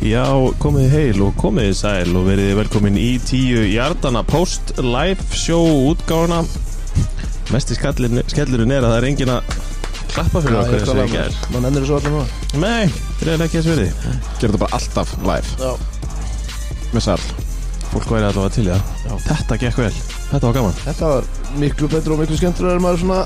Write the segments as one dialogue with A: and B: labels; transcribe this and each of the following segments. A: Já, komið þið heil og komið þið sæl og verið þið velkomin í tíu Jardana Post live show útgáðuna Mesti skallin- skellurinn er að það er engin að klappa fyrir okkur þessu í gær
B: Man ennur þessu allir núna
A: Nei, reyðilega ekki þess verið
C: Gerðu þetta bara alltaf live
B: Já.
C: Með sall
A: Fólk væri allavega til í það
B: Já.
A: Þetta gekk vel, þetta var gaman
B: Þetta var miklu betur og miklu skemmtur en maður svona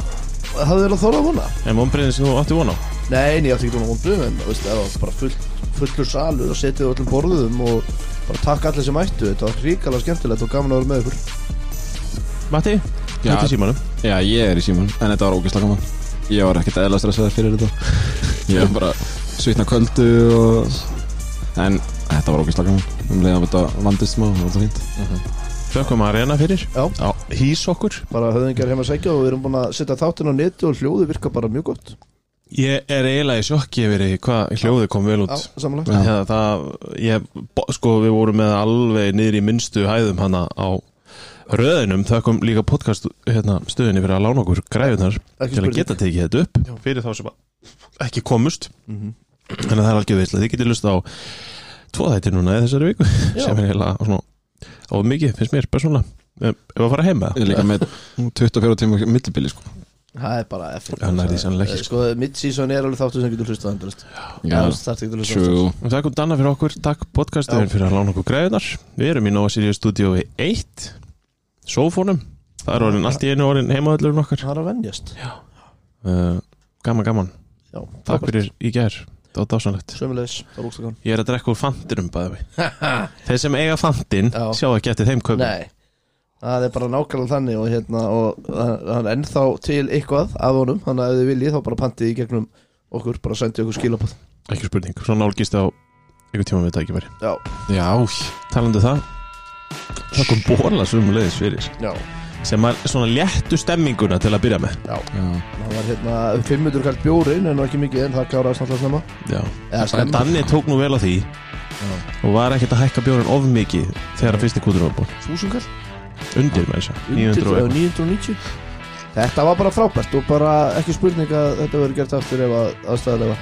B: hafði vel að þóra að vona
A: En vonbreyðin sem þú átti von á
B: Nei, en ég átti ekki núna vondu en veist, það var bara full, fullur salur og setið á öllum borðum og bara takk allir sem mættu þetta var ríkala skemmtilegt og gaman að vera með ykkur
A: Matti,
C: Já.
A: þetta er símanum
C: Já, ég er í síman En þetta var ógeðslega gaman Ég var ekkert eðla stressaður fyrir þetta Ég var bara svitna kvöldu og... En þetta var ógeðslega gaman Um leiðan þetta vandist smá Það var þetta fínt
A: Þökkum að reyna fyrir
B: Já.
A: Hís okkur
B: bara höfðingar heima að segja og við erum búin að setja þáttinn á neti og hljóðu virka bara mjög gott
A: Ég er eiginlega í sjokki yfir því hvað hljóðið kom vel út
B: Já, samanlagt
C: Já.
A: Já, Hérna, það, ég, bo- sko, við vorum með alveg niður í minnstu hæðum hana á röðinum, þökkum líka podcast hérna, stöðinni fyrir að lána okkur græfinar
B: Ekki
A: til að
B: spurning.
A: geta tekið þetta upp
B: Já.
A: fyrir þá sem að ekki komust þannig að það er algjör veitlega, þið getið lust á tvo þætti núna í þessari viku
B: Já.
A: sem er heila svona á mikið, finnst mér persónulega Um, ef að fara heim með
C: Ég er líka með 24 tíma millibili sko
B: Það er bara effort
A: Já, nærði sannlega ekki,
B: Eh, Sko, mid-season er alveg þáttu sem getur hlustað endalist
C: Já,
B: Það starti ekki hlustað
C: true
A: það Takk um Danna fyrir okkur, takk podcastöðin
B: Já.
A: fyrir að lána okkur græfinar Við erum í Nova Sirius Studio 1 Sofónum, það er orðin allt í einu orðin heimaðallurinn okkar
B: Það er að venjast
A: uh, Gaman, gaman,
B: Já,
A: takk fyrir í gær Það var dásanlegt
B: Sömulegis, það var úrstakann
A: Ég er að drekka úr fantinum bæði við Þeir sem eiga fantin,
B: Já.
A: sjá ekki eftir þeim kaupum
B: Nei, það er bara nákvæmlega þannig og hérna og hann hann er ennþá til eitthvað af honum þannig að ef þið viljið þá bara pantið í gegnum okkur bara sendið okkur skilabóð
A: Ekki spurning, svo nálgist á einhver tíma við tækifæri
B: Já, um
C: Já,
A: Talandi um það Það kom bóla sumulegis fyrir
B: já,
A: Sem er svona léttu stemminguna til að byrja með
B: já
C: já
B: Það var hérna 500 kallt bjórin en nú ekki mikið en það kláraði snart að snemma
A: Já.
B: Eða
A: En
B: snemma,
A: Sko, Danni tók nú vel á því Og var ekkert að hækka bjórin of mikið Þegar að fyrsti kútur var búin
B: 1000 kallt,
A: Undir með þess að 900 og eitthvað.
B: 990 Þetta var bara frábært og bara ekki spurning að þetta verður gert aftur ef að aðstæðilega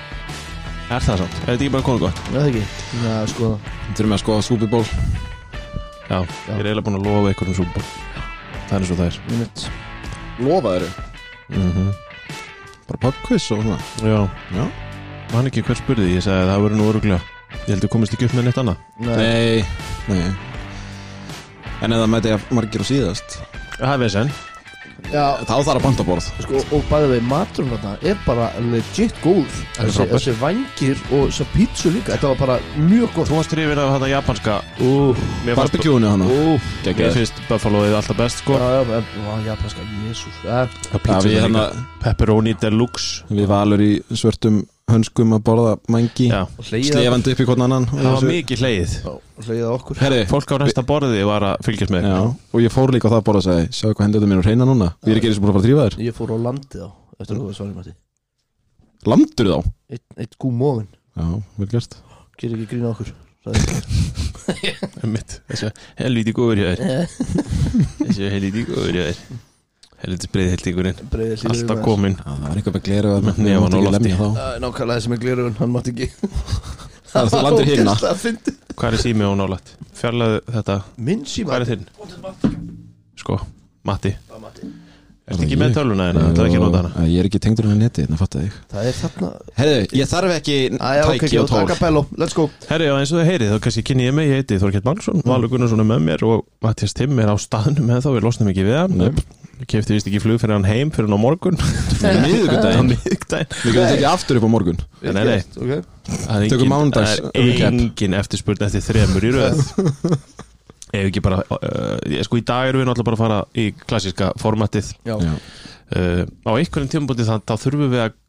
A: Er það samt? Er þetta ekki bara konið gott?
B: Nei, það ekki, já, sko
C: Þetta er með að skoða Scooby Bowl
A: Já, ég er eiginlega búin að lofa ykkur um súpa Það er svo það er
B: Minut.
C: Lofa þeir Bara pubquiz og svona
A: Mhm. Já,
C: Já.
A: Man ekki hver spurði, ég sagði að það voru nú öruglega Ég held að komist ekki upp með neitt annað
B: Nei,
C: Nei, nei En eða með þetta margir og síðast
A: Það er vesen
B: já,
C: Þá þarf að panta borð
B: Sko, og bæði við maturinn þarna er bara legit góð
A: er
B: þessi,
A: frábært.
B: þessi vangir og þessi pítsu líka þetta var bara mjög gott
A: Þú varst hrifin af þetta japanska
B: Úf,
A: Mér fannst,
C: Barbecue-unu hana
B: úf
A: mér
C: Gekkið
A: finnst buffaloið alltaf best sko
B: Já, já, já, já, Eh, japanska, jésús Já,
C: Já, við,
A: hérna-
C: hana,
A: Pepperoni deluxe
C: við valur í svörtum hönskum að borða mængi
A: Já,
B: og hleiða
C: slefandi upp í hvern annan
A: það var mikið hleið
B: hleiða okkur
C: Herri,
A: Fólk á næsta borði var að fylgjast með
C: já, og ég fór líka á það að borða og sagði Sjáðu hvað hendur þetta mín og reyna núna Við erum ekki eins og búin að fara að drífa þér
B: ég fór á landið á eftir að þú var svarið mati
C: Landur þá
B: eitt, eitt gú móðin
C: Já, vel gert
B: gerir ekki grína okkur sagði ég.
A: Mitt, þessi helviti góður hjá þér Þessi helviti góður hjá þér Helviti breiðhildingurinn
B: breiði hlýður um
A: Alltaf
B: aðeins.
A: komin
C: Já, það var eitthvað með gleru að
A: Með hnefann á lofti.
C: þá
B: Já, nákvæmlega þessi með glerun hann mátti ekki
C: Það er það landur hérna
B: Ógeðslega fyndið.
A: Hvað er sími á nálætt? Fjarlæðu þetta
B: minn síma
A: Hvað er þinn? Sko, Matti
B: það
A: Ertu ekki með tölvuna þína? Það er ekki að nota hana
C: Jú, Ég er uh, ekki tengdur hann að neti, þannig að fatta þig
B: er þarna
C: Herri, ég þarf ekki
B: Æja, ok,
C: tæki og
B: ok,
C: tól
B: acapello, let's go
A: Herri, já, eins og þið heyrið, þá kannski kynni ég mig, ég heiti Þorkett Magnússon,
C: Mm.
A: Valur Gunnarsson er með mér og Mattias Timm er á staðnum með þá, við losnum ekki við hann
C: Nei.
A: Ég kefti vist ekki flug fyrir hann heim fyrir hann á morgun á
C: Miðvikudaginn
A: miðvikudaginn
C: Við getum tekið aftur upp á morgun
A: Nei, nei, nei,
B: Ok
A: það er
C: Tökum
A: engin-
C: mánudags
A: Það
C: recap.
A: er engin eftirspurn eftir þremur í röð Ef ekki bara, uh, ég, sko í dag erum við náttúrulega bara að fara í klassíska formatið
B: Já,
C: Já.
A: uh, Á einhverjum tímabúti þannig þá þurfum við að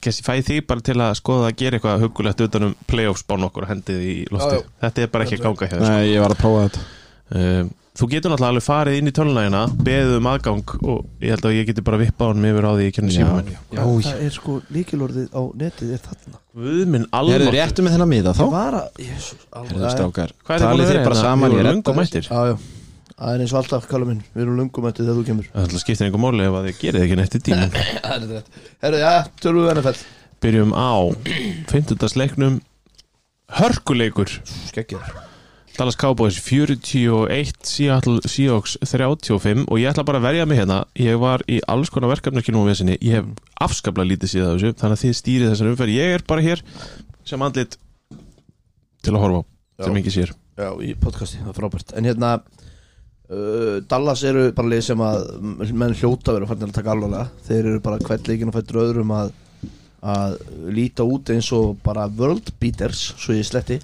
A: kannski fæði því bara til að skoða að gera eitthvað hugulegt utan um playoffs bán okkur og hendið í loftið.
B: Já, já.
A: Þetta er bara ekki að ganga hjá þér, sko.
C: Nei, ég var að prófa þetta
A: Um, þú getur náttúrulega alveg farið inn í tölunægina beðið um aðgang og ég held að ég geti bara vippað honum yfir á því ég kenni síma minn
B: já, það er sko líkilorðið á netið er þarna
A: Guð minn
C: Ég er
A: alveg
C: réttu með þennan miða þá
B: Það var að, jésús,
C: Herðu strákar,
A: Hvað er
C: talið
A: þið
C: þið bara saman
A: Ég
C: ég
A: er
C: redda
A: lungum
C: þessu.
A: mættir
B: Já, já, það er eins og alltaf, kalla minn Við erum lungum eftir þegar þú kemur
A: Það ætla skiptir einhver máli ef að þið gerið ekki neitt í tímun
B: Herru, já, tölum við NFL
A: Byrjum á 50. leiknum hörkuleikur
B: Skeggjar
A: Dallas Cowboys 41 Seattle Seahawks 35 og ég ætla bara að verja mig hérna ég var í alls konar verkefni ekki nú við sinni ég hef afskaplega lítið síðan af þessu þannig að þið stýrið þessar umferð ég er bara hér sem andlit til að horfa á sem ekki sér
B: Já, í podcasti, það er frábært En hérna, uh, Dallas eru bara lið sem að menn hljóta verið fannir að taka alvarlega Þeir eru bara hvert leikinn og fættur öðrum að, að líta út eins og bara world beaters Svo ég sletti,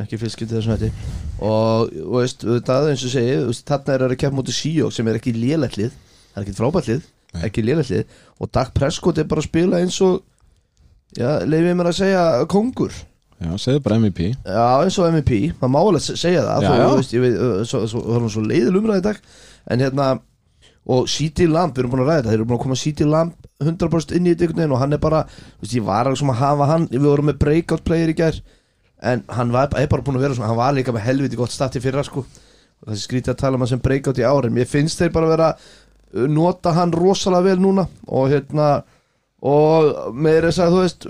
B: ekki fylskipti þessum hætti Og, og veist, það eins og ég segi þú veist, Þarna eru þeir að kemma mútið Seahawks sem er ekki lélætlið Það er ekki frábærtlið,
C: Nei.
B: ekki lélætlið Og Dak Prescott er bara að spila eins og Já, leifið mér að segja kongur
C: Já, segðu bara MVP
B: Já, eins og MVP, maður má alveg se- segja það
C: Já,
B: já,
C: já.
B: þú veist, ég veit, uh, svo, svo, það er nú svo leiðil umræði í dag en hérna, og CD Lamb við erum búin að ræða þetta, þeir eru búin að koma CD Lamb 100% inn í þetta einhvern veginn og hann er bara þú veist, ég var alveg sem að hafa hann, við vorum með breakout player í gær, en hann var er bara búin að vera svona, hann var líka með helviti gott stati fyrra sko, og þessi skrítið að tala um hann sem breakout í ári, mér finnst þeir bara vera uh, nota hann rosalega vel núna og hérna og með þess að þú veist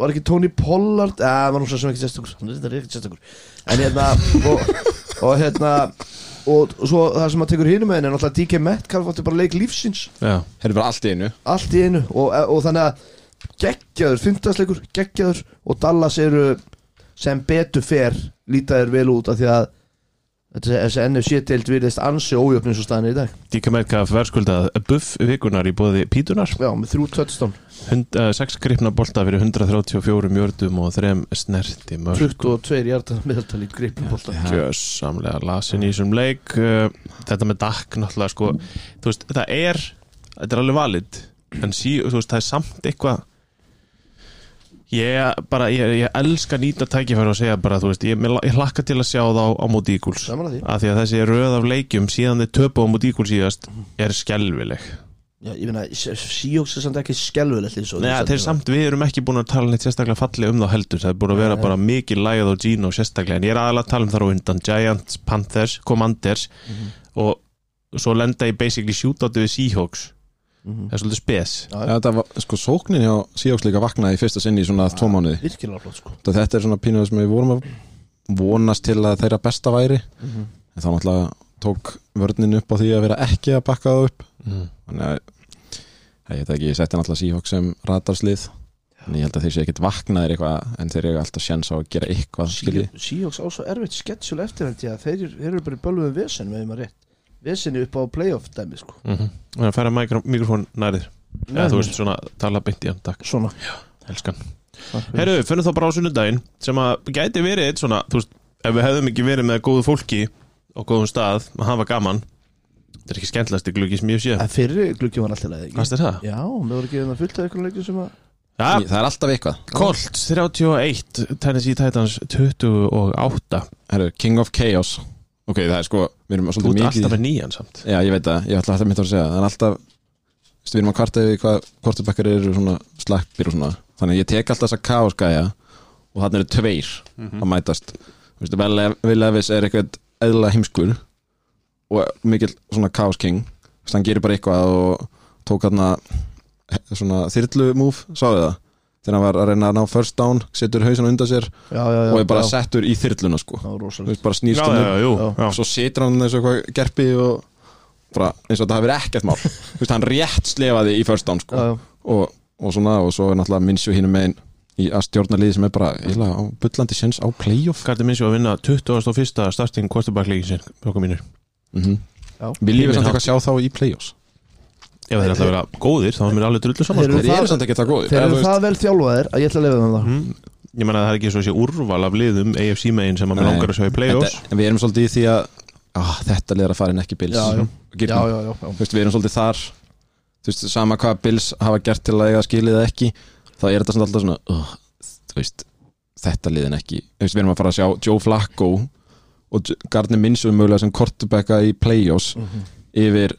B: var ekki Tony Pollard eða hann var nú svo sem ekki sérstakur hann er þetta ekki sérstakur en hérna og, og hérna og, og svo það sem maður tekur hinum með henni er náttúrulega DK Metcalf átti bara leik lífsins
A: já,
C: Herri bara allt í einu
B: allt í einu og, og þannig að geggjaður, fymtasleikur, geggjaður og Dallas eru sem betur fer lítaður vel út af því að þessi þessi NFC-deild virðist ansi ójöfn eins og staðan er í dag
A: Díka Metcalf verðskuldað buff vikunar í bóði pítunar
B: já, með þrjú tötstón,
A: 6 gripna bolta fyrir 134 mjördum og 3 snerti mörg
B: 22 hjarta meðaltal í gripnbólta
A: samlega lasin í þessum leik uh, þetta með Dak náttúrulega sko, þú veist, það er þetta er alveg valid en sí, þú veist, það er samt eitthvað ég bara, ég, ég elska nýta tækifæri og segja bara, þú veist, ég, mér la- ég hlakka til að sjá þá á móti ígúls
B: saman að því
A: af því að þessi röð af leikjum síðan þið töpu á móti ígúls síðast er skelvileg
B: Já, ég meina, Seahawks er samt ekki skelvilegt eins og
A: Nei, þeir samt, við erum ekki búin að tala neitt sérstaklega falli um þá heldur Það er búin að vera
B: Nei.
A: bara mikið lægð á Gino sérstaklega En ég er aðalega að tala um þar á undan Giants, Panthers, Commanders
B: Mhm.
A: Og svo lenda ég basically shootoutu við Seahawks
B: Mhm.
A: Það er svolítið spes
B: Já,
C: Þetta var, sko, sóknin hjá Seahawks líka vaknaði í fyrsta sinni í svona tvo mánuði
B: virkilega flott sko
C: Þetta- Þetta er svona pínuð sem við vorum að vonast til að þeirra besta væri
A: Mhm.
C: En þá náttúrulega tók vörnin upp á því að vera ekki að bakka það upp
A: Mm,
C: Þannig að, hei, þetta ekki, ég setti náttúrulega Seahawks sem radarslið En ég held að þeir sé ekkit vaknaðir eitthvað En þeir eru alltaf sjens á að gera eitthvað, skilji
B: Seahawks Seahawks á svo erfitt sketsjul eftir hann því að þeir, eru- þeir eru bara í bölvum vesen með maður rétt Vesenni upp á playoff dæmi sko
A: Þannig Mhm. að færa mikró- mikrofón nærið Eða þú veist svona, tala beint í hann, takk
B: Svona
A: Elskan Herru, finnum þá bara á sunnudaginn sem að gæti verið eitt svona, þú veist, ef við hefðum ekki verið með góðu fólki og góðum stað, að hafa gaman Þetta er ekki skemmtilegasti gluggi sem ég sé
B: En fyrri gluggi var alltaf leið
A: Fannst
B: ekki
A: þér það?
B: Já, við vorum ekki hérna fullt af ykkur leikjum sem að
A: Já,
C: Það er alltaf eitthvað
A: Colt 31, Tennessee Titans 28
C: Herru, King of Chaos Ok, það er sko, við erum
A: Þú
C: svolítið
A: ert
C: mikið
A: alltaf með nýjan samt
C: Já, ég veit það, ég ætla alltaf mitt að segja það En alltaf, veist, við erum að kvarta yfir hvað Kortubakkar eru svona slappir og svona Þannig að ég tek alltaf þessa kaosgæja Og þannig eru tveir
A: Mm-hmm.
C: að mætast Þú veist, vel, vel Levis er eitthvað eðla heimskur Og mikill svona kaosking Þú veist, hann gerir bara eitthvað og tók hann Svona þyrlu move, sáðu það Þegar hann var að reyna að ná first down Setur hausin undan sér
B: Já, já, já
C: og er bara
B: já.
C: settur í þyrluna sko
B: Það var
C: Þú
B: rosalegt
C: veist, bara snýst
A: Já,
C: hann
A: já,
C: upp
A: jú,
B: Já.
A: já.
C: svo situr hann eins og eitthvað gerpi og bara eins og þetta hafi verið ekkert mál Þú veist, hann rétt slefaði í first down
B: Já,
C: sko
B: já
C: og, og svona og svo er náttúrulega minnsju hínum megin í að stjórna liði sem er bara eila á bullandi sens á playoff
A: Gardi minns ég að vinna 21. starting quarterback leikin sinn, okkur mínir
C: mm -hmm.
B: Já.
C: Viljum við
A: Himinn
C: samt eitthvað sjá þá í playoffs
A: Ef þeir ætla að vera góðir, þá er mér alveg drullu saman
B: Þeir
A: sko.
B: eru
C: Þeir
B: það-
C: eru samt ekki það góðir
B: Þeir
C: eða þú
B: eru
C: veist-
B: það vel þjálfaðir að ég ætla að leifa þeim það
A: mm. Ég menna að það er ekki svo sé úrval af liðum AFC megin sem að mér
C: Nei.
A: langar að sjá í play-offs
C: Þetta- en Við erum svolítið í því að ah, þetta liðar að fara en ekki Bills
B: Já, já.
C: Og Gibson.
B: Já, já, já, já
C: Þú veist, við erum svolítið þar Þú veist, sama hvað Bills hafa gert til að eiga skilið eða ekki þá er þetta samt alltaf svona uh, þú veist, þetta liðin ekki Þú veist, við erum að fara að sjá Joe Flacco og J- Gardner Minshew mögulega sem kortubekka í Playoffs
B: Mhm.
C: yfir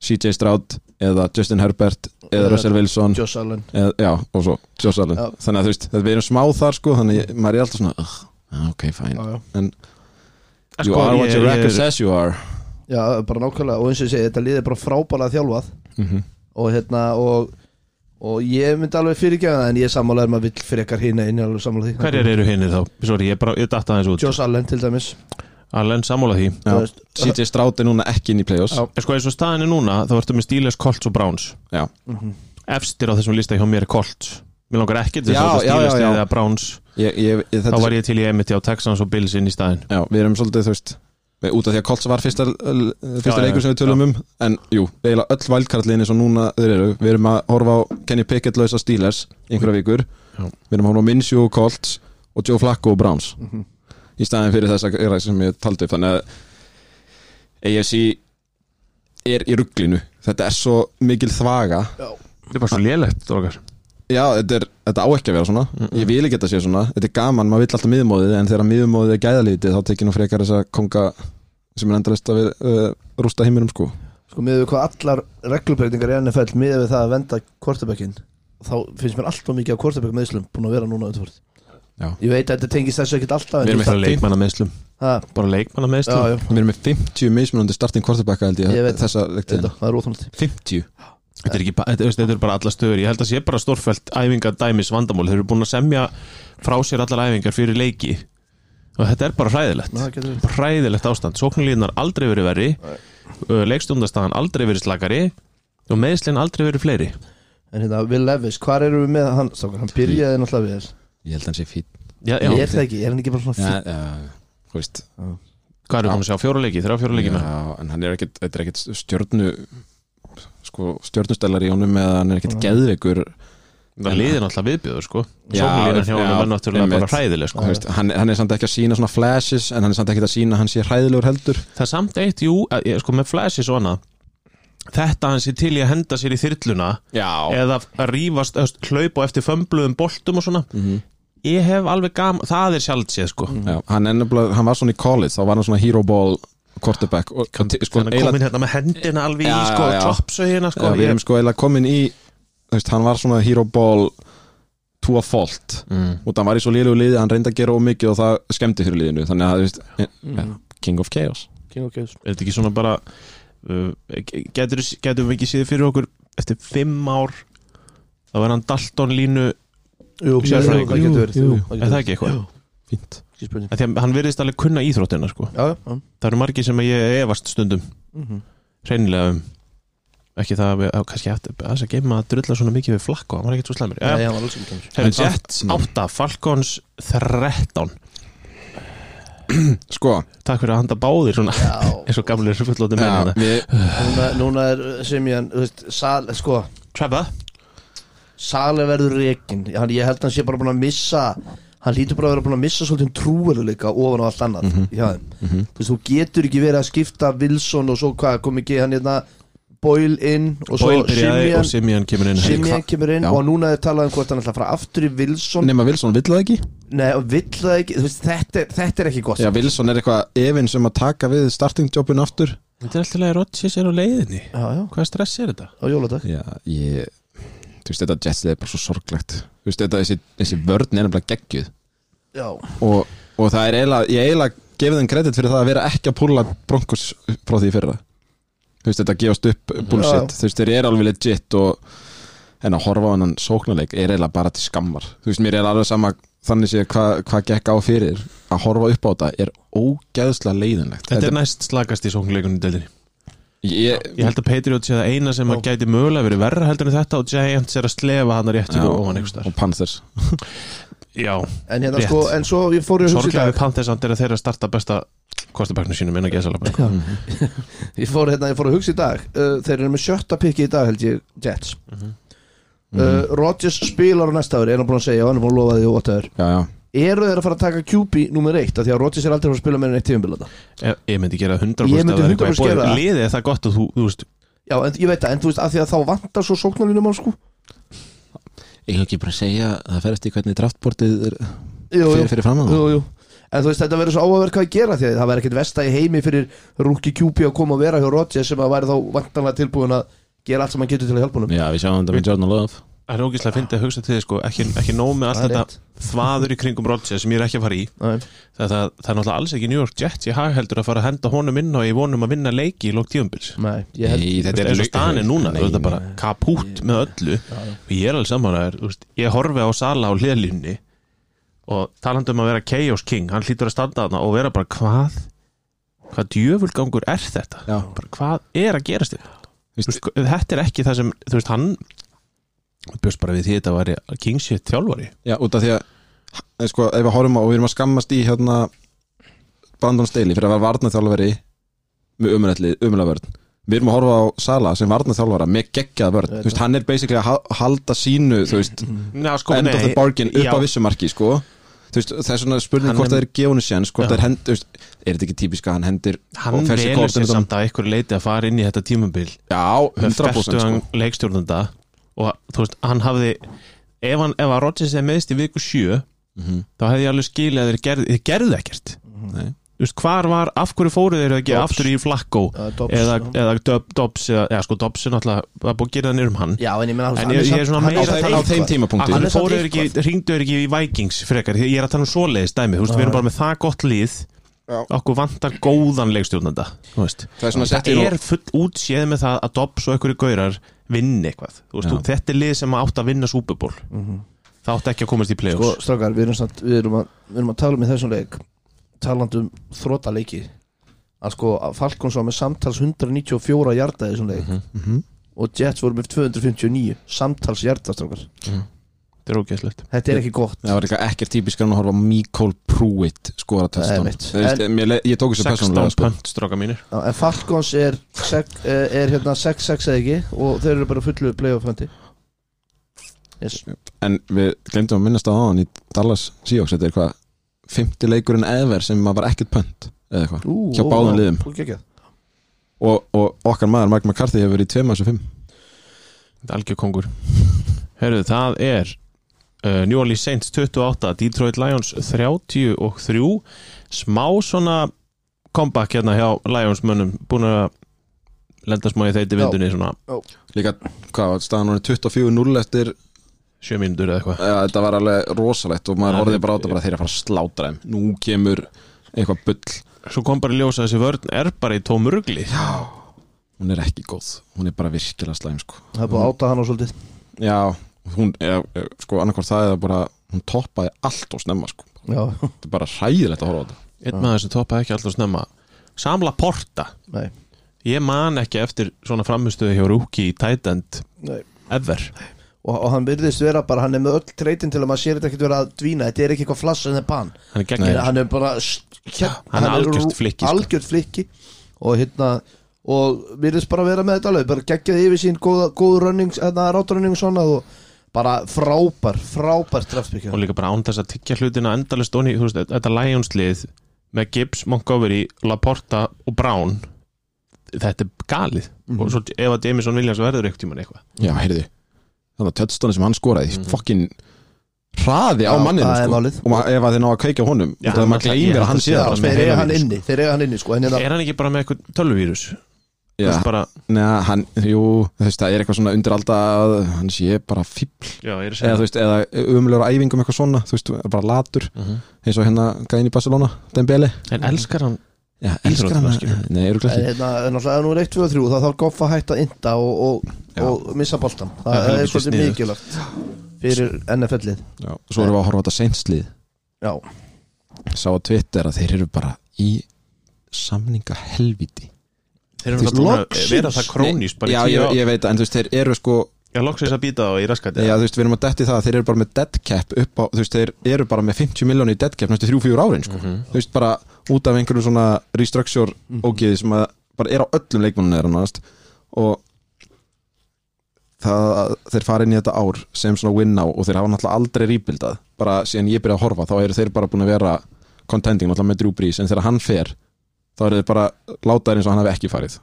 C: CJ Stroud eða Justin Herbert eða
B: Eða
C: Russell Wilson
B: Josh Allen
C: eða, já, og svo Josh Allen
B: Já.
C: þannig að þú veist, við erum smá þar sko þannig að ég- maður er alltaf svona uh, ok, fine
B: Já, já
C: You
B: sko,
C: are what your
A: Sko, ég,
C: record
A: ég,
C: says you are
B: Já, Mhm. bara nákvæmlega og eins og ég segi, þetta liðið er bara frábælega þjálfað
C: mm
B: og hérna og, og ég myndi alveg fyrirgefa það en ég er sammálaður maður vill frekar hinn einn alveg sammála því
A: Hverjar eru hinnir þá? Sorry, ég, bara, ég datta aðeins út
B: Joss Allen til dæmis
A: Allen sammála því
B: Þú veist,
C: CJ Stroud er núna ekki inn í play-offs
B: Já.
A: En Sko eins og staðinu núna, þá ertu með Steelers, Colts og Browns
C: Já,
B: mhm,
A: Efstir á þessum lista hjá mér er Colts Mér langar ekki til þess
C: Já,
A: að
C: já,
A: þetta Steelers
C: já, já.
A: eða Browns
C: ég, ég, ég,
A: Þá
C: þetta
A: var ég til í Emmett á Texans og Bills inn í staðin
C: Já, við erum svolítið, þú veist við- Út af því að Colts var fyrsta, l- fyrsta
A: Já, já,
C: leikur sem við tölum um En jú, eiginlega öll vældkarlinni sem núna þeir eru Við erum að horfa á Kenny Pickett lausa Steelers Einhverja vikur
A: Já.
C: Við erum að horfa á Minshew og Colts Og Joe Flacco og Browns
B: mhm.
C: Í staðin fyrir þessa gera sem ég taldi upp Þannig að AFC er í rugglinu Þetta er svo mikil þvaga
A: Þetta er bara svo lélegt, drókar
C: Já, þetta, er, þetta á ekki að vera svona Ég vil ekki að þetta sé svona Þetta er gaman, maður vill alltaf miðumóðið En þegar miðumóðið er gæðalítið Þá tekið nú frekar þessa konga Sem er endalist að við uh, rústa heiminum sko
B: sko miðað við hvað allar reglubreitingar í NFL miðað við það að venda kvortabökin þá finnst mér alltaf mikið að kvortabök meðslum búin að vera núna undanfórið
C: Já.
B: ég veit að þetta tengist þessu ekkert alltaf en
C: Við erum
B: þú
A: Bara
B: þarft-
A: leikmanna meðslum
B: Ha,
A: Bara leikmanna
B: já, já,
C: Við erum með 50 mismunandi starting quarterbacka held ég,
B: Ég veit
C: Þessa leiktíðin
B: þetta, það er óþált
C: 50
A: Þetta er, ekki, ba- þetta, veist, þetta er bara alla stöður Ég held að sé bara stórfælt æfinga dæmis vandamál Þeir eru búin að semja frá sér allar æfingar fyrir leiki Og þetta er bara hræðilegt
B: það getur verið.
A: Bara Hræðilegt ástand Sóknulíðunar aldrei verið verri uh, Leikstundastæðan aldrei verið slakari Og meðslinn aldrei verið fleiri
B: en hérna, Will Levis, hvar eru við með hann strákar, hann byrjaði náttúrulega við þess
C: Ég held hann sé fít
A: Já, já,
B: ég er það ekki, er hann ekki bara svona fín
C: já, þú veist
A: Hvað eru búin að sjá fjóra leiki, þrjá fjóra leiki
C: já,
A: með
C: En hann er ekkit, þetta er ekkit stjörnu Sko, stjörnustellar í honum Eða hann er
B: Mm.
C: ekkit geðveikur
A: Það liðir náttúrulega viðbjöður sko
C: Já,
A: Sóknulíðunar hjá
C: já,
A: honum er náttúrulega bara
C: einmitt.
A: hræðileg
C: Þú
A: sko
C: veist, hann, hann er samt ekki að sína svona flashes En hann er samt ekki að sína að hann sé hræðilegur heldur
A: Það er samt eitt, jú, að, ég- sko með flashi svona Þetta hans er til í að henda sér í þyrluna
C: Já,
A: eða að rífast, öst, hlaupa eftir fömbluðum boltum og svona
C: Mhm.
A: ég hef alveg gaman, það er sjálfséð sko
C: Já, hann, er nefnilega- hann var svona í college þá var hann svona hero ball quarterback og, og ti- sko,
A: hann er
C: eiginlega-
A: komin hérna með hendina alveg
C: Já,
A: í sko,
C: já, já.
A: toppsauðina sko
C: já, við
A: ég,
C: erum sko eiginlega komin í þú veist, hann var svona hero ball to a fault
A: mm.
C: og hann var í svo liðlegu liði, hann reyndi að gera ómikið og það skemmti fyrir liðinu þannig að þú veist, mm. king of chaos
B: King of Chaos.
A: er þetta ekki svona bara uh, getur, getum við ekki séð fyrir okkur eftir fimm ár þá er hann Dalton línu
B: Jú,
A: Sérfræðingur.
B: það getur verið,
C: Jú,
B: jú,
C: jú.
B: það
A: er það
B: getur verið.
A: ekki eitthvað?
C: fínt
B: Ekki spurning.
A: Af Því að hann virðist alveg kunna íþróttina sko
B: Já, já, já.
A: það eru margir sem ég efast stundum
B: Mhm.
A: reynilega um ekki það að við, að kannski eftir að þess að geima að drulla svona mikið við flakko, hann var ekkert svo slæmur
B: Nei, hann var alls ekki kemur.
A: Herru,
C: En samt-
A: Jets 8, Falcons 13
C: sko,
A: Takk fyrir að handa báðir svona
B: Já,
A: eins og gamlir fullóti menn
C: já,
A: hérna
C: við,
B: núna, núna er uh, sem ég hann, þú veist, sal, sko,
A: Trevor
B: Sale verður rekin hann, Ég held að hann sé bara búin að missa Hann lítur bara að vera búin að missa svolítið um trúveruleika ofan á allt annað mm þú, veist, þú getur ekki verið að skipta Wilson og svo hvað kom ekki hann hérna Boyle inn og
A: Boyle
B: svo
A: byrjaði og
B: Simeon
A: Simeon kemur inn
B: Simeon kemur inn
C: Já.
B: og núna er talað um hvort hann ætla að fara aftur í Wilson
C: nema Wilson vill það ekki
B: Nei, og vill það ekki, þú veist, þetta, er- þetta er ekki gott
C: já, Wilson er eitthvað efinn sem að taka við starting jobin aftur
A: Þetta er alltaf leið Rodgers er á leiðinni
B: já, já,
A: Hvaða stress er þetta?
B: á jóladag
C: Já, ég Þú veist, þetta Jets er bara svo sorglegt Þú veist, þetta, þessi, þessi vörn er nefnilega geggjuð
B: Já,
C: og, og það er eiginlega Ég eiginlega gefið þeim kredit fyrir það að vera ekki að púla Broncos frá því í fyrra Þú veist, þetta gefast upp
B: Já, já.
C: bullshit Þú veist, þeir eru alveg legit og En að horfa á hennan sóknarleik er eiginlega bara til skammar Þú veist, mér er alveg sama Þannig sé hvað hva gekk á fyrir Að horfa upp á þetta er ógeðslega leiðinlegt
A: Þetta er næst slagast í sóknuleikunni deildinni
C: ég,
B: Mm.
A: Ég held að Patriots sé það eina sem að gæti mögulega verið verra heldur en þetta og Giants er að slefa hann að réttu og ofan einhvers þar
C: og Panthers
A: Já,
B: en hérna
A: Rétt.
B: sko, en svo ég fór í hugsa í
A: sorglega
B: dag
A: við Panthers samt er að þeirra starta besta kostabæknu sínum inn að gesa lafa
B: Ég fór, hérna, ég fór að hugsa í dag uh, Þeir eru með sjötta pikki í dag held ég Jets uh Rodgers spilar á næsta ári, er hann búin að segja og hann er búin að lofa því og whatever
C: Já, já
B: Eru þeir að fara að taka QB nummer eitt af því að Rodgers er aldrei að fara að spila með enn eitt tífumbilata
A: Ég ég myndi gera 100%
B: Ég myndi
A: ef það er eitthvað í
B: 100% gera
A: boði.
B: það.
A: Liðið er það gott og þú, þú veist
B: Já, en ég veit það, en þú veist, af því að þá vantar svo sóknarlínum á sko
C: Ég hef ekki bara að segja að það ferðast í hvernig draftbortið er
B: Jú, jú,
C: fyrir, fyrir fram að
B: jú, jú En þú veist, þetta verður svo áhverð hvað að gera því að það verður ekkit vesta í heimi fyrir rúki QB að koma og vera hjá Rodgers sem að væri þá vantanlega tilbúin að gera allt sem hann getur til að hjálpa honum
C: Já, við sjáum þetta með Jordan Love
A: það er ógíslega að fyndi að hugsa til þið sko, ekki, ekki nóg með allt
B: Það er
A: þetta
B: rétt.
A: þvaður í kringum Rodgers sem ég er ekki að fara í
B: Nei.
A: það, það, það er náttúrulega alls ekki New York Jets ég hagheldur að fara að henda honum inn og ég vonum að vinna leiki í lók tíumbils
B: Nei, ég held
C: Nei, þetta
A: þetta er eins og
C: lauk-
A: stanin núna
C: Nei,
A: þú veist það bara kapút með öllu og ég er alveg samanlegar ég horfi á Sala á hliðlunni og talandi um að vera Chaos King hann hlýtur að standa þarna og vera bara hvað hvað djöfulgangur er þetta
C: Já.
A: bara, hvað er að gerast þetta
C: Þú
A: Þú veist, þetta er ekki það sem þú veist hann bjóst bara við því að þetta væri King shit þjálfari
C: Já, út af því að eh, sko, ef við horfum á, og við erum að skammast í hérna Brandon Staley fyrir að vera varnaþjálfari með umræðlega vörn við erum að horfa á Sala sem varnaþjálfara með geggjað vörn,
B: Þetta.
C: þú veist, hann er basically að ha- halda sínu, þú veist
A: Já, sko,
C: end of the bargain upp
A: já,
C: á vissumarki, sko þú veist, það er svona spurning
A: Hann
C: hvort
A: er-
C: það er gefunu séns, hvort
A: Já.
C: það er hend, þú veist, er þetta ekki típiska, hann hendir
A: hann
C: og fer sig
A: velur
C: kortinu
A: sér
C: utan-
A: samt að einhverju leiti að fara inn í þetta tímabil
C: Já,
A: með
C: 100%
A: festuðan
C: sko.
A: sko. leikstjórnanda og þú veist, hann hafði ef, hann, ef að Rodgers er meðist í viku 7
C: Mhm.
A: þá hefði ég alveg skilið að þeir gerð, þeir gerðu ekkert
C: Nei.
A: þú veist, hvar var, af hverju fóruð þeir ekki
B: Dobbs.
A: aftur í Flacco
B: Já, Dobbs,
A: eða,
B: já.
A: eða Dob- Dobbs eða, eða sko Dobbs er náttúrulega, það er búið að gera það um hann
B: Já, en ég meina
A: En
B: hann
A: ég-
B: er
A: ég er
B: samt-
A: svona
B: hann
A: meira
B: er samt
A: að
C: á
A: tala-
C: þeim
B: eitthvað.
C: tímapunkti
B: Hann
A: Akkur
B: er samt
A: fóruð þeir ekki, ringdu þeir ekki í Vikings frekar, því ég er að tala um svoleiðis dæmi, þú veist, við erum bara með það gott líð
C: Já.
A: okkur vantar góðan leikstjórnanda þú veist
C: það er svona
A: það
C: sett í
A: er full útséð með það að Dobbs og einhverju gaurar vinni eitthvað Þú veist,
C: Já.
A: þú- þetta er lið sem átt að vinna Super Bowl það átt ekki að komast í
B: Sko,
A: play-offs
B: strákar, við erum, samt, við, erum að, við erum að tala um í þessum leik Talandi um þróta leiki Að sko, Falkons var með samtals 194 hjarta í þessum leik
C: mhm.
B: Og Jets voru með 259 Samtals hjarta, strákar
A: þetta er ógeðslegt
B: Þetta er ekki gott
C: Það var eitthvað ekkert típisk en að horfa á Mikol Pruitt skora
B: Það er
C: testan
B: mitt.
C: Ég tók þessu
A: 16
C: persónulega sko.
A: pönt stróka mínir
B: Já, En Falkons er, sek, eh, er hérna 6-6 eða ekki Og þeir eru bara fullu playoff hendi Yes
C: En við glemdum að minnast á aðan í Dallas Seahawks Þetta er eitthvað 50 leikurinn eðver sem maður var ekkert pönt eða eitthvað
B: Ú,
C: Hjá
B: ó,
C: báðum
B: ó,
C: liðum.
B: ó, geggjað.
C: og, og okkar maður Mark McCarthy hefur verið í 2 maður 5
A: þetta er algjör kongur herru, það er uh, New Orleans Saints 28 Detroit Lions 33 smá svona comeback hérna hjá Lions mönnum búin að lenda smá í þeiti
B: Já.
A: vindunni svona
C: Líka, hvað var staðan hún er 24-0 eftir
A: 7 mínútur eða eitthvað
C: ja, Þetta var alveg rosalegt og
A: Það
C: maður
A: er-
C: horfið bara á þetta bara þeir eru að fara að slátra þeim Nú kemur eitthvað bull
A: svo kom bara í ljós að þessi vörn er bara í tóm rugli
C: Hún er ekki góð, hún er bara virkilega slæm sko.
B: Það er búið að áta hann á svolítið
C: Já, hún, ja, sko, annarkvært það eða bara Hún toppaði allt og snemma sko.
B: Já,
C: Þetta er bara ræðilegt að horfa á þetta
A: einn maður sem toppaði ekki alltaf snemma Samla Porta
B: nei,
A: ég man ekki eftir svona framistuði hjá Rúki í tight end
B: nei
A: ever
B: og, og hann virðist vera bara, hann er með öll treytin til að maður sér þetta ekkert vera að dvína, þetta er ekki eitthvað flass en það er pan,
A: hann er
B: Nei,
A: gegnir
B: hann er bara st- hér-
A: Hann er algjört
B: rú-
A: flikki, sko.
B: algjört flikki og hérna og virðist bara vera með þetta alveg, bara geggjað yfir sín góða, góð running, hérna rátrunning og svona og bara frábær frábær
A: og
B: draftbyggja
A: líka bara án þess að tyggja hlutina endalist onni, þú veist, þetta Lions-lið með Gibbs, Montgomery, Laporta og Brown þetta er galið
C: Mhm.
A: og svo ef að Jameson Williams verður ekkert tíman eitthvað
C: Já, heyrðu Þannig að tötstana sem hann skoraði mm Fokkin hraði á
B: Mhm. Já,
C: manninu
B: það er
C: sko.
B: málið.
C: Og ma- ef að þið ná að kveika á honum
A: Já,
C: Það maður
A: náttúrulega,
C: gleymir
A: ég
C: að hann
A: held
C: sé sko.
A: að
B: Já,
A: bara
C: það
A: sé- með
B: þeir eiga hann
A: heilavírus.
B: inni, þeir eiga hann inni sko, en hérna,
A: er hann ekki bara með eitthvað tölvuvírus Þú
C: Já,
B: sko.
A: veist, bara,
C: neða, hann, jú þú veist, Það er eitthvað svona undir alltaf að Hann sé bara fíbl
A: já, ég er að segja
C: Eða, þú veist, eða umljóra æfingum eitthvað svona Þú veist, er bara latur
A: Mhm.
C: Eins og hérna gæðin í Barcelona, Dembele
A: en elskar hann
C: Já, elskar hann
A: Íþróttamaður.
C: Nei, eru
B: en
C: glætti
B: hérna en náttúrulega ef nú er 1, 2 og 3 þá þarf Goff að hætta að ynda og, og,
C: Já.
B: og missa boltan
A: Það er
B: það er
A: helviti
B: svolítið
A: sniðugt.
B: mikilvægt fyrir NFL-ið
C: Svo erum við að horfa á þetta seinslið
B: Já,
C: Sá á Twitter að þeir eru bara í samninga helviti
A: þeir eru
C: Þú veist,
A: náttúrulega búin að
C: loksins.
A: vera það krónís bara í
C: Já,
A: tíu
C: ég,
A: ár.
C: ég veit að, en þú veist, þeir eru sko
A: Já, loksins að býta það og ég raskat
C: Já, þú veist, við erum að detti það að þeir eru bara með dead cap upp á, þú veist, þeir eru bara með 50 miljónu í dead cap næstu 3-4 árin, sko
A: Mhm.
C: þú veist, bara út af einhverju svona restructure
B: Mhm.
C: mm ógiði sem að bara er á öllum leikmannum þeirra náðast og það að þeir fara inn í þetta ár sem svona win now og þeir hafa náttúrulega aldrei rýbildað, bara síðan ég byrja að horfa þá eru þeir bara búin að vera contending náttúrulega með Drew Brees, en þegar hann fer þá eru þeir bara látaðir eins og hann hafi ekki farið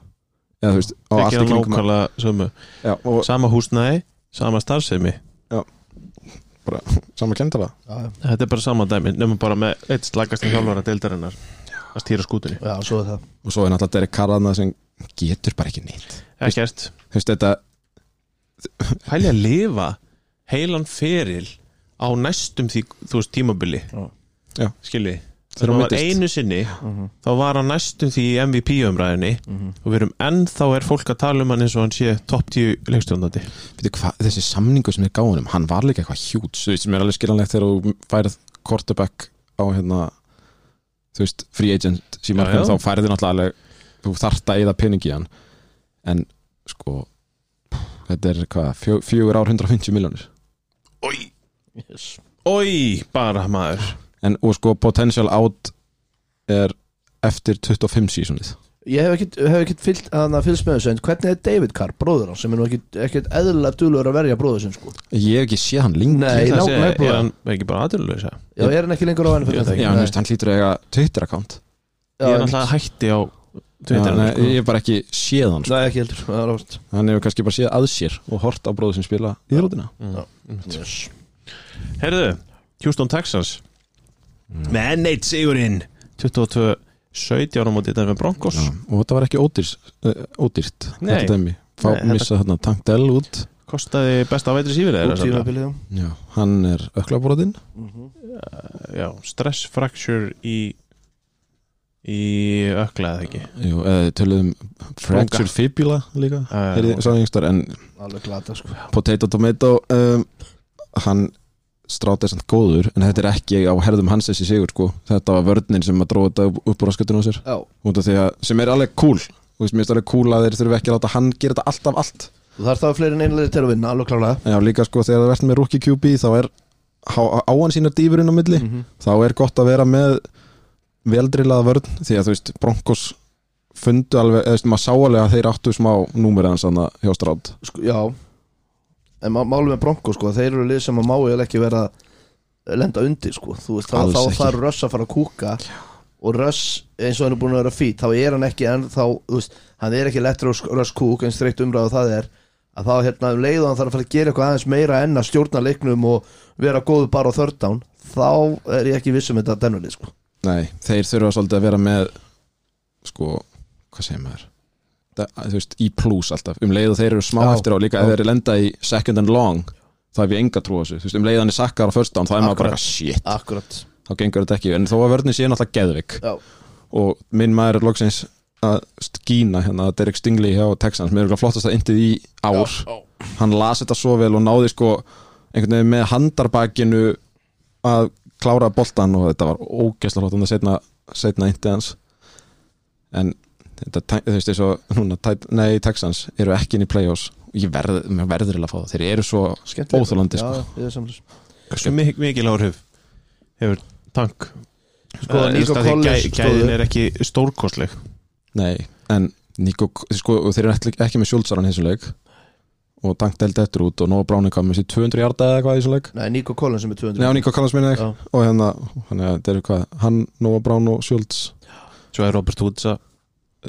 C: eða þú veist, og
A: þeir
C: allt í
A: gera
C: kringum hann-
A: nákvæmlega sömu
C: Já, og
A: sama húsnæði, sama starfsemi
C: bara sama kendala
B: já,
A: þetta er bara sama dæmi, nefnum bara með eitt slagast í hjálfara deildarinnar að stýra skútunni
B: já, svo er það
C: og svo er náttúrulega Derek Carr þarna sem getur bara ekki neitt
A: ekkert,
C: þú veist þetta
A: pæli að lifa heilan feril á næstum því, þú veist, tímabili
C: Já.
A: skilji
C: Þegar
A: Þegar
C: hún
A: hann var
C: meiddist.
A: einu sinni þá var hann næstum því í MVP umræðinni og við erum ennþá er fólk að tala um hann eins og hann sé topp 10 leikstjóndandi
C: Veitu hvað, þessi samningu sem er gáðunum hann var líka eitthvað hjút, þú veist, sem er alveg skiljanlegt þegar þú færið quarterback á hérna, þú veist free agent símarkun,
A: Já, já.
C: þá færið náttúrulega alveg, þú þarft að eða pening í hann en sko þetta er hvað, fjó, fjögur ár 150 miljónir,
A: Oi,
B: yes.
A: oi, bara maður
C: en og sko potential out er eftir 25 seasonið
B: Ég hef ekkert, hef ekkert fyllt, hana, fylgst með þessu en hvernig er David Carr, bróður hans sem er nú ekkert, ekkert eðlilega dulur að verja bróður sinn sko
C: ég hef ekki séð hann lengi
B: Nei,
A: Það
B: ná-
A: sé,
B: nákvæmlega.
A: er hann ekki bara aðurlega
B: Já, er hann ekki lengur á henni fyrir
C: já, en þú veist, hann hlýtur að eiga Twitter account
A: ég er náttúrulega hætti á
C: já,
A: Twitter sko.
C: nei, ég hef bara ekki séð hann, sko.
B: Nei, ekki heldur, það er ást
C: hann hefur kannski bara séð að sér og hort á bróðu sem spila íðrútina
B: yes.
A: Herðu, sko. Houston Texans með Nate Sigurinn 22 17 á móti Denver Broncos
C: Já, og þetta var ekki ódýrs, uh, ódýrt
A: Nei.
C: þetta dæmi, fá
A: Nei, þetta-
C: missa þarna Tank Dell út
A: kostaði besta vætri sífir
B: Út tímabilið Mhm. já.
C: já, hann er öklabróðinn
A: Já, stress fracture í í ökla eða ekki
C: eða eh, töluðum fractured fibula líka
A: Já, já, ok.
C: er
B: sko,
C: þið sáðingstar en
B: Alveg glata sko
C: potato tomato um, hann stráta þessant góður en þetta er ekki á herðum hans þessi sigur sko. þetta var vörnin sem að dróða þetta upp- upp úr raskatun á sér
B: Já,
C: út af því að sem er alveg cool Þú veist, mér finnst alveg cool að þeir þurfi ekki að láta hann gera þetta allt af allt
B: þú þarf það fleiri en einlega til að vinna, alveg klálega
C: Já, líka sko þegar það verður með rookie QB þá er á, á hann sínar dýfurinn á milli
B: Mhm.
C: þá er gott að vera með veldrilað vörn því að þú veist Broncos fundu alveg, eða þú veist maður sá alveg að þeir áttu smá númur hans hann hjá Strátt
B: sko, Já En má, málum með Bronco sko, þeir eru lið sem að má ég ekki vera lenda undir sko Þú veist, þá,
C: Alls
B: þá
C: ekki.
B: þarf Russ að fara að kúka og Russ, eins og hann er búin að vera fít þá er hann ekki enn þá, þú veist hann er ekki lettur Russ kúk, eins þreytt umræðu það er að þá hérna um leið og hann þarf að fara að gera eitthvað aðeins meira enn að stjórna leiknum og vera góðu bara á third down þá er ég ekki viss um þetta denverlið sko
C: Nei, þeir þurfa svolítið að vera með sko, hvað segir maður það, þú veist, í plus alltaf um leið og þeir eru smá
B: Já.
C: eftir á líka ef þeir eru lenda í second and long þá hef ég enga trú á þessu, þú veist, um leiðan er sakkar á first down, þá er maður bara,
B: Akkurat.
C: eitthvað, shit,
B: Akkurat,
C: þá gengur þetta ekki en þó að vörnir sé náttúrulega geðvik
B: já
C: og minn maður er loksins að skína hérna Derek Stingley hjá Texans mér er ekki flottast að indið í ár hann las þetta svo vel og náði sko einhvern veginn með handarbakinu að klára boltan og þetta var ógeðslega flott um hann að setna, setna indið hans en þetta, tæ- þú veist, eins og núna, tæ- nei, Texans eru ekki inn í playoffs ég verð, mér verður eiginlega að fá það, þeir eru svo
B: Skemmtilega.
C: Óþolandi,
B: Já,
C: sko.
B: já, ég er sammála.
A: Hversu mik mikil áhrif hefur tank
B: Sko,
A: Eh,
B: Nico
A: þú veist að því
B: Collins
A: gæ, Gæðin
B: stóðu.
A: er ekki stórkostleg
C: nei, en Nico, sko, og þeir eru ekki, ekki með sjóltsaran hins og leik og Dank Delt eftir út og Nóa Bráni kom með sér 200 hjarta eða eitthvað í þessum leik
B: Nei, Nico Collins sem er 200
C: Nei, á Nico Collins minni
B: Já.
C: og hérna, þannig að þetta eru hvað hann, Nóa Brán og Schultz
A: Svo er Robert Woods að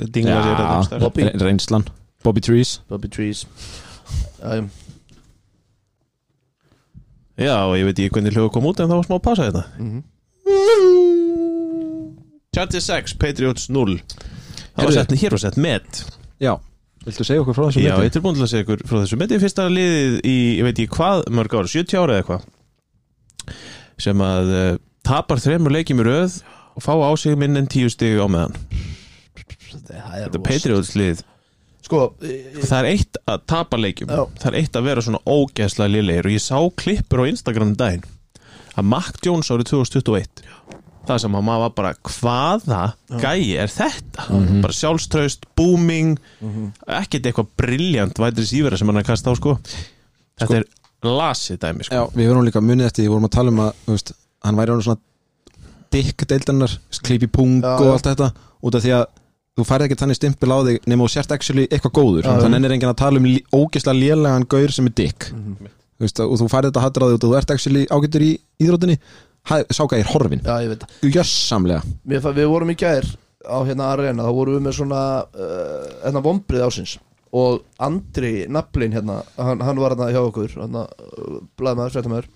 A: dingla sér að þeim stær
B: Bobby.
C: Re- reynslan Bobby Trees
B: Bobby Trees um,
A: Já, og ég veit ekki hvernig hljóðu kom út en það var smá að passa hérna. þetta Chargers 6, Patriots 0 Það var
C: Heyrðu.
A: sett, hér var sett met
C: Já, viltu segja okkur frá þessu
A: Já, ég er tilbúin til að segja ykkur frá þessu Met er fyrsta liðið í, ég veit ekki hvað, mörg ára 70 ára eða eitthvað sem að uh, tapar þremur leikjum í röð og fá á sig minn en tíu stig á meðan
B: Það er
A: Þetta
B: rosa.
A: er Patriots lið
B: Sko, e- e-
A: Það er eitt að tapa leikjum
B: Já.
A: Það er eitt að vera svona ógeðslega liðlegir og ég sá klippur á Instagram um daginn að Mac Jones árið 2021 það sem að maður var bara hvaða gæi er þetta bara sjálfströst, booming ekkert eitthvað briljant vætri sífera sem hann er að kasta á sko þetta
C: Sko-
A: er lasið dæmi sko
C: Já, við verðum líka munið eftir því vorum að tala um að þú veist, hann væri hann svona dikk deildarinnar, klípi pung
B: Mm. Já,
C: og
B: já.
C: allt þetta út af því að þú færði ekki þannig stimpil á þig nema þú sért actually eitthvað góður
B: Já, já.
C: þannig er enginn að tala um lí- ógeðslega lélegan gaur sem er dikk Þú veist, og þú færði þetta hattur á þig út af þú ert actually ágættur í íþrótinni sáka er horfin,
B: já, ég veit það.
C: jössamlega
B: Mér fann- Við vorum í gær á hérna arena þá vorum við með svona uh, hérna vombrið ásins og Andri Nablin hérna, hann, hann var hérna hjá okkur hérna, uh, blaðmaður, fréttamaður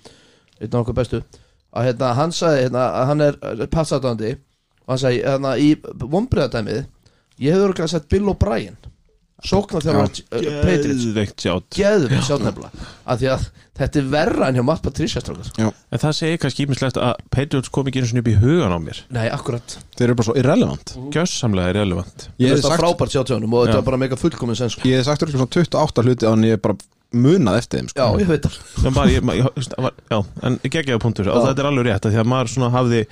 B: einn af okkur bestu að hérna, hann sagði, hérna, að hann er passaðandi og hann sagði, hérna, í vombriðadæmið ég hefur ekki sett Bill O'Brien sóknarþjálfar
A: Geðveikt
B: Patriots
A: sjátt
B: geðum sjá nefnilega af því að þetta er verra en hjá Matt Patricia strákar
A: En það segir kannski ímislegt að Patriots kom ekki einu sinni upp í hugan á mér
B: nei, akkurat
C: Þeir eru bara svo irrelevant
A: Gjössamlega er relevant
C: Ég
B: þetta
C: hef
B: er
C: sagt,
B: frábært sjá tjónum og þetta
A: Já.
B: er bara mega fullkomin sen sko.
C: ég hef sagt örugglega svona 28 hluti á en ég bara munað eftir þeim
B: já,
C: sko.
B: ég veit það
A: En bara, ég, ma- ég, það var- já, en geggjaða punktur og
B: Já.
A: þetta er alveg rétt að því að maður svona hafði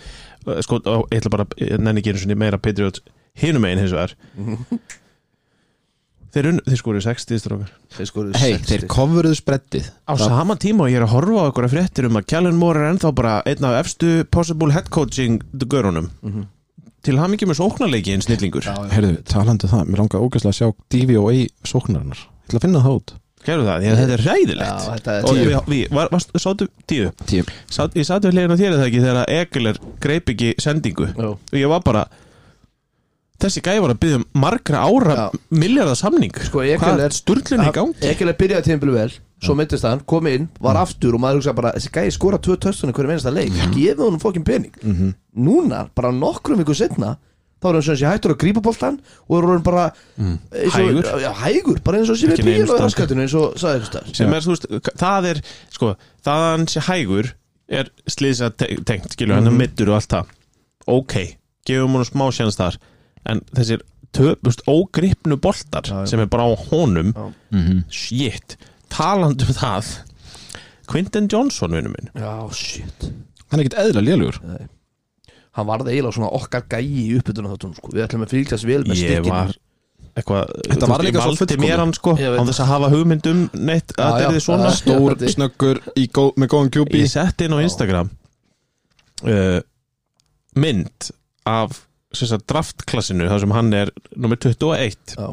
A: eh, sko, á, ég ætla bara, ég nenni ekki einu sinni meira Patriots hinum einn hins vegar Þeir, unn- þeir skoru 60 strókar
B: þeir skoruðu
C: Hei,
B: 60.
C: þeir kofuruðu spreddið
A: Á sama tíma og ég er að horfa á einhverja fréttir um að Kjallin Moore er ennþá bara einn af efstu possible head coaching görunum
B: Mhm.
A: til hann ekki með sóknarleiki en snillingur
C: Herðu, talandu um það, mér langar ógæslega að sjá DVOA sóknarinnar Ég ætla að finna það út
A: Gerðu það, því að þetta er
B: já,
A: ræðilegt
B: þetta
A: Og
B: er
A: við, við var, varst, sátu tíu
C: Tíu.
A: Sat, Ég sat við hliðin á þér eða ekki þegar að Egilir greip ekki sendingu
B: Já.
A: og ég var bara þessi gæði var að byggja um margra ára
B: Já.
A: milljarða samning
B: Sko, Egill
A: hvað
B: er-
A: er sturlun í gangi
B: ekki alveg byrjaði tíðanbili vel svo myndist hann, kom inn, var aftur og maður hugsa bara, þessi gæi skora tvö töstunni hverju mennsta leik, gefið honum fokkin pening
A: Mhm.
B: núna, bara nokkrum vikur setna þá er hann sem sé hættur að grípa boltan og er hann bara eins og-
A: Mm. Hægur.
B: já, hægur, bara eins og sér
A: Ekki
B: við bíl
A: neinu
B: og
A: standi.
B: raskatinu eins og sagði þér
A: sem er, þú veist, það er sko, það að hann sé hægur er slýsa tengt, skilur hann
B: Mhm.
A: er middur og allt það, ok gefum hann smá sjans þar en þessir töpust ógripnu boltar sem er bara á honum
B: Já.
C: Mhm.
A: shit, talandi um það Quinton Johnson vinnu minn
B: já, shit
C: Hann er ekkert eðla lélugur
B: hann varði eiginlega svona okkar gæi í uppbytuna þáttunum sko. við ætlum að fylgjast vel með
A: ég
B: stikkinu
A: var eitthvað
C: Þetta
A: þú
C: var
A: veist,
C: líka
A: ég
C: svo
A: valdi
C: fullkomið.
A: mér hann sko
B: Ég veit
A: á þess að hafa hugmyndum neitt að
B: Já, já,
A: þetta er svona
B: það-
C: Stór,
B: Já, þetta-
C: snöggur, í gó, með góðan kjúbi
A: ég setti inn á Instagram uh, mynd af sem sagt, draftklassinu þar sem hann er nummer 21
B: Já.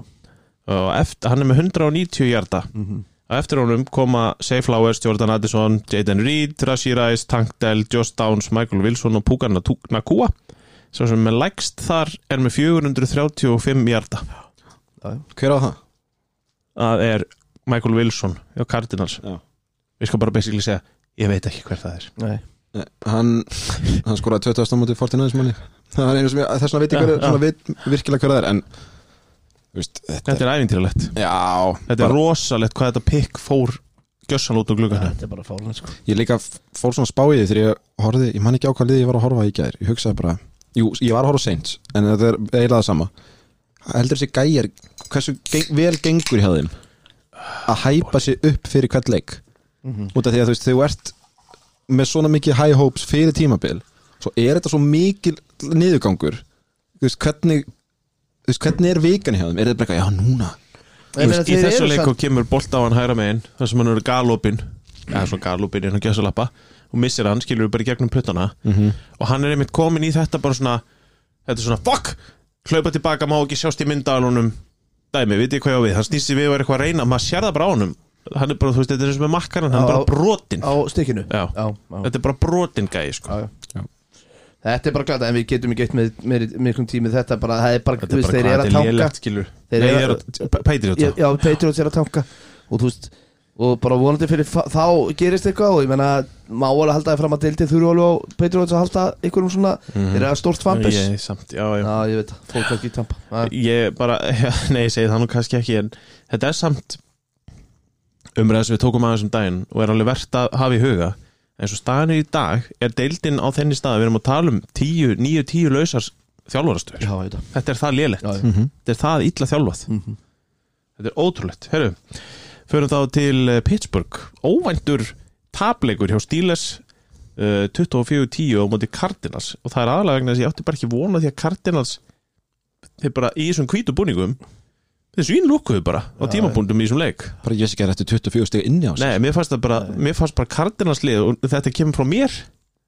A: og eftir, hann er með 190 hjarta og eftir honum koma Safe Flowers, Jordan Addison, Jaden Reed Rashi Rice, Tank Dell, Josh Downs Michael Wilson og Puka Natu- Nakua sem sem með lægst þar er með 435 hjarta
C: Hver á það?
A: það er Michael Wilson hjá Cardinals
C: Já.
A: við skal bara basically segja ég veit ekki hver það er
B: Nei.
C: Nei, Eh, Hann, hann skoraði 20. mútið 49 manni Það er einu sem ég, þess vegna veit ég
A: Já,
C: hver,
A: já.
C: svona veit virkilega hver það er En, þú veist, þetta
A: þetta er ævintýralegt
C: Já,
A: þetta er rosalegt hvað þetta pikk fór gjössan út úr gluggan
B: þetta er bara fálan sko.
C: Ég líka f- fór svona spáið þegar ég horfði, ég man ekki á hvað liði ég var að horfa í gær Ég hugsaði bara, jú, ég var að horfa seint En þetta er eiginlega það sama Heldur þessi gæjar, hversu geng, vel gengur hjá þeim Að hæpa sig upp fyrir hvert leik Út af því að þú veist, þegar þú ert Með svona mikið high hopes fyrir tímabil Svo er þetta svo mikil niðurgangur Þú veist, hvernig Þú veist, hvernig er vikan hjá þeim Er þetta bara eitthvað, já, núna
B: Ég meina,
A: í
B: þeir
A: þessu
B: eru
A: leiku
B: samt-
A: kemur bolt á hann hæra megin þar sem hann eru galopin eða svona galopin innan gjössalappa og missir hann, skilur við bara í gegnum puttana
B: Mhm.
A: og hann er einmitt komin í þetta bara svona þetta er svona fuck hlaupa tilbaka, má ekki sjást í myndalunum dæmi, veit ég hvað ég á við, hann snýst sér við og er eitthvað að reyna, maður sér það bara á honum hann er bara, þú veist, þetta er eins og með makkaran hann er
B: Já.
A: bara brotinn,
B: á stikkinu
A: Já.
B: Já, já.
A: þetta er bara brotinn gæi sko.
B: Já, já.
C: Já.
B: þetta er bara glata en við getum ekki eitt með með- miklum tími þetta er bara, það er bara,
A: þetta er
B: veist,
A: bara
B: þeir eru
A: hvað
B: að
A: þetta er
B: tanka
A: lélegt skilur,
B: Þeir
A: nei,
B: eru-
A: ég er að pætir
B: já,
A: þetta
B: já, Patriots er að tanka og þú veist og bara vonandi fyrir fa- þá gerist eitthvað og ég menna má alveg halda það fram að deildi þurru alveg á Patriots að halda einhverjum svona þeir eru að stórt fanbis
A: ég, samt, Mhm. já, já.
B: já ég veit það fólk ekki í tampa Já.
A: ég bara, nei ég segi það nú kannski ekki en þetta er samt umræðis við tókum aðeins um daginn og er alveg verðt að hafa í huga eins og staðinu í dag er deildin á þenni stað við erum að tala um 10, 9, 10 lausar þjálfarastöður,
B: já ég veit það
A: þetta er það lélegt
B: Já, já.
A: þetta er það illa þjálfað
B: Mhm.
A: þetta er ótrúlegt, herru förum þá til eh, Pittsburgh óvæntur tapleikur hjá Steelers uh, 24-10 á móti Cardinals og það er aðalega vegna þess að ég átti bara ekki vona því að Cardinals þeir bara í þessum hvítu búningum þeir svínlúkuðu bara á tímabúndum í þessum leik
C: Bara ég sé ekki að þetta 24 steg inni á sig
A: Nei, mér fannst það bara, mér fannst bara Cardinals lið og þetta kemur frá mér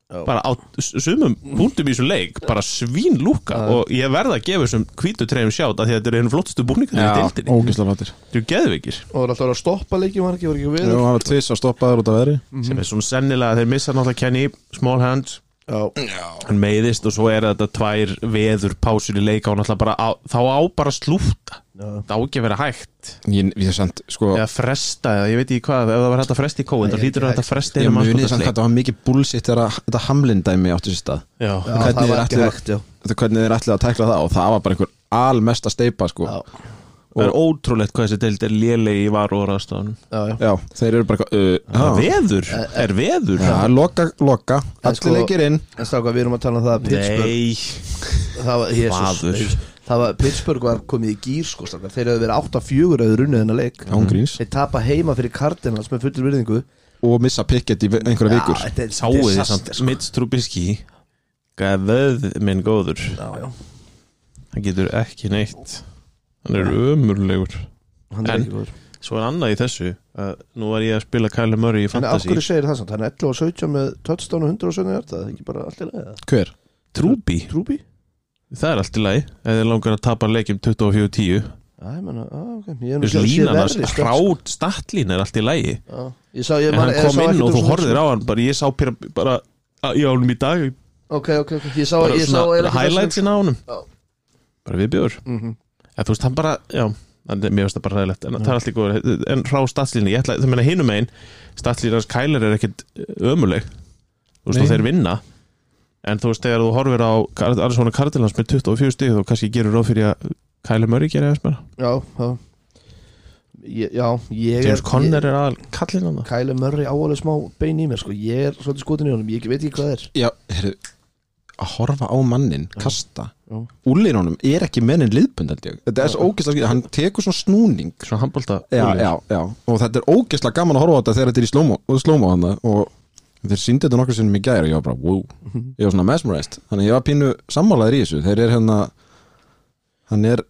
A: bara á s- sumum búndum í þessum leik bara svínlúka og ég verða að gefa þessum hvítu treyjum sjátt af því að þetta eru einu flottstu búningar í deildinni
C: ógæslega fattir
A: Þetta eru geðvikir
B: og það er alltaf að stoppa leikjum var ekki, var ekki við
C: Jú, hann var tvis að stoppaður út af veðri
A: sem er svona sennilega að þeir missa náttúrulega Kenny, small hands
B: já,
A: hann meiðist og svo er þetta tvær veður pásur í leika og náttúrulega bara á, þá á bara að slúta
B: já.
A: það á ekki að vera hægt
C: Ég, ég sent, sko
A: eða fresta, eða ég veit ekki hvað ef það var hægt að fresta í kóin,
B: Nei,
A: það hlýtur
B: ekki
A: að þetta fresta
C: Ég
A: einu
C: munið samt hvað
A: mannskottasleik
C: þetta var mikið bullshit þegar að- þetta hamlin dæmi átti sér stað
A: Já.
B: Já,
C: Hvernig
B: það
C: er
B: var ekki
C: allir-
B: hægt já.
C: Þetta hvernig þeir ætlaði að tækla það og það var bara einhver almesta steipa sko
B: Já.
A: Það er ótrúlegt hvað þessi deild er lélegi í varu og ráðstofunum
B: já, já.
C: Já, þeir eru bara eitthvað uh, já.
A: Veður, er veður
C: Já, loka, loka,
B: En
C: allir
B: sko-
C: leikir inn
B: En stráka, við erum að tala um það að Pittsburgh
A: Nei,
B: það var, Jesus,
A: Maður.
B: nei, það var, Pittsburgh var komið í gýr sko, strákar. Þeir hefðu verið 8-4 eða runnið þennan leik
C: ángríns
B: Þeir tapa heima fyrir Cardinals með fullur virðingu
C: Og missa picket í ve- einhverja vikur
B: Já, þetta er
A: sáuði þið
B: disaster,
A: samt
B: sko.
A: Mitch Trubisky Gæðið minn góður
B: Já, já,
A: Hann getur ekki neitt Hann er ömurlegur
B: hann er
A: En-
B: ekki góður
A: Svo er annað í þessu að Nú var ég að spila Kyle Murray í
B: En af
A: Fantasy
B: hverju segir það samt? Hann er 11 og 17 með touchdown og 117 hjarta, það er ekki bara allt í lagi eða?
C: Hver?
A: Trúbi,
B: Trúbi?
A: það er allt í lagi Ef þið langar að tapa leikjum 24-10
B: Já, ég menna, á, ok, ég er nú
A: Þú veist,
B: ekki
A: línan
B: að
A: hans,
B: sé verri stökk, sko.
A: hrát statlín er allt í lagi
B: Já, Ég sá, ég
A: En
B: man-
A: hann
B: ég
A: kom
B: sá
A: inn
B: ekkert
A: og
B: um
A: þú
B: svona-
A: horfir á hann bara, Ég sá píra, bara á- í ánum í dag
B: Ok, ok, ok, ég sá,
A: bara
B: ég sá
A: svona
B: eiginlega ekki
A: highlightsin á honum
B: Já.
A: bara við bjóður
B: Mhm.
A: en þú veist, hann bara, já, en mér finnst það bara ræðilegt en það
B: Mm.
A: er allt í góður, en frá statslínu ég ætla, það meina hinum einn, statslínu hans kælar er ekkit ömuleg þú veist,
C: Nei.
A: og þeir vinna en þú veist, þegar þú horfir á Arizona Cardinals með 24 stíð, þú kannski gerur ráð fyrir að Kyle Murray gerir þess bara
B: Já, já Ég- Já, ég
A: James Conner
B: ég-
A: er aðal kallinn hann
B: Kyle Murray áalega smá bein í mér sko Ég er svolítið skotin í honum, ég veit ekki hvað það er
C: Já, heyrðu Að horfa á mannin, kasta
B: Já.
C: Úlin honum er ekki mennin liðbund held ég Þetta er svo ógeðslega skil, hann tekur svona snúning
A: svona handbólta
C: já, já, já, og þetta er ógeðslega gaman að horfa á þetta þegar þetta er í slow-mo slow hana og þeir síndi þetta nokkru sinnum í gæri og ég var bara, wow, ég var svona mesmerized þannig að ég var pínu sammálaður í þessu þeir er hérna hann er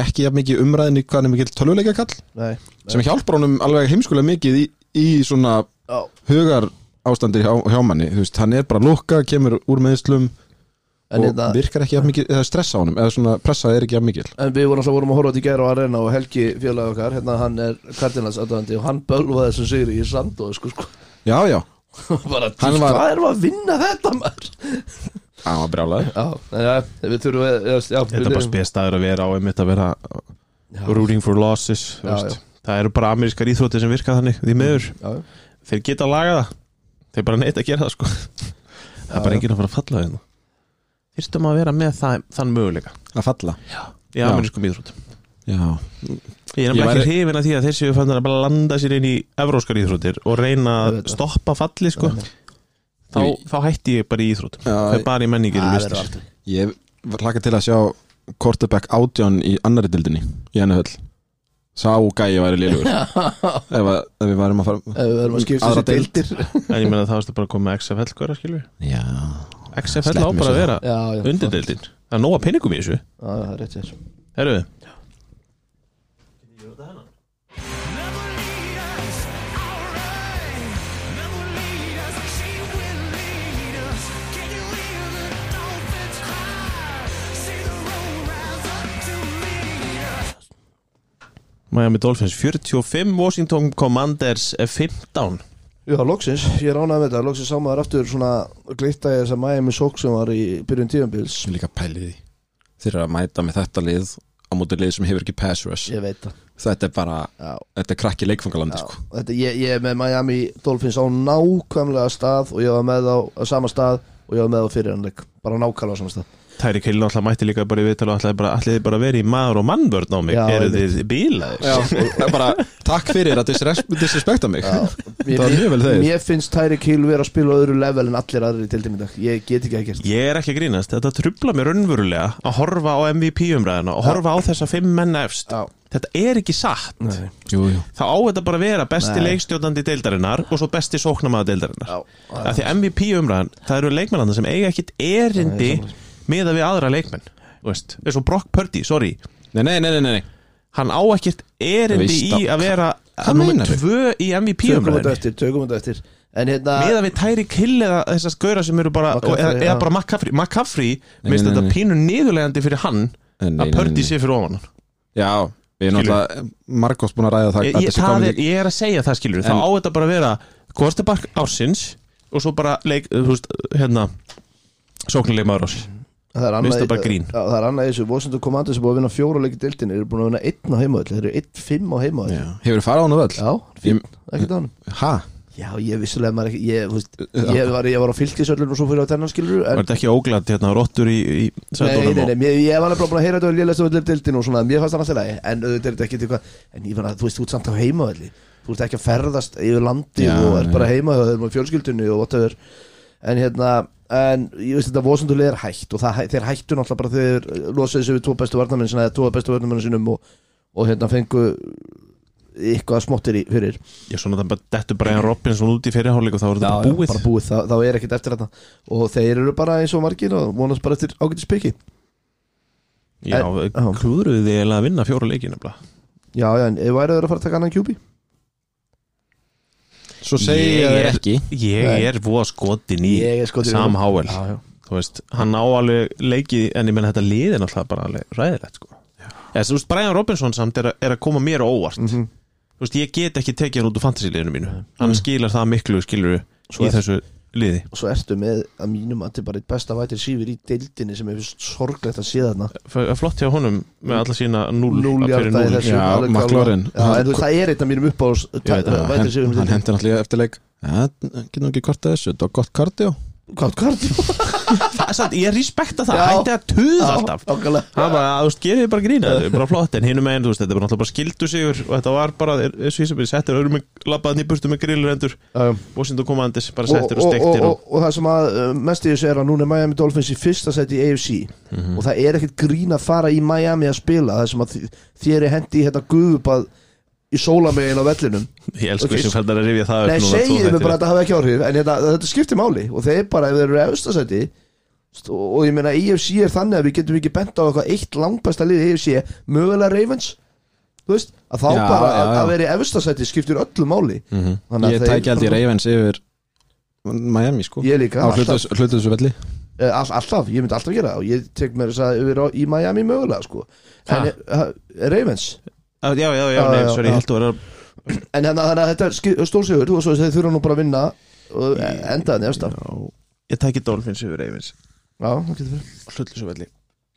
C: ekki jafn mikið umræðin í hvað hann er mikill tölvuleika kall
B: Nei,
C: sem hjálpar honum alveg heimskulega mikið í, í svona
B: já,
C: hugar ástandir hjá, hjá manni þú veist, hann er bara lukka, kemur úr meðslum
B: en,
C: og
B: hérna,
C: virkar ekki jafn mikið, eða stressa á honum eða svona pressa er ekki jafn mikil
B: en við vorum alltaf vorum að horfa út í gæra á arena og Helgi félagi okkar, hérna hann er Cardinals aðdöðandi og hann bölvaði þessum sigri í Sandó sko, sko,
C: já, já,
B: bara,
C: Hann
B: djú,
C: var-
B: hvað erum við að vinna þetta maður?
C: hann var brjálæður
B: Já, en já, við þurfum að, já, já
A: þetta er bara spjastæður að vera á einmitt að vera
B: spil
A: rooting for losses þú
B: Já,
A: veist. það eru bara amerískar íþróttir sem virka þannig því meður,
B: Já, já
A: þeir geta að laga það þeir bara neitt að gera það sko það er bara enginn að fara að falla hérna. þeim þyrstum að vera með það, þann möguleika
C: að falla
A: í
C: Já.
A: amerískum íþróttum
C: já,
A: ég er
C: Ég
A: nefnilega
C: væri-
A: ekki hrifin að því að þeir séu fann að bara landa sér inn í evróskar íþróttir og reyna að
B: Ég veit það.
A: stoppa falli sko þá,
C: Ég-
A: þá hætti ég bara í íþróttum
C: Já,
A: það er bara í menningir
B: Það
A: og
B: verður
A: listir
B: aldrei.
C: Ég hlaka til að sjá quarterback átján í annari dildinni í henni höll Sá gæi væri lélugur ef, að, ef við værum að fara
B: Ef Við verðum að skipta
C: Aðra
B: þessi deildir
A: en ég meina þá erstu bara að koma með XFL hverja skilur
C: Já
A: XFL á
C: Sleppum
A: bara
C: þessu.
A: að vera
B: Já, já
A: undirdeildin það er nóga peningum í þessu
B: Já, já, það er rétt hér
A: Herru Miami Dolphins 45, Washington Commanders eh, 15
B: Já, loksins, ég ránaði með þetta, loksins sá maður aftur svona glitta í þess að Miami Sok sem var í byrjun tíðanbils
C: Ég líka pælið því Þeir eru að mæta með þetta lið á móti lið sem hefur ekki pass rush
B: Ég veit það
C: Þetta er bara,
B: Já,
C: þetta er krakki leikfangalandi
B: já.
C: sko.
B: Þetta, ég, ég er með Miami Dolphins á nákvæmlega stað og ég var með á, á sama stað og ég var með á fyrirhannleik bara nákvæmlega á sama stað
A: Tæri Kjellin alltaf mætti líka bara í viðtal og ætlaði bara, ætlaði bara að vera í maður og mannvörn á mig
B: Já,
A: Eru
B: einmitt.
A: þið bílaðir?
C: Já, það er bara, takk fyrir að disres- disrespekta mig
B: Mér-
C: var mjög vel þegið.
B: Mér finnst Tyreek Hill vera að spila á öðru level en allir aðrir í deildinni í dag Ég get ekki ekkert
A: Ég er ekki að grínast, þetta trubla mér raunverulega að horfa á MVP umræðina og horfa á þessa fimm menn efst
B: Já.
A: Þetta er ekki satt
C: Jú, jú
A: Þá á þetta bara að vera besti
B: Nei.
A: leikstjórnandi deildarinnar og svo besti sóknamaða deildarinnar
B: Já, já.
A: Af því að MVP umræðan, það eru leikmennandi sem eiga ekkit erindi
B: Nei,
A: með að við aðra leikmenn Þú veist, eins og Brock Purdy, sorry
C: Nei, nei, nei, nei, nei.
A: Hann á ekkit erindi
C: Veist það.
A: í að vera
C: Hvað
A: nummer
C: meinarðu?
A: tvö í MVP
B: Tökum
A: umræðinni
B: þetta eftir, tökum þetta eftir En hérna
A: meðan við tæri kill eða þessar skauðra sem eru bara
B: McCaffrey,
A: og- eða, eða
B: já.
A: bara McCaffrey McCaffrey,
C: Nei,
A: minnst
C: nei,
A: þetta
C: nei.
A: pínu niðurlegandi fyrir hann
C: Nei, nei,
A: að
C: nei,
A: Pördi
C: nei.
A: sé fyrir ofan hann.
C: Já, við erum
A: Skilur.
C: alltaf margótt búin að ræða það
A: ég, ég,
C: að þetta sé
A: það
C: komið
A: er, ég er að segja það skilur þá
C: En-
A: á þetta bara að vera Kostabak ársins og svo bara leik, þú veist, hérna sóknileg maður ás
B: Það er
A: Minnst
B: annað,
A: það bara grín.
B: Já, það er annað í þessu Washington Commanders er búið að vinna fjóra leik í deildinni Þeir eru búin að vinna einn á heimavöll Þeir eru einn fimm á heimavöll
C: Já. Hefur farið á hann völl?
B: Já, fín, ekkert á hann
C: Ha?
B: Já, ég vissulega maður ekki Ég, þú veist, ég, var, ég var á fylgisöllun og svo fyrir á tennan skilur
A: Var
B: en,
A: þetta ekki óglætt hérna rottur í, í
B: Nei,
A: sætunum
B: nei,
A: og-
B: nei, mér, ég var alveg bara búin að heyra þetta og lélæst öllum deildin og svona, mér fannst það alltaf lægi en auðvitað er þetta ekki eitthvað, en ég fann að þú veist, þú ert samt á heimavelli þú ert ekki að ferðast yfir landi
C: Já,
B: og ert
C: já.
B: bara heima hjá þeim og fjölskyldunni og whatever en hérna, en ég veist þetta vosundulega er hægt og það, hæ- þeir hættu náttúrulega bara þegar þeir losuðu sig við tvo bestu varnamenn sinna eða tvo bestu varnamenn sinum og, og hérna fengu eitthvað smottir í fyrir
A: Ég svona þetta bara dettu Brian Robinson út í fyrirháleik og þá var þetta
C: Já,
A: bara
C: já,
A: búið
B: bara búið, þá, þá er ekkert eftir þetta og þeir eru bara eins og margir og vonast bara eftir ágætis piki
A: Já,
B: já.
A: klúðruðu þið eiginlega að vinna fjóra leiki nefnilega
B: já, já, en væri þeir að fara að taka annan kjúbi
C: Svo segi
A: Ég
C: ég
A: er
C: þér ekki
A: Ég
B: Nei.
A: er voða skotin í
B: Ég er sko skotin í
A: Sam
B: honum.
A: Howell
B: Já, já.
A: Þú veist, hann á alveg leiki en ég menn þetta liði náttúrulega bara alveg ræðilegt sko. Eða, þú veist, Brian Robinson samt er, að- er að koma mér á óvart
B: Mhm.
A: Þú veist, ég get ekki tekið hann út úr fantasy-liðinu mínu Hann skilar það miklu, skilur
B: Svo
A: í
B: er-
A: þessu liði
B: og svo ertu með að mínum að þetta er bara eitt besta vætir sífur í deildinni sem er fyrst sorglegt að sé þarna
A: F- eh, Flott hjá honum með alla sína núl
B: Núll
A: að fyrir
B: hjarta í
A: núll.
B: þessu
C: Já,
B: alveg klálega.
C: McLaurin.
B: Já, en þú veist, það er eitt af mínum uppáðs
A: veit það,
B: vætir sífur
C: Hann um hendur náttúrulega eftir leik Ja, getur nú ekki kvartað þessu, þetta var gott kardió
B: hvað kvartjó
A: Það er satt, ég respekta það,
B: Já.
A: hætti að tuða alltaf
B: ákvæmlega
A: Það er bara, þú veist, gerir þið bara grína Þetta er bara flott, en hinum meginn, þú veist, þetta er bara náttúrulega bara skildu sigur og þetta var bara, er- er svísabili settir öðrum með labbaðan í burtu með grillrendur Washington Commanders bara
B: og,
A: settir og
B: og, og,
A: steiktir
B: og, og það sem að uh, mest í þessu er að núna er Miami Dolphins í fyrsta seti í AFC
C: Mhm.
B: og það er ekkert grín að fara í Miami að spila það sem að þi- þér er hendi í hérna guðupað í sólamegin á vellinum
A: og Ég elsku
B: ok.
A: þessu fældar að rifja það upp
B: Nei,
A: núna,
B: segjum
A: tvo
B: við
A: þætti.
B: bara að þetta hafi ekki áhrif en þetta, þetta skiptir máli og þeir bara ef þeir eru efsta seti st- og, og ég meina EFC er þannig að við getum ekki bent á eitthvað eitt langbæsta lið í EFC mögulega Ravens þú veist, að þá
C: Já,
B: bara
C: já,
B: að,
C: já.
B: að vera í efsta seti skiptir öllu máli Þannig að
C: Mhm. Ég
B: þeir-
C: tæki aldrei Ravens yfir Miami sko
B: Ég líka,
C: Á hlutu
B: alltaf,
C: þessu velli
B: Eh, all, alltaf, ég myndi alltaf gera það og ég tek mér þess að yfir á, í Miami mögulega sko. en,
A: Ha.
B: uh, Ravens
A: Ah, Já, já, já,
B: Já,
A: nei,
B: já,
A: sorry,
B: já.
A: ég held að vera
B: en hérna, þannig að þetta er stórsigur og svo þeir þurfa nú bara að vinna og enda þannig efsta
A: Já, Ég tæki Dolphins yfir Ravens
B: Já, það getur verið.
A: Hlutlu svo velli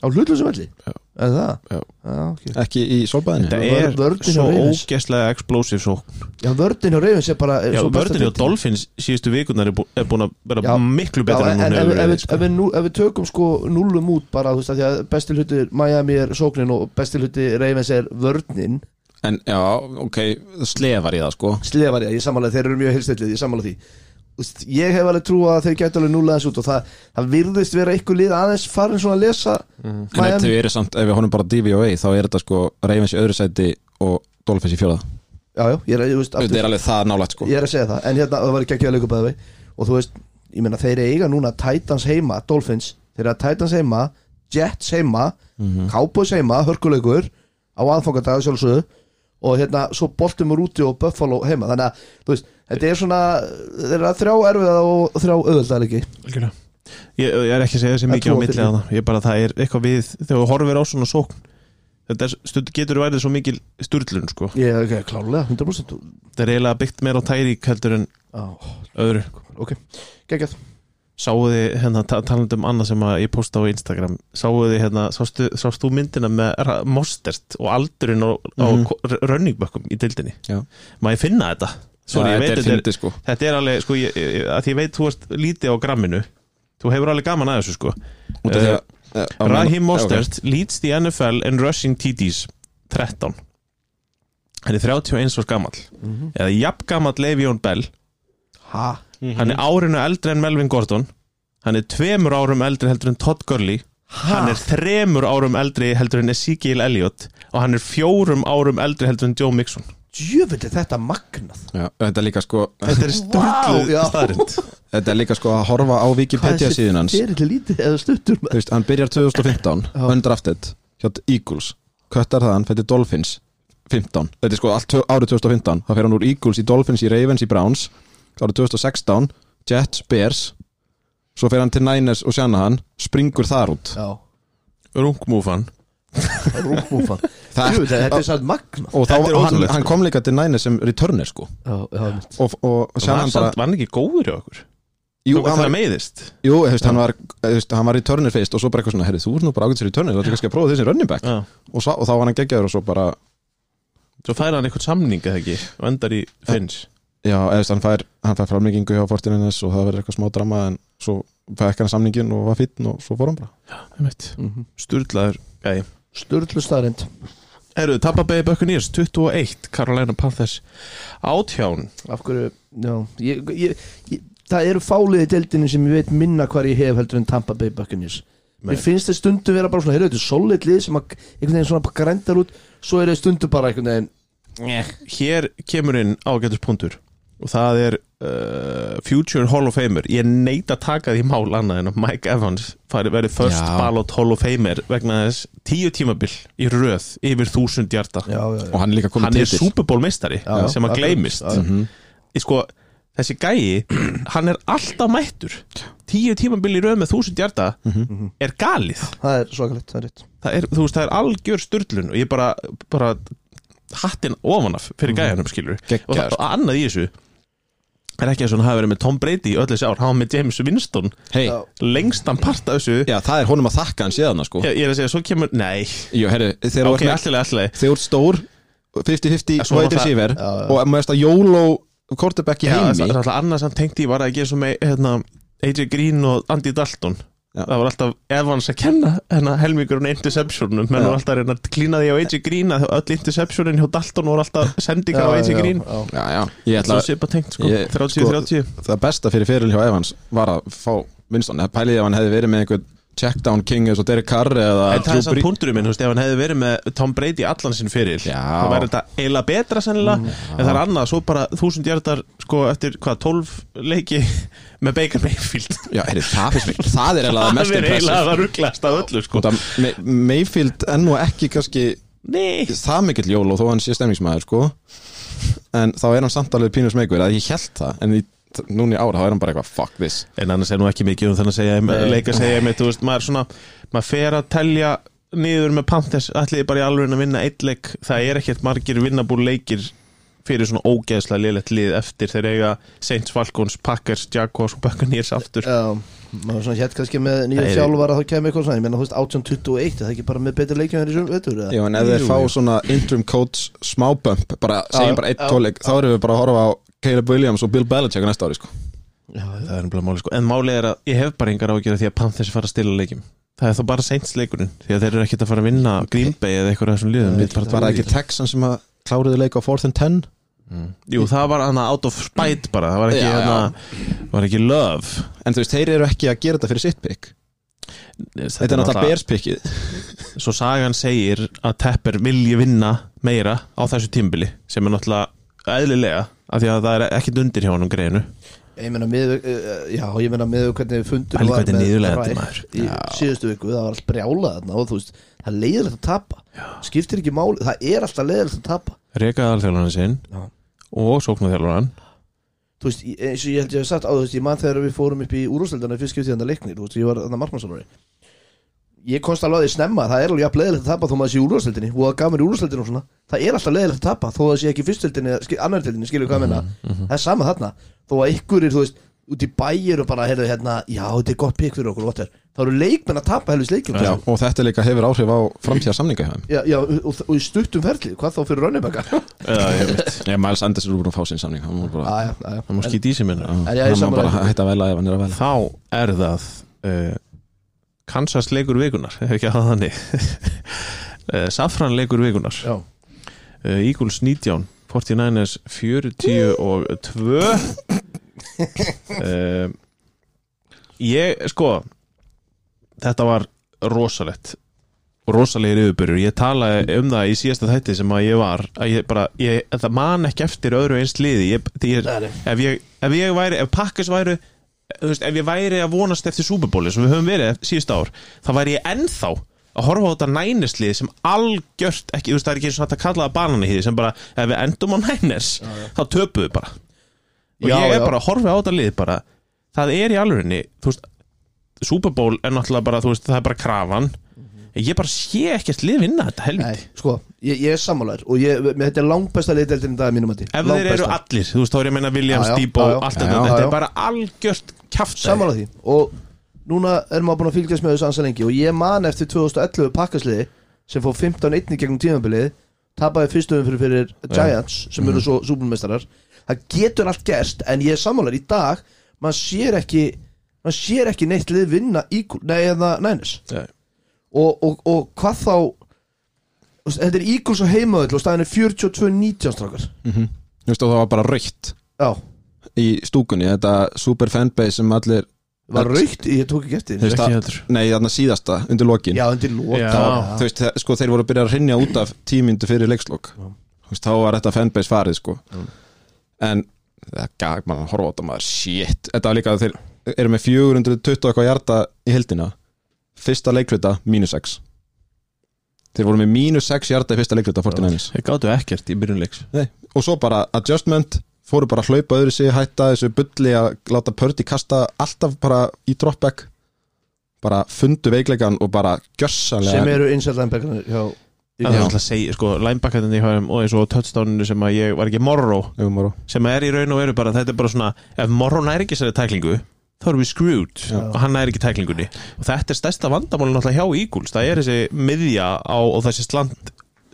B: á hlutlusum velli,
C: Já.
B: er það?
C: Já.
B: ok
C: Ekki í sólbæðinu
A: Það
B: Vörn-
A: er
B: vörnin hjá
A: svo
B: Ravens.
A: ógeðslega explosive svo
B: Já, vördin hjá Ravens er bara er
A: Já,
B: svo besta
A: vörðin hjá
B: deildin.
A: Dolphins síðustu vikunar er bú- er búin að vera
B: Já.
A: miklu
B: Já,
A: betra
B: en,
A: en hún
B: en ef,
A: hefur
B: við- ef,
A: verið sko.
B: við- ef, við nú, ef við tökum sko nullum út bara þú veist að því að besti hluti Miami er sóknin og besti hluti Ravens er vörnin
C: En já, ok, slefar í það sko
B: slefari, ég samanlega þeir eru mjög helstætlið ég samanlega því Þú veist, ég hef alveg trú að þeir geta alveg nulla þessu út og það, það virðist vera eitthvað lið aðeins farin svona að lesa
C: En
B: Miami
C: Mhm. þetta eru samt, ef við honum bara DVOA þá er þetta sko Ravens í öðru sæti og Dolphins í fjóða
B: já, já, ég er, ég, veist,
C: Þetta
B: aftur,
C: er alveg það nálægt sko
B: ég er að segja það en hérna, það var ekki að gjöða leikur bæði og þú veist, ég meina þeir eiga núna Titans heima, Dolphins, þeir eiga Titans heima Jets heima
C: Mhm.
B: Cowboys heima, hörkuleikur á aðfangadag að sjálfsögðu og hérna svo Baltimore úti og Buffalo heima þannig að þú veist, þetta er svona þeir eru að þrjá erfiða og þrjá auðvöldar ekki
A: Algjörlega. Ég, ég er ekki að segja þessi
B: Það
A: mikið á
B: trúa
A: milli
B: fyrir.
A: að það Ég bara það er eitthvað við Þegar þú horfir á svona sókn Þetta er, stund, getur værið svo mikil sturlun sko.
B: ég er ekki klálega, 100%
A: Þetta er eiginlega byggt meira á tæri heldur en
B: á,
A: öðru sko.
B: ok, geggjað
A: Sáuði þið hérna, ta talandi um annað sem að ég posta á Instagram Sáuði þið hérna, sástu, sástu myndina með Ra- Mostert og aldurinn á, á
C: Mhm.
A: mm. runningbökkum í dildinni
C: Já.
A: Má ég finna þetta? Sorry,
C: Já,
A: ég veit
C: þetta er
A: þetta er,
C: fyndið sko
A: þetta er alveg, sko, ég, ég, að því ég veit þú varst lítið á gramminu Þú hefur alveg gaman að þessu sko
C: Út af því að- eh, á meðan-
A: Raheem
C: Já, ok.
A: Mostert leads the NFL in rushing TDs 13 hann er 31 árs gamall eða jafn gamall Le'Veon Bell
B: ha,
A: hann
C: Mhm.
A: er árinu eldri en Melvin Gordon hann er tveimur árum eldri heldur en Todd Gurley hann er þremur árum eldri heldur en Ezekiel Elliott og hann er fjórum árum eldri heldur en Joe Mixon
B: djöfitt er þetta magnað
C: Já, Þetta er líka sko
A: þetta er stundlu
B: já.
A: wow, staðrind
C: Þetta er líka sko að horfa á Wikipedia síðan hans
B: fyrir til lítið eða stuttur
C: Þú veist, hann byrjar 2015
B: Já.
C: Undrafted hjá Eagles Köttar það, hann fætti Dolphins 15 Þetta er sko allt tvö- árið 2015 Það fer hann úr Eagles í Dolphins í Ravens í Browns Árið 2016 Jets, Bears Svo fer hann til Niners og Shanahan Springur þar út
B: já,
A: rungmúfan
B: rúfúfan
C: Það,
B: djöfitt, þetta er satt magnað
C: Og þá,
A: Þetta er
C: og hann,
A: ótrúlegt, sko.
C: hann kom líka til Niners sem returner sko
B: já, já, mitt
C: Og, og
A: var,
C: Shanahan bara
A: samt- var hann ekki góður í okkur
C: Jú,
A: hann
C: hann
A: var
C: var,
A: meiðist
C: jú þú veist, hann var, þú veist, hann var returner fyrst Og svo bara eitthvað svona, herri, þú ert nú bara ágætt sér returner Þú ert kannski að prófa þessi running back
A: já.
C: og, svo, og þá var hann geggjaður og svo bara
A: svo fær hann eitthvað samning eða ekki og endar í Finch
C: já, eða þú veist, hann fær, hann fær framlengingu hjá Fortinines og það verður eitthvað smá drama en svo fekk hann samningin og var fýtt og svo fór hann bara
A: einmitt.
B: mm -hmm.
A: Sturlaður gæði
B: Sturlu staðrind
A: Eru, Tampa Bay Buccaneers 21 Carolina Panthers átján
B: Af hverju, já ég, ég, ég, Það eru fáliði deildinu sem ég veit minna hvar ég hef heldur en Tampa Bay Buccaneers
A: Nei.
B: Mér finnst þeir stundum vera bara svona Heyrðu, þetta er solid lið sem að einhvern veginn svona grændar út Svo eru þeir stundum bara einhvern veginn
A: Hér kemur inn ágættis punktur og það er uh, Future Hall of Famer ég neita að taka því mál annað en að Mike Evans fari verið first
C: Já.
A: ballot Hall of Famer vegna þess tíu tímabil í röð yfir þúsund hjarta
B: Já, já,
C: og hann er líka
A: hann
C: komið
A: er Super Bowl meistari
B: Já,
A: sem að
B: akkurat.
A: gleymist
B: Já. Mhm.
A: Ég sko, þessi gæi hann er alltaf mættur tíu tímabil í röð með þúsund hjarta
B: Mhm.
A: er galið
B: Það er svakalegt, það er rétt
A: það er, þú veist, það er algjör styrlun og ég bara, bara hattin ofan af fyrir gæjanum skilur og, það,
C: geggjaður
A: og annað í þessu er ekki að svona hafa verið með Tom Brady í öll þessi ár, hann var með James Winston
C: hei,
B: Já.
A: lengstan part af þessu
C: já, það er honum að þakka hann séðana sko
A: ég, ég er að segja, svo kemur, nei
C: Jú, herri, þegar þú
A: ok,
C: ert með-
A: allilega, allilega
C: þegar þú ert stór
A: Já,
C: 50-50
A: svo
C: svo heitir
A: náttúrulega-
C: síver
B: Já, já.
C: og maður eftir að jóló kortebekki
A: Já, það
C: heimi
A: er alltaf annað sem tengdi ég var að gera svo með hérna, AJ Green og Andy Dalton
C: Já.
A: það var alltaf Evans að kenna hérna helmingur hún interceptionum menn
C: Já.
A: var alltaf að reyna að klína því á AJ Green að öll interceptionin hjá Dalton voru alltaf sendingar á
B: Já,
A: AJ
B: já,
A: Green
B: já.
C: já, já, ég ætla
A: Svo
C: að
A: svipa tengt sko,
C: Ég-
A: 30-30
C: það besta fyrir fyrir hjá Evans var að fá Winston, það pæliði ef hann hefði verið með einhvern checkdown king eins og Derek Carr eða
A: En það
C: Drew
A: er samt
C: Brees-
A: punkturinn minn, þú veist, ef hann hefði verið með Tom Brady allan sinn fyrir
C: Já. Mm,
A: þá væri þetta eiginlega betra sennilega en það er annað, svo bara þúsund hjartar sko eftir hvað, 12 leiki með Baker Mayfield
C: Já, heyri, það, finnst mér- það er eiginlega mest
A: Það er eiginlega
C: impressive
A: að rugglast af öllu sko
C: Út af May- Mayfield enn og ekki kannski
A: Nei,
C: það mikill jóló þó hann sé stemningsmaður sko en þá er hann samt alveg pínus meikur að ég held það en í, núna í ára þá er hann bara eitthvað fuck this
A: en annars er nú ekki mikið um þannig að segja
B: Nei.
A: leika að segja með, þú veist, maður svona maður fer að telja niður með Panthers ætliði bara í alveg að vinna eitt leik það er ekkert margir vinnabúr leikir fyrir svona ógeðslega liðlegt lið eftir þegar eiga Saints, Falcons, Packers, Jaguars og Buccaneers aftur
B: Já, maður svona hétt kannski með nýja
A: Nei,
B: þjálfara þá kemur eitthvað svona, ég menna þú veist 1821 er það ekki bara með betur leikjum í svona vettur eða?
C: Jú, en ef þeir
A: Jú,
C: fá
A: jú.
C: svona interim coach smábömp, bara
B: já,
C: segjum bara eitt
B: já.
C: tólik, þá erum við bara að horfa á Caleb Williams og Bill Belichick á næsta ári sko.
B: Já, já,
A: það er nefnilega máli sko en máli er að ég hef bara engar ágjörð því að Panthers fara að stila leikjum það er þá bara Saints leikurinn því að þeir eru ekkert að fara að vinna Green Bay eða eitthvað af þessum liðum
B: Nei,
A: Við bara
B: það
C: Var
A: bara
C: það ekki Texan sem að kláruði leik á 4th and 10?
A: Mm. jú það var hana out of spite bara það var ekki,
C: Já, já.
A: hana, var ekki love
C: En þú veist, þeir eru ekki að gera þetta fyrir sitt pick Þetta er náttúrulega Bears pickið
A: svo sagan segir að Tepper vilji vinna meira á þessu tímbili sem er náttúrulega eðlilega af því að það er ekkert undir hjá hann um greinu
B: ég menna með, eh, já, ég menna með hvernig fundur
A: Pæli hvernig niðurlega þetta er
B: Ræk
A: maður.
B: í síðustu viku, það var allt brjálað þarna og þú veist, það er leiðilegt að tapa já. skiptir ekki máli, það er alltaf leiðilegt að tapa
A: rekaði alþjálfarinn sinn
B: Já.
A: og sóknarþjálfarinn
B: þú veist, ég- eins og ég held ég hef sagt á þú veist, ég man þegar við fórum upp í úrúsleldana fyrst skiptið þannig leiknir, þú veist, ég var þannig markmannsalari ég komst alveg að því snemma það er alveg jafn leðilegt að tapa þó maður sé í úrúsleldinni og það gaf mér í úrúsleldinu og svona, það er alltaf leðilegt að tapa þó það sé ekki í fyrstöldinni, annartöldinni skilur hvað menna,
A: Mhm,
B: það er sama þarna þó að ykkur er, þú veist, út í bæir og bara, heyrðu, hérna, já, þetta er gott pikk fyrir okkur whatever." þá eru leikmenn að tapa helvis leikjum sko.
C: Já, og þetta líka hefur áhrif á framtíða samninga hjá þeim
B: Já, já, og, og, og í stuttum ferli, hvað þá fyrir rönnibækka?
C: Ég Miles Anders er úr að fá sín samning Hann var bara,
B: Já, já, já.
A: það má
B: En-
A: skýta í sig minna
B: En ég er
C: hann var bara
B: sammála.
C: að hætta að vela ef hann er að vela
A: þá er það uh, Kansas leikur vikunar ef ekki að hafa þannig uh, Safran leikur vikunar
B: Já.
A: uh, Eagles 19 49ers 40 og 2 uh, Ég, sko Þetta var rosalegt rosalegir yfirbyrjur, ég talaði um það í síðasta þætti sem að ég var að ég bara, ég, það man ekki eftir öðru eins liði, ég, ég,
B: Nei, nei.
A: ef, ég, ef ég væri, ef Pakkas væri þú veist, ef ég væri að vonast eftir Superbóli sem við höfum verið ef- síðustu ár þá væri ég ennþá að horfa á þetta nænislið sem algjört ekki, þú veist, það er ekki eins og hægt að kalla það bananahýði sem bara, ef við endum á næners þá töpum við bara og
B: Já,
A: ég er
B: já.
A: bara að horfa á þetta lið bara það er í alvörinni, þú veist Superból er náttúrulega bara, þú veist, það er bara krafan ég bara sé ekkert lið vinna þetta
B: Mhm. Nei,
A: helviti
B: sko, ég, ég er sammálaður og ég, mér- þetta er langbæsta liðdeldin í dag að mínum mati
A: ef þeir eru
B: Langbesta.
A: allir, þú veist, þá er ég að meina Williams,
B: Já, já,
A: Debo,
B: já, já.
A: allt
C: Já,
A: þetta
C: já,
A: þetta
B: já.
A: er bara algjört kjaft
B: Sammála því og núna er maður búin að fylgjast með þessu ansa lengi og ég man eftir 2011 pakkasliði sem fór 15-1 í gegnum tímabilið tapaði fyrstöðum fyrir, fyrir Giants
A: Mhm.
B: sem eru svo súbulmeistarar það getur allt gerst en ég er sammálar í dag maður sér ekki maður sér ekki neitt lið vinna Eagle- nei, eða Niners
A: Nei.
B: og, og, og hvað þá þú veist, þetta er Eagles á heimaðull og staðan er 42-19 strákar
C: Þú veist, og það var bara raukt
B: já,
C: í stúkunni Þetta super fanbase sem allir
B: var raukt, ég tók ekki eftir
C: Þú veist,
A: Ekki
C: það-
A: heldur.
C: Nei, þarna síðasta, undir lokin
B: já, undir lóta
A: Já.
C: þá, Þú veist, þe- sko, þeir voru að byrja að rinja út af tímyndu fyrir leikslokk Þú veist, þá var þetta fanbase farið, sko En það gaf mann að horfa á þetta maður Shit, þetta var líka að þeir eru með 420 og eitthvað hjarta í heldina Fyrsta leikluta, mínus 6 Þeir voru með mínus 6 hjarta í fyrsta leikluta, 49ers
A: Þeir gáttu ekkert í byrjunleiks
C: Nei, og svo bara adjustment fóru bara að hlaupa öðru sig, hætta þessu bulli að láta Pördi kasta alltaf bara í dropback bara fundu veikleikan og bara gjörsanlega
B: sem eru inside linebackerna hjá
A: En það er alltaf að segja, sko, linebackerinn í HM og eins og touchdowninu sem að ég var ekki Morrow
C: eru
A: sem er í raun og veru bara, þetta er bara svona ef Morrow næri ekki sér tæklingu þá erum við screwed og hann næri ekki tæklingunni og þetta er stærsta vandamálin alltaf hjá Eagles það er þessi miðja á og þessi slant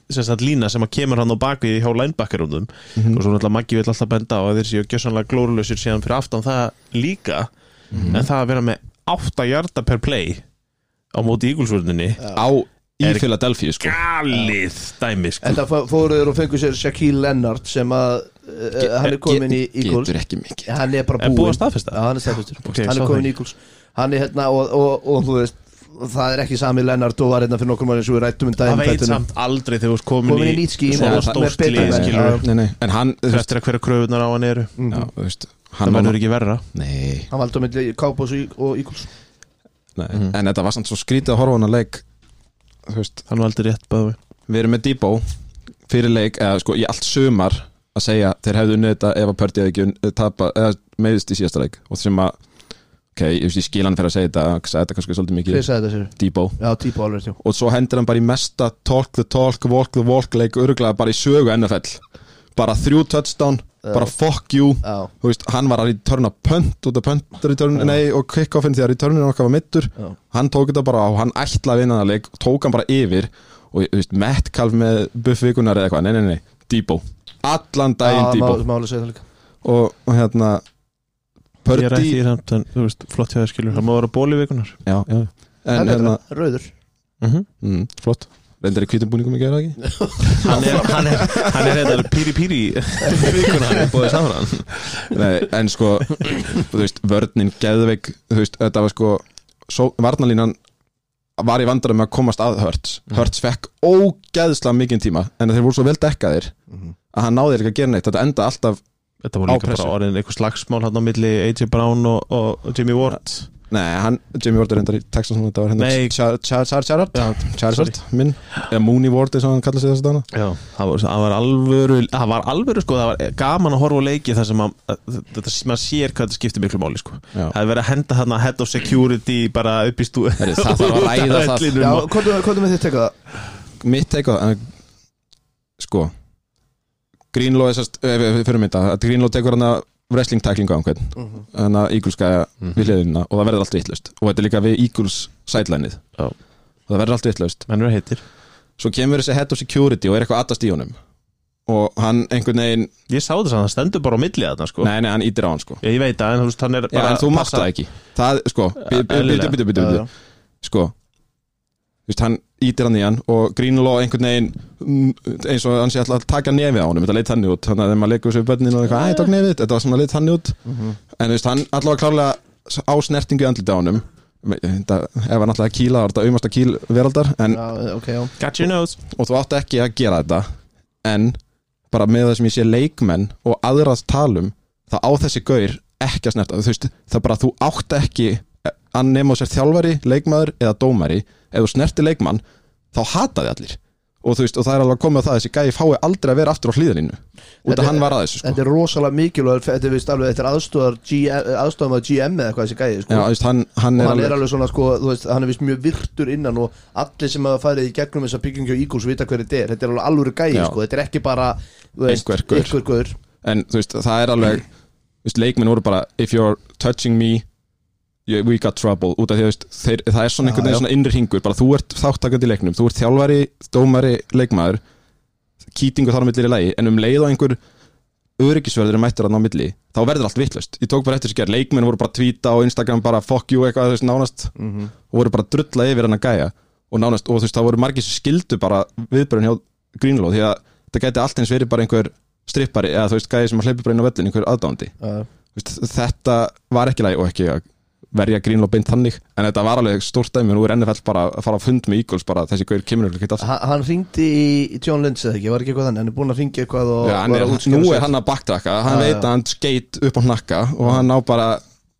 A: sem sagt lína sem að kemur hann á bakvið hjá linebackerunum og svo náttúrulega Maggi vil alltaf benda á að þeir séu gjössanlega glórulausir síðan fyrir aftan það líka en það að vera með 8 hjarta per play á móti Eaglesvörninni
C: á í
A: Er-
C: Philadelphia sko
A: galið dæmi sko.
B: Enda fó- fóru þeir og fengu sér Shaquille Leonard sem að uh, hann er komin í Eagles
C: getur ekki mikið
B: hann er bara
A: Er búið að
B: búinn
A: staðfesta?
B: Já, hann er staðfestur
A: Ok,
B: hann
A: sá
B: er
A: það
B: komin í Eagles hann er hérna og, og, og, þú veist það er ekki sami Leonard og var hérna fyrir nokkur mann eins og við rættum um
A: það
B: daginn
A: veit
B: þættinum.
A: samt aldrei þegar þú ert komin,
B: Komin í nýtt skím
A: svona
C: og-
B: með
A: stórt
B: betra
A: lið
B: menn.
A: skilur
B: Já.
C: nei, nei. en hann, þú veist,
A: eftir að hverja kröfunar á hann eru
C: já, þú veist
A: það
C: hann var,
A: verður ekki verra
C: nei,
B: Mm. hann valdi á milli Cowboys og- og Eagles
C: nei. Mhm. en þetta var samt svo skrítið að horfa á hann að leik þú veist,
A: hann var aldrei rétt bæði
C: við erum með Debo fyrir leik, eða sko í allt sumar að segja þeir hefðu unnið þetta ef að Pördi hefði ekki unn- tapa, eða meðist í síðasta leik og sem að, ok, ég, veist, ég skil hann fyrir að segja þetta, að þetta er kannski svolítið
B: hver
C: mikið
B: sagði þetta sér?
C: Debo,
B: já, típa alveg tjó
C: og svo hendur hann bara í mesta talk the talk, walk the walk leik öruglega bara í sögu NFL bara þrjú touchdown, bara fuck you
B: já,
C: þú veist, hann var að returna punt út af punt return, nei, og kickoffin því að returnin okkar var mittur,
B: Já.
C: hann tók þetta bara á hann ætla að vinna það leik, tók hann bara yfir og þú veist, Metcalf með buff vikunar eða eitthvað, nei, nei, nei, Debo allan
B: já,
C: daginn Debo
B: má- má alveg segja það líka
C: og, og hérna
A: ég rætti
C: Pördi,
A: í samt en þú veist flott hjá það skilur hann má vera ból í vikunar
C: já, já en
B: hann er
C: hérna,
B: rauður
A: Mhm.
C: mm, flott reyndar í kvítumbúningum ekki, er það ekki?
A: hann er hann er hann er þetta píri píri vikunar hann er bóðið saman hann
C: Nei, en sko, þú veist, vörninn Geðveik, þú veist, þetta var sko svo, Varnalínan var í vandara með að komast að Hörts Hörts fekk ógeðslega mikið tíma en þeir voru svo vel dekkaðir að hann náði ekki að gera neitt, þetta enda alltaf
A: þetta voru
C: Á
A: líka
C: pressu.
A: bara orðin eitthvað slagsmál hann á milli AJ Brown og, og Jimmy Ward
C: Nei, hann, Jimmy Ward er reyndar í Texas núna, þetta var
A: Nei.
C: hérna Char- Char- Char- Charard
A: Já,
C: Charizard, minn, eða Mooney Ward eins og hann kallaði sig þess að dana
A: Já, það var, það var alvöru það var alvöru sko, það var gaman að horfa á leiki þar sem að, að- þetta, maður sér hvað þetta skiptir miklu máli sko.
C: Já.
A: það er verið að henda þarna head of security bara upp í stú
C: Herri, það þarf að ræða það.
B: já,
A: það
B: hvað er með þitt teka það?
C: Mitt teika, en sko Greenlaw, þessast, ef við fyrir mynda Greenlaw tekur hann að wrestling tæklingu á einhvern þannig að Eagles gæja
A: Mhm.
C: við hliðina og það verður allt vittlust og þetta er líka við Eagles sideline-ið
A: Já.
C: og það verður allt vittlust
A: menn verið heitir
C: svo kemur þessi head of security og er eitthvað aðast í honum og hann einhvern veginn
A: ég sá þess að það stendur bara á milli þarna sko.
C: nei, nei, hann ítir á hann sko
A: ég, ég veit að en, þú veist, hann er
C: Já,
A: bara
C: en þú mátt það ekki það, sko,
A: eðlilega.
C: byrju, byrju, byrju sko þú veist, hann ítir hann í hann og Greenlaw einhvern veginn mm, eins og hann sé alltaf að taka nefið á honum þetta leitt þannig út, þannig að þegar maður leikur sér börnin og eitthvað, æ, tók nefið, þetta var svona leitt þannig út en þú veist, hann allavega klárlega s- á snertingu í andlita á honum þetta, ef hann alltaf að kýla, var þetta auðmasta kýl veraldar, en,
B: já, ok, já
A: got your nose
C: og þú átt ekki að gera þetta en bara með það sem ég sé leikmenn og aðrað talum það á þessi gaur ekki að snerta þú veist, það bara þú átt ekki að nema sér þjálfari, leikmaður eða dómari, ef þú snerti leikmann þá hata þið allir og, þú veist, og það er alveg að koma á það að þessi gæi fái aldrei að vera aftur á hlýðaninnu út
B: Þetta-
C: að hann var að þessu sko.
B: Þetta er rosalega mikilvæg Þetta er vist alveg Þetta er aðstofar Aðstofar með GM eða eitthvað þessi gæði sko.
C: Já, þú veist, hann, hann
B: Og
C: er
B: hann er
C: alveg
B: alveg svona sko Þú veist Hann er vist mjög virtur innan Og allir sem hafa farið í gegnum Þessa byggingu og Eagles Vita hverju þetta er Þetta er alveg alveg gæði
C: Já.
B: sko Þetta er ekki bara þú veist,
C: Einhver gaur.
B: Einhver gaur
C: en þú veist, það er alveg þú veist, leikmenn voru bara if you're touching me you- we got trouble út af því þú veist, þeir, það er svona
B: Já,
C: einhvern
B: já.
C: veginn svona innri hringur bara þú ert þáttakandi í leiknum, þú ert þjálfari dómari, leikmaður kýtingu þar á millir í lagi en um leið og einhver öryggisverður er mættur að ná milli þá verður allt vittlust ég tók bara eftir sér leikmenn voru bara að tvíta á Instagram bara fuck you eitthvað þú veist nánast og voru bara að drulla yfir hann að gæja og nánast og þú veist það voru margir sem skildu bara viðbörun hjá Greenlaw því að þetta gæti allt eins verið bara einhver strippari eða þú veist gæði sem að hleypa bara inn á vellin einhver aðdándi
B: uh,
C: veist, þetta var ekki læg og ekki að verja Greenlaw beint þannig en þetta var alveg stórt dæmi og nú er NFL bara að fara að fund með Eagles bara þessi gaur kemur ekki aftur
B: hann, hann ringdi í, í John Lynch eða ekki, var ekki eitthvað þannig hann er búinn að ringi eitthvað og
C: Já, hann
B: var
C: er,
B: að útskýra
C: nú
B: sig.
C: er hann að backtracka hann
B: Já,
C: veit
B: já.
C: að hann skeit upp á hnakka og hann á bara,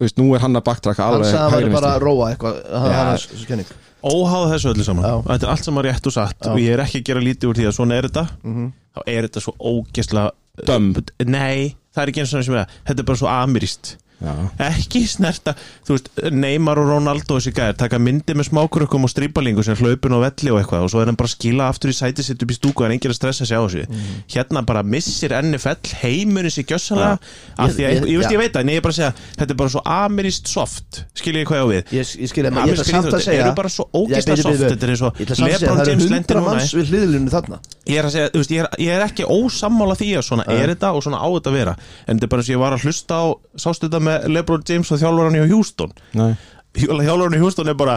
C: þú veist, nú er hann að backtracka
B: hann
C: alveg
B: sagði að hann
C: hægri
B: væri bara
C: vinstri.
B: að róa eitthvað hann
C: Já.
B: hann er svo kenning
A: óháð þessu öllu saman
B: Já.
A: þetta er allt saman rétt og satt
B: Já.
A: og ég er ekki að gera lítið úr því að svona er þetta
B: Mhm.
A: þá er þetta svo ógeðslega
C: Dömm.
A: nei, það er ekki eins og sem það þetta er bara svo amirist
C: Já.
A: ekki snerta, þú veist, Neymar og Ronaldo og þessi gæðir taka myndi með smákurökkum og strípalingu sem hlaupin á velli og eitthvað og svo er hann bara að skila aftur í sæti sitt upp í stúku en enginn er að stressa sig á þessu
B: Mhm.
A: hérna bara missir NFL heimurinn sér gjössanlega af
B: Ég-
A: því að, ég,
B: ég-
A: ég, veist,
B: já.
A: ég veit það, en ég er bara að segja þetta er bara svo amirist soft, skilja ég hvað ég á við
B: ég, ég skilja maður, ég ætla
A: Ameríska
B: samt að
A: íþróttir
B: segja
A: eru bara svo ógeðslega
B: Ég- bíðu, bíðu,
A: soft,
B: bíðu.
A: þetta er eins og
B: Ég ætla samt að segja,
A: LeBron
B: það
A: James
B: eru
A: lendir
B: hundra
A: núna eh? í-
B: manns við hliðlunni þarna
A: Ég er að segja, þú veist, ég er, ég er ekki ósammála því að svona er þetta og svona á þetta að vera En þetta er bara eins og ég var að hlusta á, sástu þetta með Lebron James og þjálfvaran í Houston
C: Nei.
A: Þjálfvaran í Houston er bara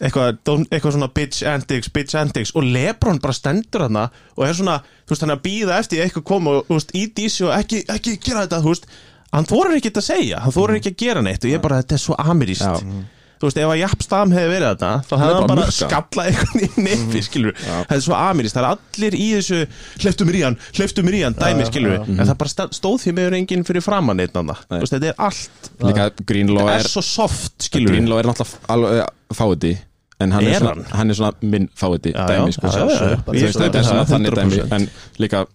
A: eitthvað, don't- eitthvað svona bitch antics, bitch antics Og Lebron bara stendur hana og er svona, þú veist, hann er að býða eftir því að eitthvað kom og, þú veist, í dísi og ekki, ekki gera þetta, þú veist Hann þorir ekki að segja, hann þorir ekki að gera neitt og ég bara, þetta er svo amirist
C: Já.
A: Þú veist, ef að Japp Stam hefði verið þarna þá hefði
C: er
A: hann
C: bara
A: bara
C: að Mhm. murka.
A: skap alla einhvern í nefi, skilur það er svo amirist, það er allir í þessu hleyftu mér í hann, hleyftu mér í hann, dæmi, skilur en það bara sta- stóð því meður enginn fyrir framann einn annað,
C: Nei.
A: þú veist, þetta er allt
C: líka Greenlaw
A: það
C: er
A: er svo soft, skilur
C: Greenlaw er náttúrulega alveg fáiði en hann
A: Er
C: er, svona,
A: hann?
C: hann er svona minn fáiði
A: Já,
C: dæmi
A: já,
C: sko,
A: já, já, já.
C: Þú veist, þetta er svona
A: Já,
C: þannig dæmi
A: 100%.
C: en líka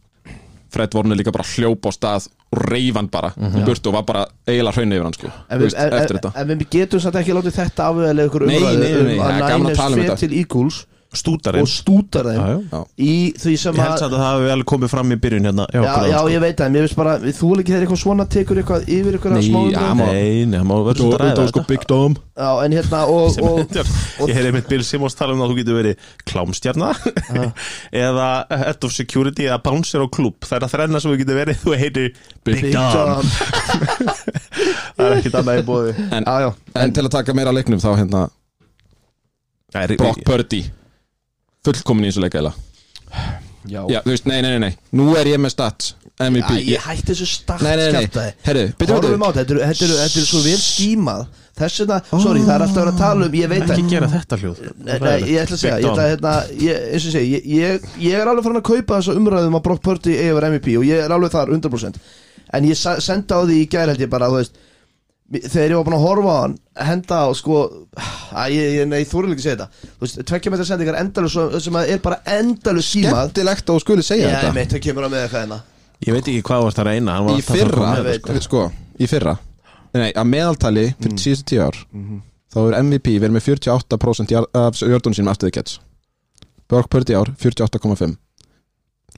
C: Fred Vornu líka bara hljóp á stað og reyf hann bara
A: Mhm.
C: í burtu og var bara eiginlega hraun yfir hann sko,
B: En
C: þú
B: við,
C: veist,
B: en,
C: eftir
B: en,
C: þetta
B: en við getum samt ekki látið þetta afveðlega ykkur
C: Nei,
B: umræðu
C: nei, nei, nei,
B: um
C: það
B: að
C: er gaman að
B: Niners
C: tala um
B: fer
C: þetta.
B: til Eagles
A: stútarinn,
B: og stútar þeim
A: Já, já.
C: Já.
B: í því sem
A: ég held
B: að
A: satt að það hefði vel komið fram í byrjun hérna hjá
B: Já,
A: okkur,
B: já,
A: sko.
B: ég veit það, en ég veist bara þú er ekki þegar eitthvað svona tekur eitthvað yfir ykkur að
C: Nei,
B: smá umræðu.
C: já, maður-
A: Nei, nei, það má verður svolítið að ræða þetta
C: Big Dom
B: Já, en hérna og,
A: Sem
B: og
A: reyndar- Ég heyrði mitt Bill Simmons tala um að þú getur verið klámstjarna eða head of security eða bouncer á klub það er að þrenna sem þú getur verið þú heitir Big,
B: Big
A: Dom.
B: Dom.
A: það er ekkit annað í bóði
C: en,
B: Já, já,
C: en til að taka meira af leiknum þá hérna Brock Purdy fullkomin í þessu leikaðila
B: já.
C: Já, þú veist, nei, nei, nei, nei, nú er ég með stats MVP
B: Já, ég hætti þessu start
C: Nei, nei, nei, nei, herru, byrju,
B: Horfum
C: byrju
B: á þetta, þetta eru- þetta eru- þetta er svo vel skímað Þess vegna, sorry, það er alltaf að vera að tala um Ég veit
A: ekki
B: það
A: gera þetta hljóð
B: Nei, nei, ég ætla að segja, ég, ætla, að, hérna, ég, eins og ég segi, ég, ég, ég er alveg farin að kaupa þessa umræðum að Brock Purdy eigi yfir MVP og ég er alveg þar 100% en ég sa- sendi á því í gær held ég bara, þú veist mi- þegar ég var búin að horfa á hann henda á sko, að ég, ég, nei, þú eru ekki að segja þetta þú veist, tvekkja metra sendingar endalus sem að er bara endalus símað
C: Skemmtilegt og skuli segja
B: ég
C: þetta
B: meitt að kemur að með eitthvað hérna
A: ég veit ekki hvað þú varst að reyna hann var
C: Í
A: alltaf að
C: fyrra,
A: koma með
B: þetta,
C: sko, í fyrra Nei, að meðaltali fyrir
A: Mm.
C: síðustu tíu ár
A: Mhm.
C: Þá er MVP verið með 48% jar- af jördunum sínum aftur þið gets Brock Purdy í ár, 48,5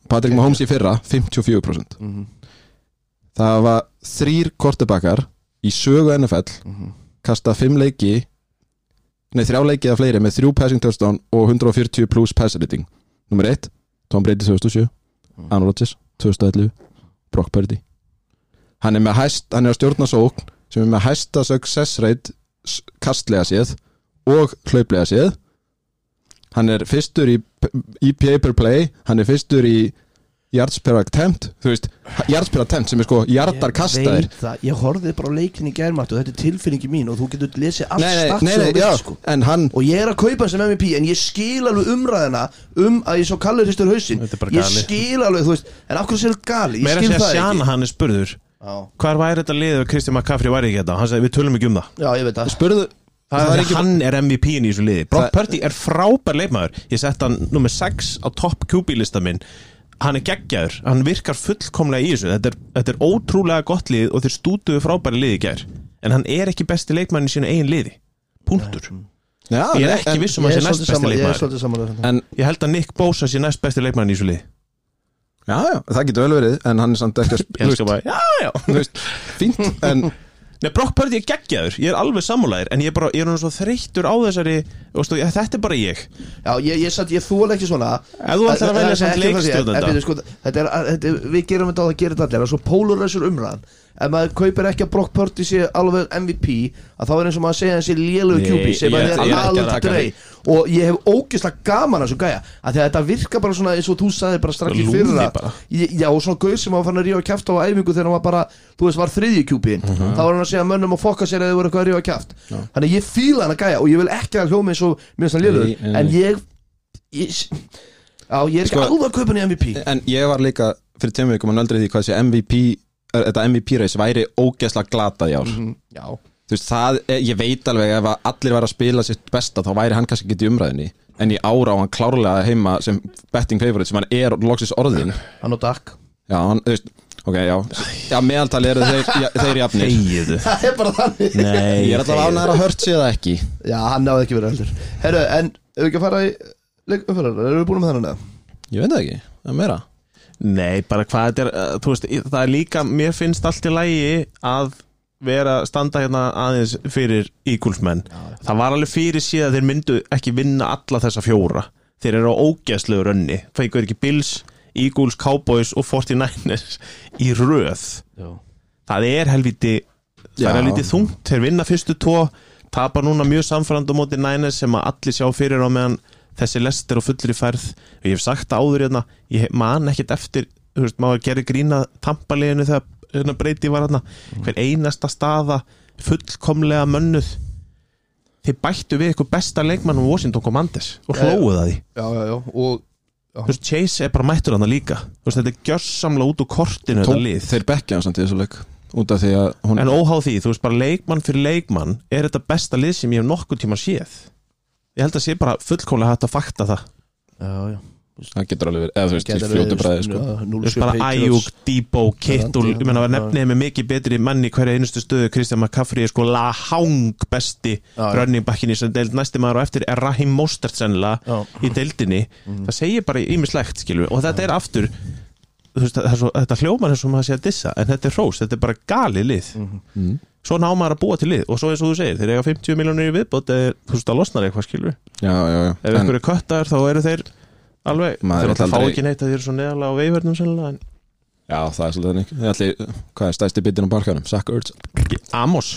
C: Patrick Mahomes í fyrra, 54%
A: Mhm.
C: Það var þrýr kortebakar í sögu NFL
A: Mhm.
C: kasta fimm leiki Nei, þrjá leiki eða fleiri með þrjú passing touchdown og 140 plus pass rating Númer 1, Tom Brady 2007 Aaron Rodgers 2011 Brock Purdy Hann er með hæst, hann er að stjórna sókn sem er með hæsta success rate s- kastlega séð og hlauplega séð Hann er fyrstur í p- EPA per play, hann er fyrstur í yards per attempt, þú veist yards per attempt sem er sko jardar
B: Ég
C: kastaðir
B: veit það, ég horfið bara á leikin í gærmættu og þetta er tilfinningi mín og þú getur lesið allt
C: Nei, nei,
B: start
C: nei,
B: sem
C: nei,
B: þú
C: já,
B: vilt sko
C: en hann
B: og ég er að kaupa hann sem MVP en ég skil alveg umræðina um að ég svo kallur hristur hausinn
A: Þetta er bara
B: ég
A: gali.
B: skil alveg, þú veist, en af hverju sér gali ég
A: meira að
B: skil
A: segja
B: það
A: Sjana hann er spurður
B: ekki
A: hvar væri þetta liðið ef Kristi McCaffrey væri ekki þetta hann sagði við tölum ekki um það
B: já, já, ég veit það
C: spurðu
A: Það er ekki... Hann er MVP-in í þessu liði Brock
C: Það-
A: Purdy er frábær leikmaður Ég sett hann nummer 6 á topp QB-lista minn Hann er geggjaður, hann virkar fullkomlega í þessu Þetta er, þetta er ótrúlega gott lið og þeir stútuðu frábæri liði í gær En hann er ekki besti leikmaður í sínu eigin liði Punktur
C: já,
A: Ég er
C: nei,
A: ekki
C: en-
A: viss um að
B: ég
A: hann
B: er
A: sé næst besti
B: svolítið saman, ég er
A: leikmaður
B: svolítið saman
C: En,
A: Ég held að Nick Bosa sé næst besti leikmaður í þessu liði
C: já, já, það getur vel verið En hann er samt ekki að
A: Ég
C: spila
A: elska bara, já, já
C: Fínt, en
A: Nei, Brock Purdy er geggjaður, ég er alveg sammálaðir En ég er bara, ég er hann svo þreyttur á þessari Vistu, Þetta er bara ég
B: Já, ég, ég, satt, ég þúal ekki svona
A: Ef þú ætlar að velja samt leikstjórnanda.
B: sko, þetta er, þetta er, Við gerum þetta á það að gera þetta allir Það er svo polarisur umræðan Ef maður kaupir ekki að Brock Purdy sé alveg MVP að Þá er eins og maður að segja þessi lélögu
A: Nei,
B: QB sem
A: ég-
B: maður
A: ég er ekki
B: er
A: að taka
B: aldrei
A: því.
B: Og ég hef ógeðslega gaman að þessu gæja að Því að þetta virka bara svona eins og þú sagði bara strax í
A: Lúði
B: fyrra
A: bara.
B: Ég- Já, og svona gauð sem var fann að rífa kæft á æfingu þegar hann var bara, þú veist, var þriðji kjúpiðin uh þá var hann að segja mönnum að fokka sér eða þau voru eitthvað að rífa kæft þannig að ég fíla hann að gæja og ég vil ekki að hann hljómi eins og mér finnst hann
C: Nei, nei,
B: liður
C: nei.
B: en ég, ég já, ég er ekki
C: Sko-
B: alveg að kaupa hann í MVP
C: En ég var líka fyrir tveim vikum að nöldrið því hvað þessi MVP er, Þetta MVP race væri ógeðslega glatað í ár
B: Mhm, Já,
C: Þú veist, það, er- ég veit alveg ef að allir væri að spila sitt besta þá væri hann kannski ekki í umræðinni En ég ára á hann klárlega heima sem betting favorite sem hann er loksins orðin
B: hann og Dak
C: Já, hann, þú veist, ok, já Já, meðaltal eru þeir, ja, þeir jafnir
A: Þegiðu
B: Það er bara þannig
A: Nei,
C: Ég er alltaf
A: þegiðu.
C: ánæður að hört sér það ekki
B: Já, hann náði ekki verið heldur Herru, en ef við ekki að fara í leikafærar, erum við búin með þennan eða?
C: Ég veit það ekki, það er meira
A: Nei, bara hvað þetta er, uh, þú veist, í- það er líka, mér finnst allt í lagi að vera standa hérna aðeins fyrir Eaglesmenn. Það var alveg fyrir síðan að þeir myndu ekki vinna alla þessa fjóra. Þeir eru á ógeðslegu rönni, fengur ekki Bills, Eagles, Cowboys og 49ers í röð.
B: Já.
A: Það er helviti, það
C: Já.
A: er helviti þungt, þeir vinna fyrstu tvo, tapa núna mjög samfærandu móti Niners sem að allir sjá fyrir á meðan þessi lest er á fullri færð og ég hef sagt það áður hérna, ég man ekkert eftir þú veist, maður gerir grína tampaleginu þegar hérna breyti var hérna hver einasta staða fullkomlega mönnuð þeir bættu við eitthvað besta leikmann um Washington Commanders og
B: Já, já.
A: hlóðu það því
B: Já, já, já, og
A: Þú veist, Chase er bara mættur hann líka Þú veist, þetta er gjörsamlega út úr kortinu þetta lið
C: Þeir bekkja hann samt í þessu leik Út af því að hún
A: En óháð því, þú veist bara leikmann fyrir leikmann er þetta besta lið sem ég hef nokkuð tíma séð Ég held að sé bara fullkólega hægt að fakta það
B: Já, já
C: Það getur alveg verið, eða þú veist, í fljótu bræði sko.
A: Þú veist bara Ayuk, Debo, Kittul Ég
B: Randy,
A: meina var
B: já.
A: nefnið með mikið betri mann í hverja einustu stöðu Kristján McCaffrey er sko lahang besti
B: já.
A: running backinni sem deild næsti maður og eftir er Rahim Mostert sennilega
B: Já. Mhm.
A: í deildinni Það segir bara ímislegt skilur við. og þetta er aftur þú veist, það er svo, þetta hljóman er svo maður sé að dissa en þetta er hrós, þetta er bara gali lið
C: mm.
A: svo ná maður að búa til lið og svo eins og þú segir, þeir eiga 50 miljónir í viðbót eða þú veist að losnar eitthvað skilur ef
C: Já, já, já
A: ykkur er köttar þá eru þeir alveg,
C: Maður
A: þeir
C: vill
A: alltaf fá
C: aldrei-
A: ekki neitt að þeir eru svo neðalega á veifernum sennilega en
C: Já, það er svolítið þannig Ég ætli, hvað er stæsti bitin á barkanum? Zach Ertz
A: Amos,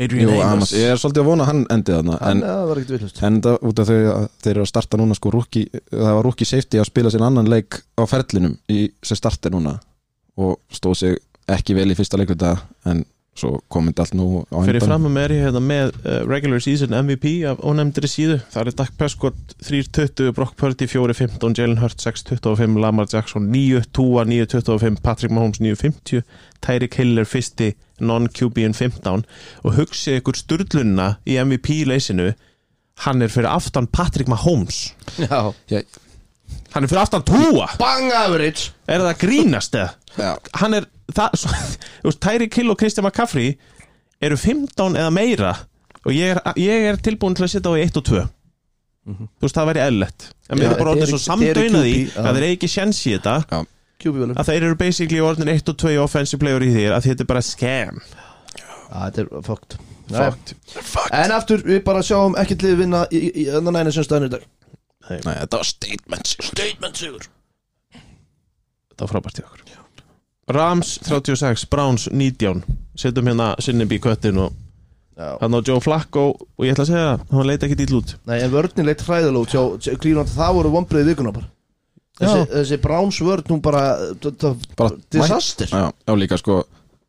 A: Adrian
C: Jú,
A: Amos
C: annars, ég er svolítið að vona að hann endi þarna
B: En
C: En,
B: það var ekkert villust
C: en það, út af þau að þeir eru að starta núna sko rúki Það var rúki safety að spila sér annan leik á ferlinum í, sem starti núna og stóð sig ekki vel í fyrsta leikvita en svo komið allt nú á
A: fyrir fram að mér ég hefða með uh, regular season MVP af ónefndri síðu það er Dak Prescott 3.20 Brock Purdy 4.15, Jalen Hurts 6.25 Lamar Jackson 9, Tua 9.25 Patrick Mahomes 9.50 Tyreek Hill er fyrsti non-QB en 15 og hugsið ykkur sturlunna í MVP leysinu hann er fyrir aftan Patrick Mahomes
B: Já
C: Já,
A: hann er fyrir aftan Tua
B: Bang average
A: er það að grínast eða?
C: já,
A: hann er það, svo, þú veist, Tyreek Hill og Kristján McCaffrey eru 15 eða meira og ég er, ég er tilbúin til að setja á í 1 og 2 þú veist það væri eðlegt en mér
B: Já,
A: er bara orðin
B: þeir
A: svo
B: eru-
A: samdöina
B: þeir
A: því
B: eru QB, já.
A: að þeir eigi ekki sjens í þetta
B: QB villum
A: að þeir eru basically orðin 1 og 2 offensive player í þér að þetta er bara scam
B: Það er fucked
A: Fucked.
B: Fucked En aftur við bara sjáum ekkert liðið vinna í, í, í annan næna sem staðan í dag
C: nei, þetta var statement
B: Statement sigur
A: þetta var frábært í okkur Rams 36, Browns 19 setjum hérna Sinnibi í köttin og
B: Já
A: hann á Joe Flacco og ég ætla að segja það, hann leita ekki dýll út
B: Nei en vörninn leitt hræðalót hjá Grínland það voru vombriðið vikuna bara Þessi,
A: Já.
B: þessi Browns vörn hún bara það- það-
C: Bara
B: Disaster
C: Já, já, líka sko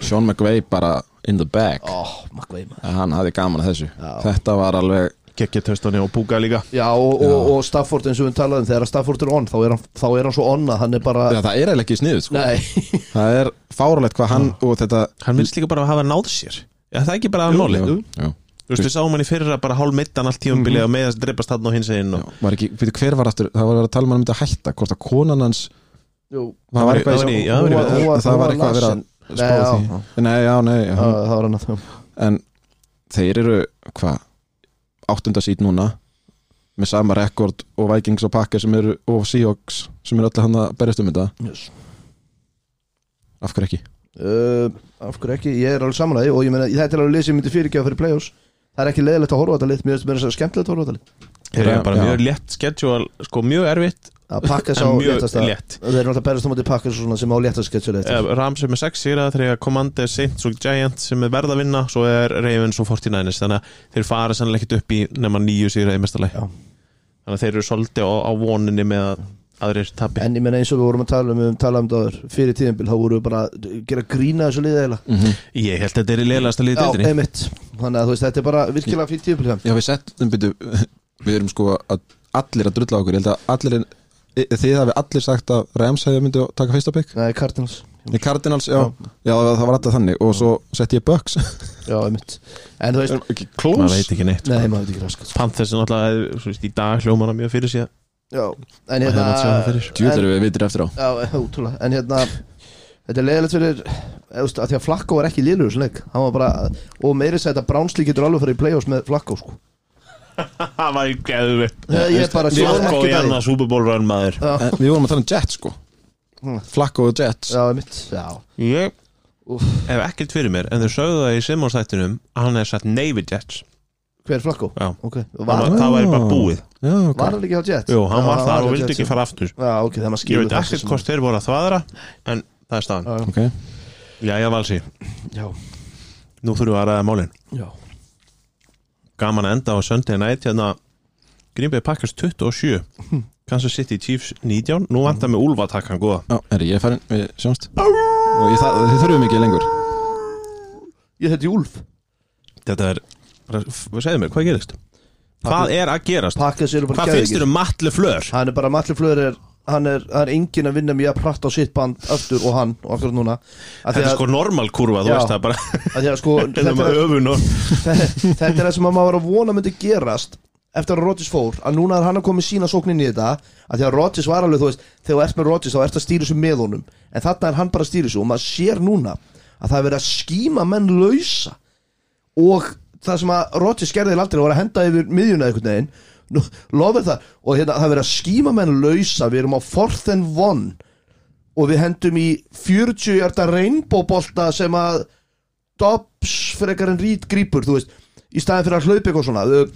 C: Sean McVay bara in the bag
B: Ó, McVay maður
C: Hann hafði gaman að þessu
B: Já.
C: Þetta var alveg
A: geggja töstunni og búka líka
B: Já og, og, og Stafford eins og við talaðum þegar Stafford er on þá er hann, þá er hann svo on að hann er bara
C: Já, það er eiginlega ekki sniðið sko.
B: Nei
C: Það er fáralegt hvað hann og þetta
A: hann virðist líka bara að hafa náð sér ja, það er ekki bara að máli
C: Jú,
A: þú
C: jú.
A: veist við sáum hann í fyrra bara hálf mittan allt tíumbilið og meðast dreipast hann á hins einn
C: Já,
A: og
C: var ekki, fyrir hver var aftur það var verið að tala um hann myndi að hætta hvort að konan hans
B: Jú,
C: það var eitthvað
A: það var í- já, það
B: var í-
C: það,
B: hún var- hún var
C: var eitthvað að vera
B: lasin.
C: að
B: Nei,
C: spá
B: já.
C: því nei, já, nei, já.
B: það það var hann að það
C: en þeir eru hvað, áttunda sít núna með sama rekord og Vikings og Packers sem eru og Seahawks sem eru öllu hann að berjast um þetta
B: yes.
C: af hverju ekki
B: uh, af hverju ekki, ég er alveg samanlega og ég meina, þetta er alveg lið sem ég myndi fyrirgefa fyrir playoffs það er ekki leiðilegt að horfa á þetta lið, mér finnst mér þess að skemmtilegt að horfa á þetta lið
A: Þeir eru bara
C: Já.
A: mjög létt schedule, sko mjög erfitt
B: að pakka sá
A: En mjög
B: léttast að
A: létt.
B: þeir eru alltaf berast á móti pakka svona sem á léttast sketsjuleg
A: Eh, Rams er með 6 sýra þegar Commander, Saints og Giants sem er verð að vinna svo er Ravens og 49ers þannig að þeir fara sannlega ekkit upp í nema 9 sýra í mestalagi
B: Já.
A: þannig að þeir eru svolítið á, á voninni með að aðrir tabi
B: en ég meina eins og við vorum að tala um, við höfum talað um það áður, fyrir tíðanbíl, þá vorum við bara að gera grína þessu liðið eiginlega
C: Mhm.
A: ég held að þetta er leiðast að liða
B: Já,
A: deildinni
B: einmitt, þannig að þú veist, þetta er bara virkilega fyrir tíðanbíl
C: Já, við settum, byrju, við erum sko að allir að drulla okkur, ég held að allir en, e- þið hafi allir sagt að Rams hefði myndi að taka fyrsta pick,
B: Nei, Cardinals,
C: í Cardinals, já, já, það var alltaf þannig og svo setti ég Bucks
B: já, einmitt en þú veist,
A: maður veit ekki neitt
B: nei, maður veit ekki raskat
A: Panthers er náttúrulega, þú veist, í dag hljómana mjög fyrir sér
B: Já, en
A: hefði mátt sjá það
B: hérna
A: fyrir.
C: Djúður við vitir eftir á
B: Já, útrúlega, en hérna Þetta er leiðilegt fyrir, eða veist, að því að Flakko var ekki líður sem leik, hann var bara og meiri sætt að Bránslí getur alveg fyrir í play-offs með Flakko, sko.
A: það var geðvitt
B: Já, ég er bara sé
A: Flakko í
B: ekki það.
A: annað súbubólrun maður
B: Já,
C: en, Við vorum að tala um Jets sko
B: Mm.
C: Flakko og Jets
B: já, mitt. Já,
A: ég
B: Úff.
A: hef ekkert fyrir mér en þeir sögðu það í Simons þættinum að hann hefði sagt Navy Jets
B: hver Flakko?
A: Já.
B: Ok,
A: það
B: var,
A: var- það væri bara búið
C: Já, ok
B: var hann ekki á Jets?
A: Jú, hann
B: Ah. Já,
A: var
B: var
A: það og
B: á
A: vildi
B: Jets,
A: ekki fara aftur
B: Já, ok, það maður
A: Ég
B: skilur
A: veit ekkert hvort þeir voru að þvaðra En það er staðan
B: Já,
C: Ok,
A: Jæja Valsi,
B: já,
A: nú þurfum við að ræða málin
B: já.
A: Gaman að enda á Sunday night Hérna Green Bay Packers 27 Kansas City Chiefs 19 Nú vantar mig Úlfa takkan góða
C: já, er ég farin, við sjáumst Og ég, það, þið þurfum ekki lengur
B: Ég heiti Úlf.
A: Þetta er, bara, f- segðu mér, hvað gerist? Hvað er að gerast?
B: Pakkas eru bara
A: Hvað finnst
B: geðveikir.
A: þér um Matle Flör?
B: Hann er bara, Matli Flöður er, hann er, hann er engin að vinna mjög að prata á sitt band aftur og hann og akkurat núna. Af því
A: Þetta er
B: að-
A: sko normal kurva, þú
B: Já.
A: veist það bara
B: af því að sko,
A: Þetta er öfun og
B: þetta er það sem að maður var að vona myndi gerast eftir að Rodgers fór að núna er hann að koma með sína sókn inn í þetta að því að Rodgers var alveg, þú veist, þegar þú ert með Rodgers þá ert að stýra þessu með honum en þarna er hann bara að stýra þessu og maður sér núna að það er verið að skíma menn lausa og það sem að Rodgers gerði aldrei var að henda yfir miðjuna einhvern veginn Nú, lofið það og hérna, það er verið að skíma menn lausa við erum á fourth and one og við hendum í 40 hjarta reynbóbolta sem að Dobbs frekar en Reed grípur þú veist, í staðin fyrir að hlaupa eitthvað svona við,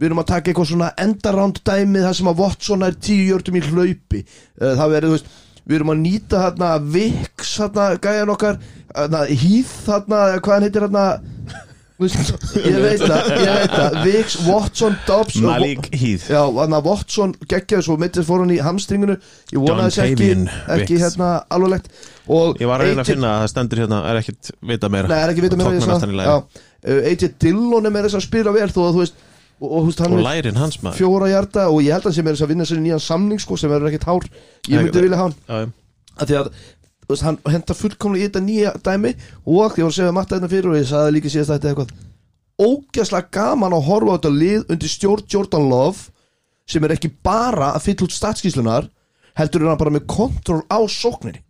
B: við erum að taka eitthvað svona endaround dæmi þar sem að Watson er tíu hjörtum í hlaupi Eh, það verið, þú veist við erum að nýta þarna Vix þarna gæjan okkar, þarna Heath þarna, eða hvað hann heitir þarna þú veist, ég veit það, ég veit það Vix, Watson, Dobbs og-
A: Malik Heath
B: Já, þannig að Watson geggjaði svo mittir fór hann í hamstringinu Ég vona þess ekki,
A: Dontavian
B: ekki
A: Wicks.
B: hérna alvarlegt Og
A: Ég var að reyna að
B: AJ
A: finna að það stendur hérna, er ekkert vita meira
B: Nei, það er ekki vita mér
A: Tóknar aftan í lagið.
B: AJ Dillon er með þess að spila vel Þó að þú veist, og, og þú veist, hann
A: Og
B: er
A: lærin hans maður
B: fjóra hjarta Og ég held að hann sem er þess að vinna sér í nýjan samning sko, Sem verður ekkit hár Ég
A: Nei,
B: myndi
A: það-
B: vilja hafa
A: Já, já.
B: hann að því að þú veist, hann henda fullkomlega í þetta nýja dæmi og ég var að segja matta þetta fyrir og ég sagði líka síðast þetta eitthvað ógæslega gaman að horfa á þetta lið undir stjórn Jordan Love sem er ekki bara að fylla út statskíslunar heldur er hann bara með kontról á sókninni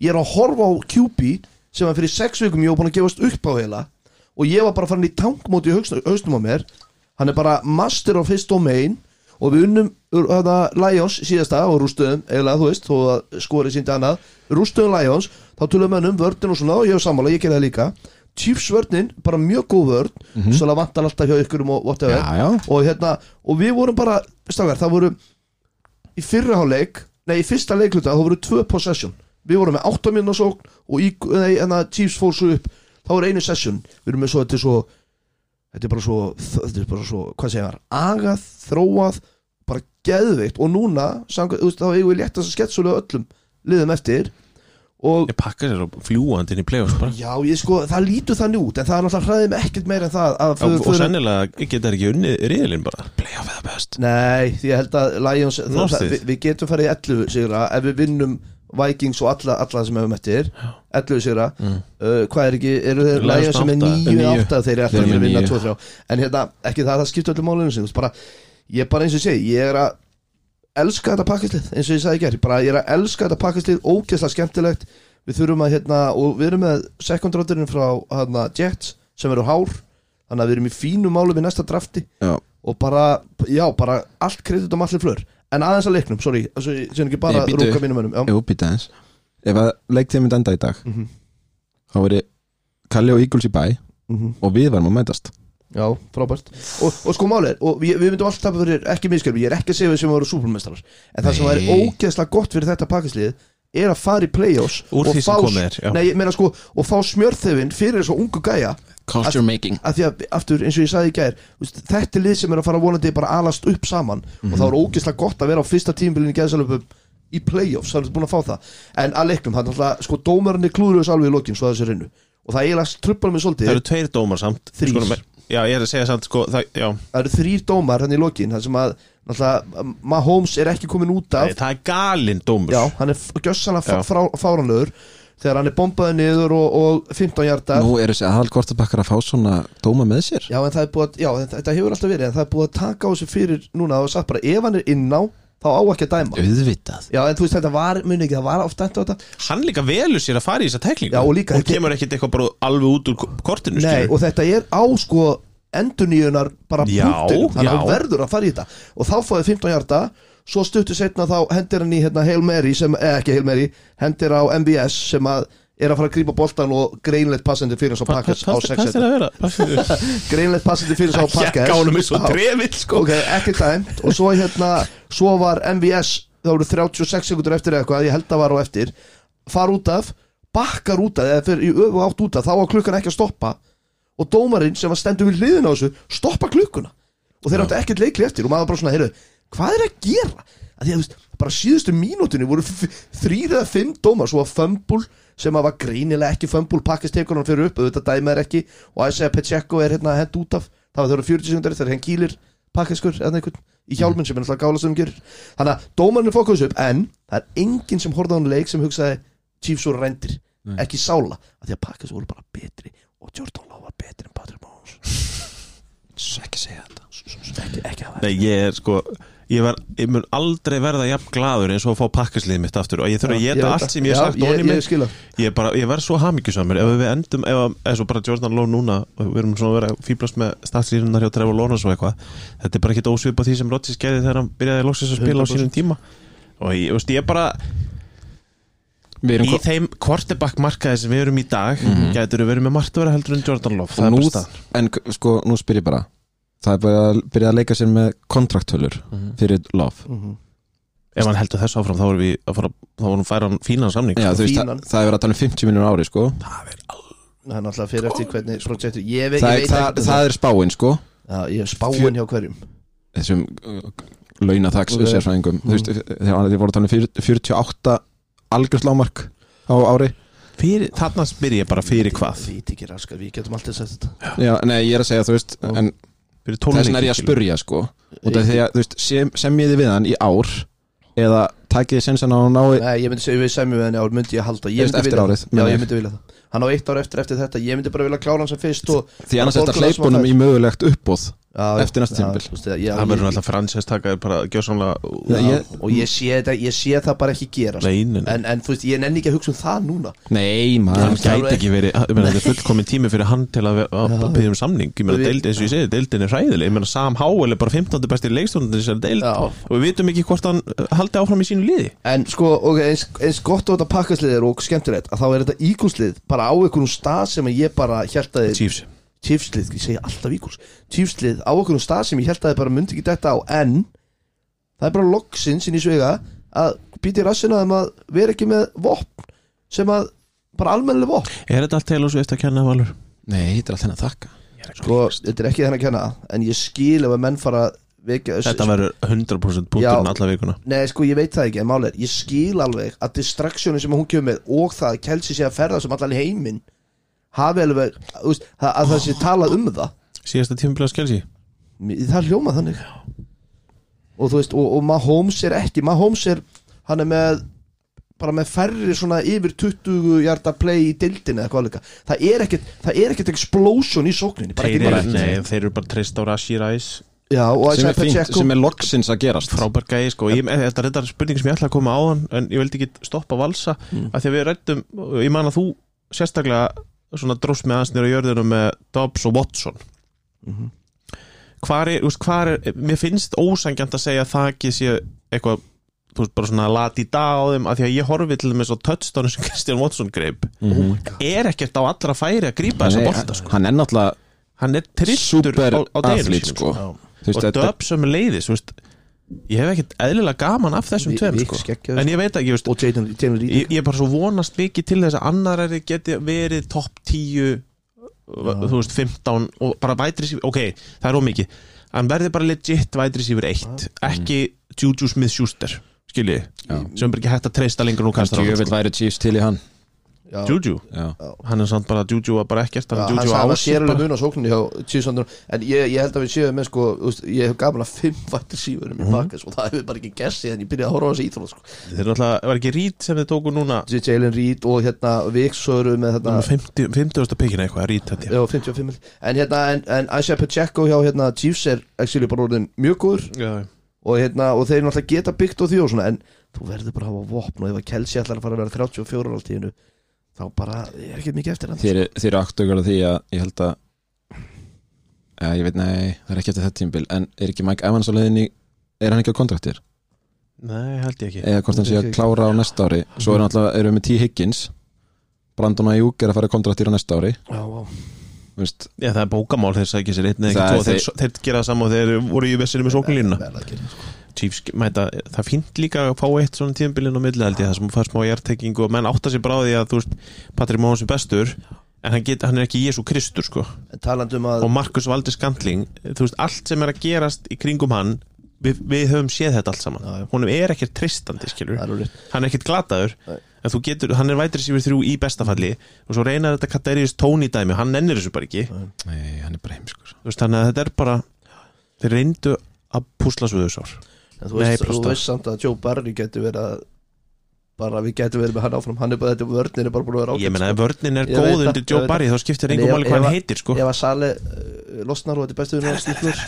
B: ég er að horfa á QB sem að fyrir sex vikum ég var búin að gefast upp á heila og ég var bara farin í tankmóti í hausnum hausnum á mér hann er bara master of his domain og við unnum ur- þarna Lions síðasta og rústuðum eiginlega þú veist þó að skorið síndi annað rústuðum Lions þá tölum við um vördin og svona og ég er sammála ég gerði það líka Chiefs vördnin bara mjög góð vörd mm -hmm. svo að vantar alltaf hjá ykkurum og whatever
C: Já, já.
B: og hérna og við vorum bara stafgar það voru í fyrra háleik nei í fyrsta leikluta þá voru tvö possession við vorum með 8 minna sókn og í, nei, en að Chiefs fór svo upp þá voru einu session við erum með svo þetta er svo þetta er bara svo þetta er bara svo hvað segja var agað þróað bara geðveikt og núna samkvæmt, þú veist, þá eigum við léttast að sketsulega öllum liðum eftir og
A: Ég pakka sér á fljúandi inn í playoffs bara
B: já ég sko það lítur þannig út en það er náttúrulega hræðið með ekkert meira en það að
A: og, og
B: förum-
A: sennilega geta þær ekki unnið riðilinn bara Playoff eða best
B: Nei, því ég held að Lions það,
A: Lostið.
B: við, við getum farið í 11 sigra ef við vinnum Vikings og alla, alla sem hefum eftir 11 sigra uh, hvað er ekki, eru þeir
A: Mm. Lions
B: Lions sem er
A: átta.
B: 9
C: Níu.
B: 8 þeir eru
C: Þeir
B: alltaf
C: eru
B: að
C: með
B: vinna
C: níu.
B: 2-3 en hérna, ekki það, það skipta öllu málunum sig þú veist, bara, ég er bara eins og ég segi ég er að elska þetta pakkislið eins og ég sagði gerð, bara ég er að elska þetta pakkislið ógeðslega skemmtilegt við þurfum að hérna, og við erum með second roundurinn frá hérna, Jets sem eru hár, þannig að við erum í fínum málum í næsta drafti
C: Já,
B: og bara, já, bara allt kredit á allir flör en aðeins að leiknum, sorry, svo ég sé ekki bara
C: Nei,
B: að
C: bíddu.
B: rúka mínum önum já.
C: Mhm. jú, býta eins Ef að leiktíð myndi enda í dag þá var ég Kalli og Íguls í bæ
B: Mhm.
C: og við varum að mætast
B: Já, frábært Og, og sko málið er, og við, við myndum alltaf tapa fyrir ekki minnskjörfi, ég er ekki að segja við sem voru súpermestrar En það sem er
C: Nei.
B: ógeðslega gott fyrir þetta pakkisliðið er að fara í play-offs
A: Úr
B: og
A: því sem
B: fá-
A: komið er, já.
B: Nei, ég meina sko, og fá smjörþefin fyrir þessu ungu gæja
C: Culture making
B: af því að, aftur, eins og ég sagði í gær þú veist, þetta er lið sem er að fara vonandi bara alast upp saman og
A: Mhm.
B: það er ógeðslega gott að vera á fyrsta tímbilinu í geðsalöpum í playoffs, það er búin að fá það en að leiknum, hann alltaf, sko, dómarinni klúður þessu alveg í lokin, svo að þessu rinnu og það eiginlega truppar mig svolítið
A: Það eru tveir dómar samt
B: Þrír.
A: Sko, me- Já, ég er að segja samt sko, það, já,
B: það eru þrýr dómar hann í lokin þar sem að náttúrulega, Mahomes er ekki komin út af
A: Nei, það er galinn dómur
B: já, hann er gjössanlega
A: Já.
B: fáranlegur þegar hann er bombaði niður og, og 15 hjarta
C: Nú eru þessi aðalkortabakkar að fá svona dóma með sér
B: já, en það er búið að, já, þetta- þetta hefur alltaf verið en það er búið að taka á þessu fyrir núna og sagt bara ef hann er inn á þá á ekki að dæma
C: Auðvitað
B: já, en þú veist þetta var, muni ekki, það var oft dæmt á þetta
A: Hann líka velur sér að fara í þessa teklingu
B: Já, og líka-
A: Hún kemur ekkit eitthvað bara alveg út úr kortinu
B: Nei,
A: skilur.
B: og þetta er á sko endurnýjunar bara
A: Já,
B: punktin þannig að
A: já.
B: hann verður að fara í þetta og þá fáið 15 hjarta svo stuttu setna þá hendir hann í hérna, Hail Mary sem, eða ekki Hail Mary hendir á MBS sem að er að fara að grípa boltan og greinleitt passandi fyrir hans á
A: Hvað
B: pakkas á
A: hvað-
B: 6
A: hvað er
B: setna
A: það að vera? Hvað-
B: greinleitt passandi fyrir hans á
A: Ég
B: pakkas
A: gáði mig svo trefill sko
B: ok, ekki dæmt og svo hérna, svo var MVS þá voru 36 sekundur eftir eða eitthvað ég held að var á eftir, far út af bakkar út af, eða fyrir í öfu átt út af þá var klukkan ekki að stoppa og dómarinn sem var stendur við hliðin á þessu stoppa klukkuna og þeir áttu ekkert leikli eftir og maður bara svona, heyrðu, hvað er að gera að því að þú veist, bara síðustu mínútinu voru þrýr eða fimm dómar svo að fömbul sem að var greinilega ekki fömbul pakkistekunan fyrir upp, auðvitað dæma er ekki og að segja Pacheco er hérna hend út af það var þau eru 40 sekundar þegar henn kýlir pakkiskur eða einhvern í hjálminn sem er alltaf gála sem hún gerir þannig að dómarinn er fókus upp en það er enginn sem horfði á hann leik sem hugsaði Chiefs voru rændir, ekki sála að því að pakkas voru bara betri og Jordan Love var betri en Patrick Mahomes
C: Ekki segja þetta
B: ekki, ekki hafa
A: Nei, ég er sko Ég, var, ég mun aldrei verða jafn glaður eins og að fá pakkaslið mitt aftur og ég þurfa að
B: Já, ég
A: geta
B: veit
A: allt
B: það.
A: sem ég hef
B: Já,
A: sagt
B: ég-
A: ofan í
B: ég
A: mig.
B: skil það.
A: ég, er bara, ég verð svo hamingjusamur ef við endum, ef, ef svo bara Jordan Lowe núna og við erum svona að vera að fíblast með statslýrunar hjá Trevor Lawrence og eitthvað þetta er bara ekkit ósvipað því sem Rodgers gerði þegar hann byrjaði loksins að spila á sínum tíma og ég, veist, ég bara
C: Við erum Mhm.
A: í þeim quarterback markaði sem við erum í dag gætur við verið með margt að vera heldur en Jordan Love það
C: og
A: er
C: nú,
A: bara staðan
C: en k- sko, nú spyr ég bara það er bara að byrja að leika sér með kontrakthölur fyrir lof
B: Mhm.
A: ef hann heldur þessu áfram þá erum við að fara þá erum færa hann fínan samning
C: Já,
A: sko.
C: þú veist, það,
B: fínan.
C: það er verið að tala um 50 miljónur ári sko.
B: það er náttúrulega fyrir eftir hvernig projektu ég, ve ég veit
C: það, er, það,
B: ekki um
C: það er spáin sko.
B: Já, ég er spáin hjá hverjum
C: þessum launataks
B: Ok. Mm.
C: okay. sérfræðingum þú veist, þegar þið voru að tala um fyr- 48 algjörslámark á ári
A: fyrir, þarna spyr ég bara fyrir hvað
B: Við ekki raskar, við getum alltaf sagt þetta
C: Já, nei, ég er að segja, þú veist
B: Já.
C: en
A: fyrir
C: þess vegna er ég að
A: leiki,
C: spurja, sko
B: Ég-
C: og það er því að, þú veist, sem, semjið þið við hann í ár eða takið þið sensan á hann ái
B: Nei, ég myndi segja við semjum henni ár myndi ég halda ég
C: Þú veist,
B: myndi
C: eftir
B: vilja-
C: árið,
B: Já,
C: meina
B: ég
C: ég.
B: myndi vilja það Hann á eitt ár eftir eftir þetta Ég myndi bara vilja klára hann sem fyrst og
C: því annars
B: Bara borga
C: þetta
B: það sem hann
C: hleypunum
B: fær.
C: í mögulegt uppbóð
B: já, já,
C: Eftir næsta
B: já,
C: tímabil.
B: þú veist, já,
A: það verður
B: ég-
A: alltaf fransæst taka bara að gjöra svona
C: Já, ég,
B: Og ég sé, þetta, ég sé það bara ekki gera sko.
A: leinin
B: en, en þú veist, ég nenni ekki að hugsa um það núna
C: Nei,
A: hann
C: maður
B: það
A: gæti
B: alveg-
A: ekki verið ég meina, þetta er fullkomin tími fyrir hann til að, að byggja um samning ég meina,
B: Við-
A: deild, eins og ég segi, deildin er hræðileg ég meina, Sam Howell er bara 15. besti leikstundin þessari deild
B: Já.
A: og við vitum ekki hvort hann uh, haldi áfram í sínu liði
B: En sko, ok, eins, eins gott og þetta pakkaslið er og skemmtilegt að þá er þetta ígúslið bara á einhverjum stað sem ég bara held að þið
A: Chiefs
B: Chiefslið, ég segja alltaf ígús Chiefslið á einhverjum stað sem ég held að þið bara myndi ekki þetta á en það er bara loksins inn í svega að býti rassina þeim að vera ekki með vopn sem að bara almennileg vopn
A: er þetta allt Taylor Swift að kenna valur?
C: Nei, þetta er alltaf henni að þakka
B: sko, þetta er ekki þennan að kenna en ég skil ef að menn fara að vekja
A: þetta verður 100%
B: Já.
A: punkturinn alla vikuna
B: Nei, sko, ég veit það ekki, en máli er Ég skil alveg að distraksjónu sem hún kemur með og það að kelsi sé að ferða sem allan í heiminn hafi alveg, þú veist, að, að það sé talað um það
A: síðasta tímabili á skelsi
B: Mér- Það hljóma þannig Og þú veist, og, og Mahomes er ekki Mahomes er, hann er með bara með færri svona yfir 20 hjarta play í dildinu eða hvað líka Það er ekkert, það er ekkert explosion í sókninni bara
A: þeir,
B: ekki
A: eru-
B: neitt.
A: nei, þeir eru bara trist á Rashir Ice
B: Já, og að
C: sem er
B: segja
C: fínt,
B: Pacheco
C: sem er loksins að gerast
A: frábær gæði sko ég, þetta er þetta spurning sem ég ætla að koma á hann en ég vildi ekki stoppa valsa mm. að því að við rættum, ég man að þú sérstaklega svona dróst með aðeins nýra jörðinu með Dobbs og Watson
C: Mhm.
A: hvar er, þú veist, hvar er mér finnst ósangjant að segja að það ekki sé eitthvað þú veist, bara svona lat-í-da á þeim af því að ég horfi til þeim eins og touchdown sem Kristján Watson greip er ekkert á allra færi að grípa þessa bolta sko.
C: Oh hann er náttúrulega
A: hann er tristur
C: super
A: á, á deginum
C: athlít
A: sínum
C: sko.
A: sko.
C: Þú veist,
A: og
C: þetta-
A: döp sem leiðis þú veist, ég hef ekkert eðlilega gaman af þessum
B: Vi-
A: tveim
B: við
A: sko.
B: skeggjaðir,
A: en ég veit ekki, þú veist,
B: og Jaden Jaden Reed
A: ég, ég er bara svo vonast mikið til þess að annar er geti verið topp 10 þú veist 15 og bara vætri sífur, ok, það er ómikið hann verði bara legit vætri sífur 1 ekki Juju Smith-Schuster skilji,
C: Já.
A: sem er ekki hægt að treysta lengur nú kastar á
C: Ég
A: hann
C: vil
A: sko.
C: væri Chiefs til í hann
B: Já.
A: Juju,
C: Já,
A: hann er samt bara Juju var bara ekkert,
B: Já,
A: hann
B: hann
A: Juju
B: sagði að það sé
A: ásýr
B: alveg
A: bara
B: mun á sókninni hjá Chiefsandur en ég, ég held að við séum með sko þú veist, ég hef gaman að fimm vættir sífurum
A: Mhm.
B: í pakkas og það hefur bara ekki gessið en ég byrjaði að horfa á þessi íþrótt sko.
A: þeir eru alltaf, var ekki Reed sem þið tóku núna
B: J- Jalen Reed og hérna Viksöru með
A: núna
B: hérna
A: 50, 50. pikkina eitthvað, Reed þetta
B: já, 55 mil. en hérna en, en Isaiah Pacheco hjá hérna Chiefs er actually bara orðin mjög góður
A: Já,
B: og hérna og þeir náttúrulega geta byggt og því og svona en þú verður bara að hafa vopn og ef að Kelsey ætlar að fara að vera 34 ára á tíðinu þá bara er ekki mikið eftir hann
C: þeir þeir eru aktugur af því að ég held að Já, ég veit, nei, það er ekki eftir þetta tímbil En er ekki Mike Evans á leiðinni Er hann ekki á kontraktir?
A: nei, held ég ekki
C: Eða hvort hann sé að
B: Ekki-
C: klára á næsta ári Svo er náttúrulega, erum við með T. Higgins Brandon Ayuk er að fara á kontraktir á næsta ári
B: já, já.
C: Þú veist,
A: Já, það er bókamál þeir sækja sér einn eða
C: Það
A: ekki
C: er
A: tvo þeir, þeir, gera það sama og þeir voru í vessinu með sóknlínuna
B: Vel að gera, sko.
A: Chiefs mæta, það er fínt líka að fá eitt svona tíðanbílinn á milli held ég það sem fær smá hjartekingu og menn átta sér bara á því að þú veist Patrick Mahomes er bestur en hann, get, hann er ekki Jésu Kristur sko
B: en talandum að
A: og Markus Valdi Skandling þú veist allt sem er að gerast í kringum hann við, við höfum séð þetta allt saman
B: Já, já.
A: honum er ekkert tristandi skilur
B: það er orðið
A: hann er ekkert glataður
B: Nei.
A: en þú getur, hann er vætrið sér þrjú í bestafalli og svo reynar þetta Kataríus Tóni dæmi hann nennir þessu bara ekki
C: nei, hann er bara heimskur
A: Þú veist, þannig að þetta er bara þeir reyndu að púsla svo þessar
B: En þú
A: Nei,
B: veist, þú
A: plústa.
B: veist samt að Joe Barry getur verið að bara við getum verið með hann áfram hann er bara þetta vörnir er bara búin að vera ágætt
A: ég meina ef vörnin er
B: sko. Ég veit
A: góð
B: það,
A: undir
B: ég
A: Joe
B: veit
A: Barry þá skiptir
B: En
A: engum
B: ef-
A: máli hvað
B: ef-
A: hann heitir sko
B: ef að Sali uh, losnar og þetta er bestu vinur hans líflur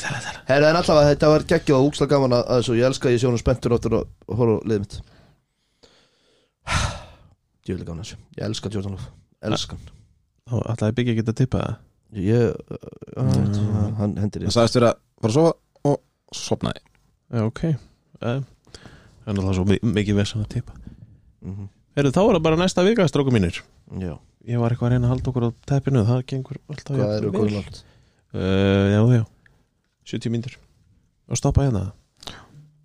B: herra en allavega þetta var geggjað og úkslega gaman að að þessu ég elska að ég sé honum spenntur áttur og horfa á liðið mitt djúlega gaman að þessu ég elska Jordan Love elska hann
A: þá ætlaði byggja ekki að tippa það
B: ég
A: Mm.
B: uh, hann hendir
C: Hann
B: ég
C: sagðist vera að fara að sofa og sopnaði
A: já ok Eh, það er náttúrulega svo mi- mikið vesan að tippa
B: Mhm.
A: Heru, þá er það bara næsta vika stróku mínir
B: já
A: ég var eitthvað að reyna að halda okkur á teppinu það gengur alltaf
B: hvað
A: jafn
B: eru
A: vel.
B: góðum allt
A: Eh, já já 70 mínir og stoppa hérna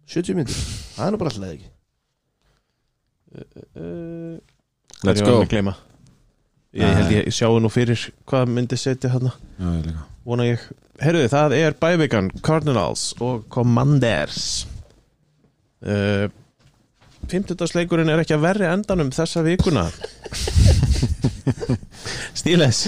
B: 70 myndir það er nú bara alltaf ekki Eh,
A: uh,
C: Let's go
A: ég, ég
B: Ah.
A: held ég sjáu nú fyrir hvað myndi setja hérna
C: Já, ég líka
A: vona ég Herruði, það er bævikan Cardinals og Commanders uh, Fymtudagsleikurinn er ekki að verri endanum þessa vikuna Stíles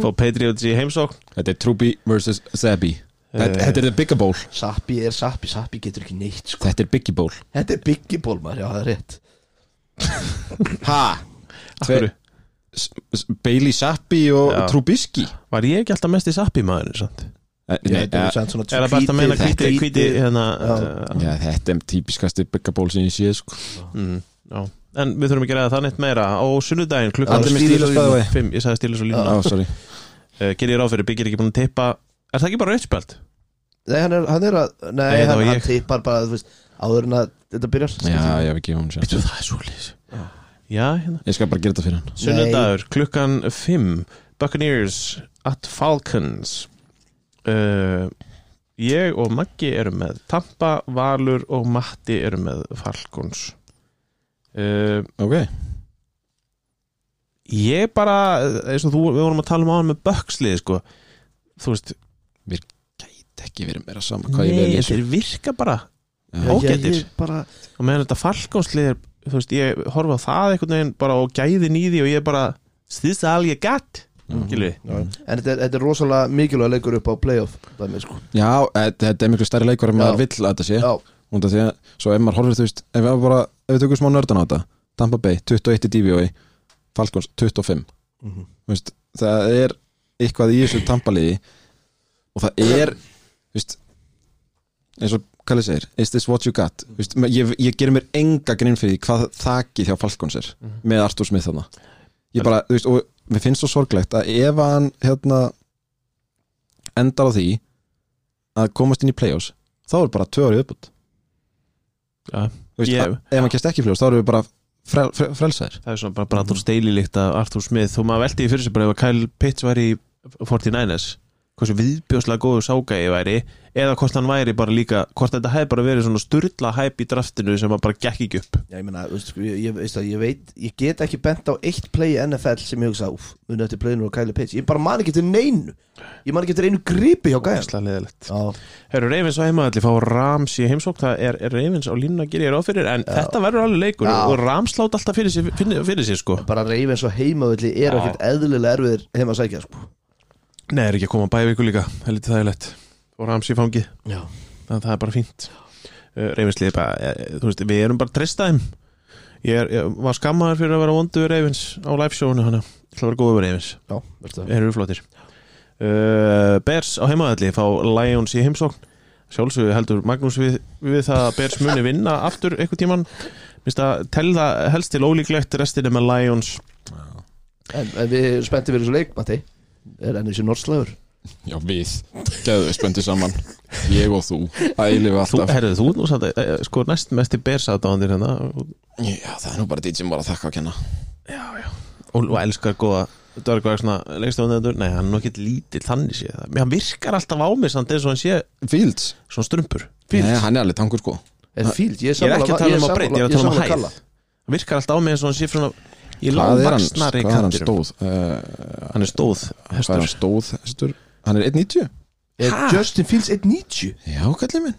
A: Fá Patriots í heimsókn
C: Þetta er Truby vs. Zabi
A: Eh,
C: Þetta þetta er The Bigga Bowl
B: Sappi er Sappi Sappi getur ekki neitt sko
C: Þetta er Biggie Bowl
B: Þetta er Biggie Ból maður, já það er rétt
C: Ha?
A: Akkur,
C: Bailey Zappi og
A: Já.
C: Trubisky
A: Var ég ekki alltaf mest í sappi maðurinn samt?
C: Eh,
B: Ég
C: nei,
B: held að
C: eh,
B: við sent svona
A: Er það best að meina
B: tweetið-
A: hvíti, hvíti
B: tweetið-
A: hérna uh,
C: Já, þetta er típiskasti Bigga Bowl sem ég sé sko.
A: mm, já. En við þurfum ekki að ræða það neitt meira á sunnudaginn klukkan
C: Allir með
B: stíl og
C: stílus bæði
A: fimm, ég sagði Stíles og
C: Já,
A: Lína uh,
C: Ah, sorry
A: Gerir ég ráð fyrir, byggir ekki búin að tippa Er það ekki bara rauðspjöld?
B: Nei, hann er, hann er að Nei,
A: Nei, það
B: hann,
A: var
B: hann
A: ég.
B: tippar bara, þú veist Áður en að þetta byrjar
C: Já, ég hef ekki hún sér
A: Veitu, það er svolítið Já, hérna
C: Ég skal bara gera þetta fyrir hann
A: Sunnudagur, klukkan 5 Buccaneers at Falcons uh, Ég og Maggi eru með Tampa, Valur og Matti eru með Falcons uh,
C: Ok
A: Ég bara eins og þú, við vorum að tala um áðan með Böxlið sko. þú veist
C: Gæti ekki verið meira saman hvað ég vel lýsir
A: þeir virka bara
C: Já.
A: Ágætir.
B: Ég- ég bara
A: og meðan þetta Falconslið er þú veist, ég horfa á það einhvern veginn bara og gæðin í því og ég bara this is all you got
C: Mhm.
A: mm.
B: En þetta er, þetta er rosalega mikilvæg leikur upp á playoff Dæmi, sko
C: Já, eh, þetta er miklu stærri leikur en
B: Já.
C: maður vill að þetta sé
B: Já,
C: og það því að, svo ef maður horfir þú veist ef við, bara, ef við tökum smá nördan á þetta Tampa Bay, 21 í DVOI Falcons, 25
B: Mhm.
C: Þú veist, það er eitthvað í þessu Tampa liði og það er þú veist, eins og Kalli segir, is this what you got Þú veist, ma- ég, ég gerir mér enga grinn fyrir því hvað þakið hjá Falcons er með Artur Smith þarna ég bara, þú veist, og mér finnst svo sorglegt að ef hann hérna endar á því að komast inn í playoffs þá er bara tvö ári uppbútt
A: Já.
C: Þú veist,
A: Ég-
C: ef maður kemst ekki fljós, þá erum við bara frel, frel, frelsaðir
A: Það er svona bara Brandur Staley líkt að Arthur Smith og maður veldi í fyrir sig bara ef að Kyle Pitts væri í 49ers hversu viðbjóslega góðu ságæði væri eða hvort hann væri bara líka hvort þetta hefði bara verið svona sturla hæp í draftinu sem að bara gekk ekki upp
B: Já, ég meina, þú veist, sko, ég, ég, veist það, ég veit Ég get ekki bent á eitt play í NFL sem ég hugsa Úf, muni eftir playinu og Kylie Pitts Ég bara man ekki til neinu Ég man ekki til einu gripi hjá gæðan
A: Ógeðslega leðilegt
B: Já,
A: Herru, Ravens á heimaðalli fá Rams í heimsók það er, er Ravens á línuna að gera ég ráð fyrir en þetta verður alveg leikur
B: Já.
A: og Rams láta alltaf fyrir sér, fyrir, fyrir sér sko
B: bara reyfin svo heimavöldi
A: Já.
B: er ekkert eðlilega erfiðir heima að sækja sko.
A: Nei, er ekki að koma bæði viku líka það er litið þægilegt og Rams í fangi
B: Já,
A: þannig að það er bara fínt uh, reyfinslið er bara, eh, þú veist, við erum bara tristaðum ég, er, ég var skammaður fyrir að vera vondu við reyfins á liveshowinu hann ætla að vera góður við reyfins,
B: já, veist það
A: erum við flottir uh, Bers á heimaðalli fá Lions í heimsókn sjálfsögur heldur Magnús við, við það að Bers muni vinna aftur einhvern tíman minnst að telða helst til ólíklegt restinni með Lions
B: En, en við erum spenntið fyrir þessu leik, Matti Er enn þessi norslagur
C: Já, við, gæðu við spöndið saman Ég og þú, ælifu
A: þú,
C: alltaf
A: herrið, þú ert nú samt, eh, eh, sko næst mest í Bers aðdáðandir hérna og,
C: Já, það er nú bara DJ bara að þakka að kenna
A: og, og elskar góða Dörgvæg svona leikstofunendur Nei, hann er nú ekki lítill þannig sé það Mér hann virkar alltaf á mig samt eins og hann sé
C: Fields?
A: svona strumpur
C: Nei,
A: Fields.
C: hann er alveg tankur sko
B: En fíld, ég er
A: Ég er ekki
B: sammála
A: að tala
B: er
A: um að breyta, ég er að tala um að
B: sammála-
A: hæð
B: ég er sammála Kalla.
A: Hann virkar alltaf á mig eins og hann sé svona Í
C: Hvað er hann,
A: langvaksnari
C: hvað er hann
A: kantinum
C: stóð? Uh,
A: Hann er stóð
C: hvað er hann
A: hestur
C: stóð? Hestur? Hann er 1.90?
B: Er
A: Ha?
B: Justin Fields 1.90
C: Já, kallið minn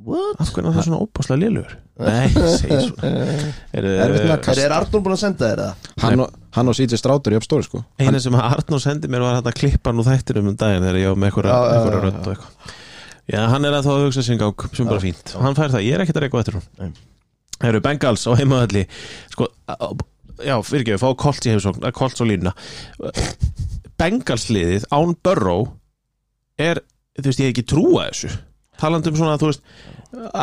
B: What?
A: Af hvernig er það svona óbáslega lélugur? Nei, segir svona Eh, er,
C: Erfitt með að
B: Er, er Arnur búin að senda þér það?
C: Hann og, hann og CJ Strátur í uppstóri sko
A: Einu sem að Arnór sendi mér var þetta klippan úr þættinum um daginn þegar ég var með einhverja
B: Já, já,
A: einhverja
B: já, já.
A: rödd og eitthvað Já, hann er að þá að hugsa sinn gák sem bara fínt Hann fær það, ég er ekkert að reyka eftir hún
B: Nei.
A: Það eru Bengals á heimaðalli Sko, á- á- já, fyrirgefið, fá Kolts í heimsókn að Kolts á línuna Bengals liðið án Burrow er, þú veist, ég hef ekki trúa þessu talandi um svona, þú veist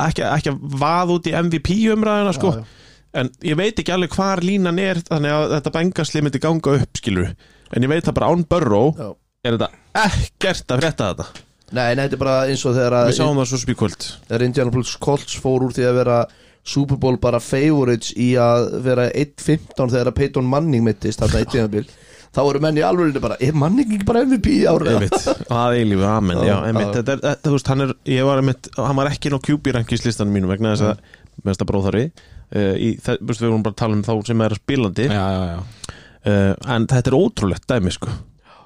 A: ekki, ekki að vaða út í MVP umræðina sko,
B: Já, já.
A: en ég veit ekki alveg hvar línan er þannig að þetta bengasli myndi ganga upp skilur en ég veit það bara án börró
B: Já.
A: er þetta ekkert að frétta þetta
B: Nei, nei, þetta er bara eins og þegar að
A: við sáum það svo spíkvöld
B: þegar Indiana Plus Colts fór úr því að vera Super Bowl bara favorites í að vera 1-15 þegar að Peyton Manning mittist þarna eitt tímabil þá eru menn í alveg bara, er Manning ekki bara MVP í árið?
A: einmitt, að eilífu, amen já,
B: Já,
A: einmitt,
B: já.
A: þetta er, þetta, þú veist, hann er ég var einmitt, hann var ekki ná kjúbírankislistanum mínum vegna þess að, með þetta bróðarfi uh, í, það, þú veist, við vorum bara að tala um þá sem er spilandi,
C: já, já
A: uh, en þetta er ótrúlegt dæmi, sko